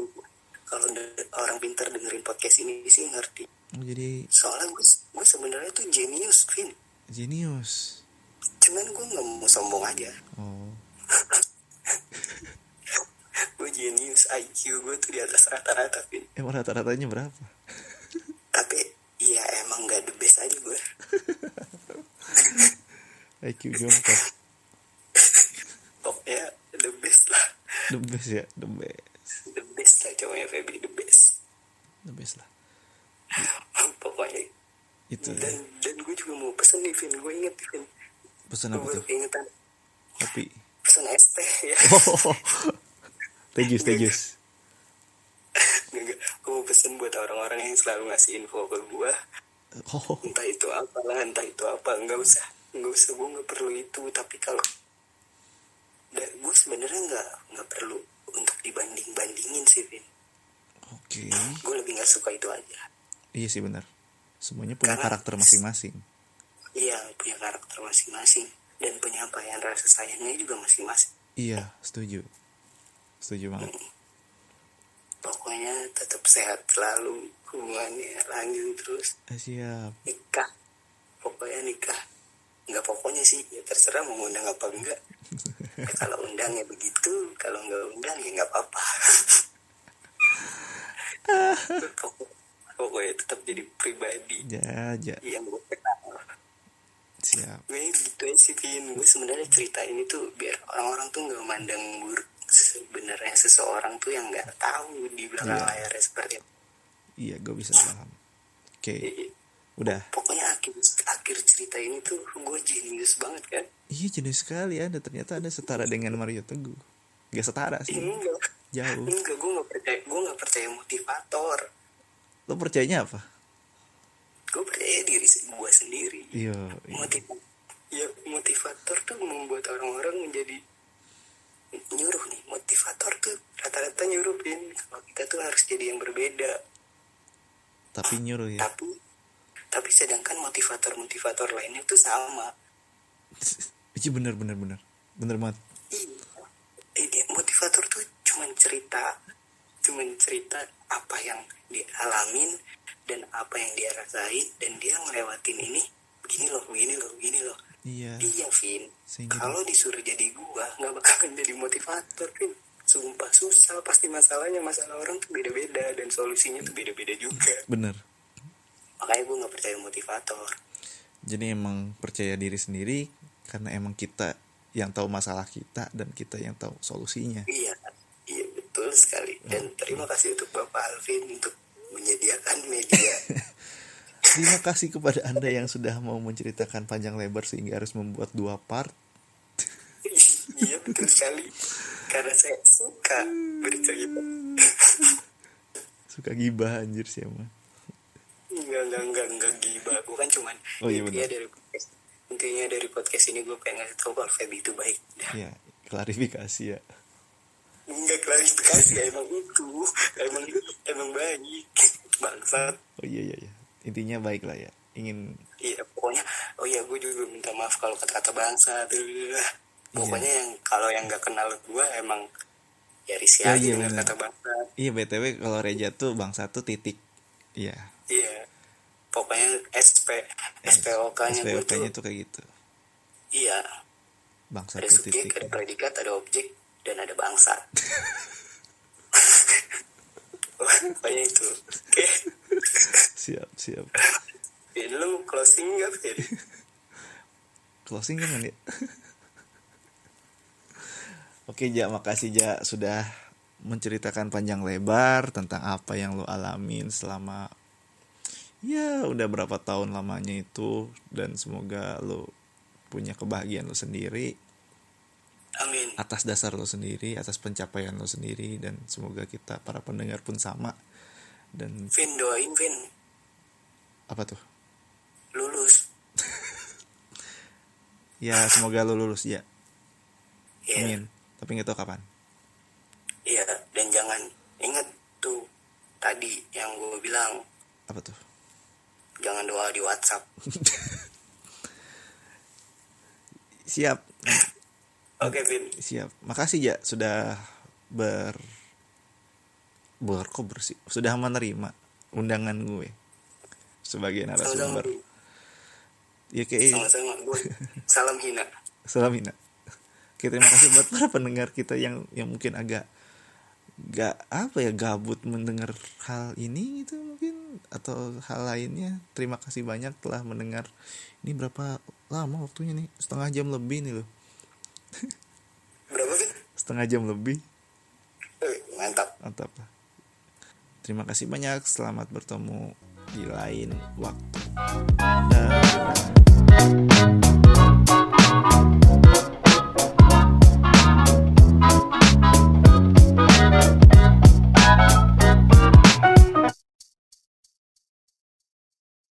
[SPEAKER 2] kalau de- orang pintar dengerin podcast ini sih ngerti.
[SPEAKER 1] Oh, jadi
[SPEAKER 2] Soalnya gue gue sebenarnya tuh jenius, Vin.
[SPEAKER 1] jenius.
[SPEAKER 2] Cuman gue nggak mau sombong aja.
[SPEAKER 1] Oh.
[SPEAKER 2] Gue jenius, IQ gue tuh di atas rata-rata, Vin.
[SPEAKER 1] Emang rata-ratanya berapa?
[SPEAKER 2] Tapi ya emang nggak the best aja gue.
[SPEAKER 1] IQ jongkok.
[SPEAKER 2] Pokoknya the best lah.
[SPEAKER 1] The best ya, the best.
[SPEAKER 2] the best lah cowoknya Feby the best
[SPEAKER 1] The best lah.
[SPEAKER 2] pokoknya
[SPEAKER 1] Itu ya.
[SPEAKER 2] dan dan gue juga mau pesen nih Vin gue inget Vin
[SPEAKER 1] pesan
[SPEAKER 2] gue
[SPEAKER 1] apa
[SPEAKER 2] baru
[SPEAKER 1] tuh?
[SPEAKER 2] keingetan
[SPEAKER 1] Kopi.
[SPEAKER 2] pesen es teh ya
[SPEAKER 1] Oh. teh jus, teh jus.
[SPEAKER 2] Nggak, nggak. gue mau pesen buat orang-orang yang selalu ngasih info ke gue
[SPEAKER 1] Oh,
[SPEAKER 2] entah itu apalah entah itu apa nggak usah nggak usah gue nggak perlu itu tapi kalau dan gue sebenarnya nggak nggak perlu untuk dibanding bandingin sih Vin
[SPEAKER 1] Oke.
[SPEAKER 2] gue lebih nggak suka itu aja
[SPEAKER 1] Iya sih benar. Semuanya punya
[SPEAKER 2] Karena-
[SPEAKER 1] karakter masing-masing.
[SPEAKER 2] iya punya karakter masing-masing dan penyampaian rasa sayangnya juga masing-masing
[SPEAKER 1] Iya, setuju. Setuju banget.
[SPEAKER 2] pokoknya tetap sehat selalu hubungannya lanjut terus
[SPEAKER 1] Eh, siap.
[SPEAKER 2] nikah pokoknya nikah nggak pokoknya sih ya terserah mau undang apa enggak Ya, kalau undang ya begitu kalau nggak undang ya nggak apa-apa Pokok- pokoknya tetap jadi pribadi Iya,
[SPEAKER 1] Ja, ja.
[SPEAKER 2] yang gue kenal
[SPEAKER 1] Siap.
[SPEAKER 2] gue gitu aja sih Vin gue sebenarnya cerita ini tuh biar orang-orang tuh nggak mandang buruk sebenarnya seseorang tuh yang nggak tahu di belakang
[SPEAKER 1] Iya.
[SPEAKER 2] layarnya seperti apa
[SPEAKER 1] Iya, gue bisa paham. Oke, udah.
[SPEAKER 2] pokoknya akhir akhir cerita ini tuh gue jenius banget kan
[SPEAKER 1] Iya, jenis sekali Anda. Ternyata Anda setara dengan Mario Teguh. Gak setara sih.
[SPEAKER 2] enggak
[SPEAKER 1] Jauh.
[SPEAKER 2] enggak gue nggak percaya gue nggak percaya motivator
[SPEAKER 1] Lo percayanya apa?
[SPEAKER 2] gue percaya diri gue sendiri
[SPEAKER 1] Iya. iya.
[SPEAKER 2] motivator ya motivator tuh membuat orang-orang menjadi nyuruh nih motivator tuh rata-rata nyuruh Vin kalau kita tuh harus jadi yang berbeda
[SPEAKER 1] Tapi nyuruh ya.
[SPEAKER 2] tapi tapi sedangkan motivator-motivator lainnya tuh sama
[SPEAKER 1] Iya bener bener bener. Bener banget.
[SPEAKER 2] Iya. Ini motivator tuh cuman cerita, cuman cerita apa yang dialamin dan apa yang dia rasain dan dia ngelewatin ini begini loh, begini loh, begini loh.
[SPEAKER 1] Iya.
[SPEAKER 2] Iya, Vin.
[SPEAKER 1] Sehingga-
[SPEAKER 2] Kalau disuruh jadi gua, nggak bakalan jadi motivator, Vin. Sumpah susah, pasti masalahnya masalah orang tuh beda-beda dan solusinya tuh beda-beda juga.
[SPEAKER 1] Bener.
[SPEAKER 2] Makanya gua nggak percaya motivator.
[SPEAKER 1] Jadi emang percaya diri sendiri karena emang kita yang tahu masalah kita dan kita yang tahu solusinya.
[SPEAKER 2] Iya, iya betul sekali. Dan terima kasih untuk Bapak Alvin untuk menyediakan media
[SPEAKER 1] Terima kasih kepada Anda yang sudah mau menceritakan panjang lebar sehingga harus membuat dua part.
[SPEAKER 2] iya betul sekali karena saya suka bercerita
[SPEAKER 1] Suka gibah anjir sih emang.
[SPEAKER 2] enggak enggak enggak enggak gibah gue kan cuman
[SPEAKER 1] Oh, iya,
[SPEAKER 2] intinya
[SPEAKER 1] benar.
[SPEAKER 2] dari podcast intinya dari podcast ini gue pengen ngasih tau kalau Feby itu baik Dah,
[SPEAKER 1] Ya, klarifikasi ya.
[SPEAKER 2] enggak klarifikasi ya, emang itu emang emang baik bangsat
[SPEAKER 1] Oh iya iya iya. Intinya baik lah ya. Ingin
[SPEAKER 2] iya pokoknya oh iya gue juga minta maaf kalau kata-kata bangsa pokoknya
[SPEAKER 1] Iya.
[SPEAKER 2] yang kalau yang nggak kenal gue emang ya risih
[SPEAKER 1] Ya,
[SPEAKER 2] aja
[SPEAKER 1] iya,
[SPEAKER 2] dengan
[SPEAKER 1] benar.
[SPEAKER 2] kata bangsa
[SPEAKER 1] Iya BTW kalau Reja tuh bang satu titik. Iya.
[SPEAKER 2] Iya. Pokoknya SP
[SPEAKER 1] Ya,
[SPEAKER 2] SPOK-nya gue
[SPEAKER 1] SPOK-nya tuh
[SPEAKER 2] tuh
[SPEAKER 1] kayak gitu.
[SPEAKER 2] iya,
[SPEAKER 1] Bang
[SPEAKER 2] ada
[SPEAKER 1] satu
[SPEAKER 2] subjek,
[SPEAKER 1] titik. ya.
[SPEAKER 2] ada predikat, ada objek dan ada bangsa. Pokoknya itu. Oke.
[SPEAKER 1] Siap, siap.
[SPEAKER 2] Vin, lu closing enggak, Vin?
[SPEAKER 1] Closing kan ya. Oke, Ja, makasih Ja sudah menceritakan panjang lebar tentang apa yang lo alamin selama ya udah berapa tahun lamanya itu dan semoga lo punya kebahagiaan lo sendiri
[SPEAKER 2] Amin.
[SPEAKER 1] atas dasar lo sendiri, atas pencapaian lo sendiri dan semoga kita para pendengar pun sama dan
[SPEAKER 2] Vin doain Vin
[SPEAKER 1] apa tuh?
[SPEAKER 2] lulus.
[SPEAKER 1] Ya, semoga lo lulus ya.
[SPEAKER 2] Iya.
[SPEAKER 1] Amin. Tapi nggak tahu kapan.
[SPEAKER 2] Iya, dan jangan ingat tuh tadi yang gue bilang
[SPEAKER 1] Apa tuh?
[SPEAKER 2] jangan doa di WhatsApp.
[SPEAKER 1] Siap,
[SPEAKER 2] Oke, Vin.
[SPEAKER 1] siap. Makasih ya sudah ber ber kok bersih. Sudah menerima undangan gue sebagai
[SPEAKER 2] Sama-sama.
[SPEAKER 1] narasumber. Ya kayak
[SPEAKER 2] Sama-sama. Gua- Salam hina.
[SPEAKER 1] selamina. Oke, terima kasih buat para pendengar kita yang yang mungkin agak gak apa ya gabut mendengar hal ini gitu mungkin atau hal lainnya terima kasih banyak telah mendengar ini berapa lama waktunya nih setengah jam lebih nih loh
[SPEAKER 2] Berapa, Vin?
[SPEAKER 1] setengah jam lebih
[SPEAKER 2] Eh, Mantap.
[SPEAKER 1] mantap lah terima kasih banyak selamat bertemu di lain waktu Dah.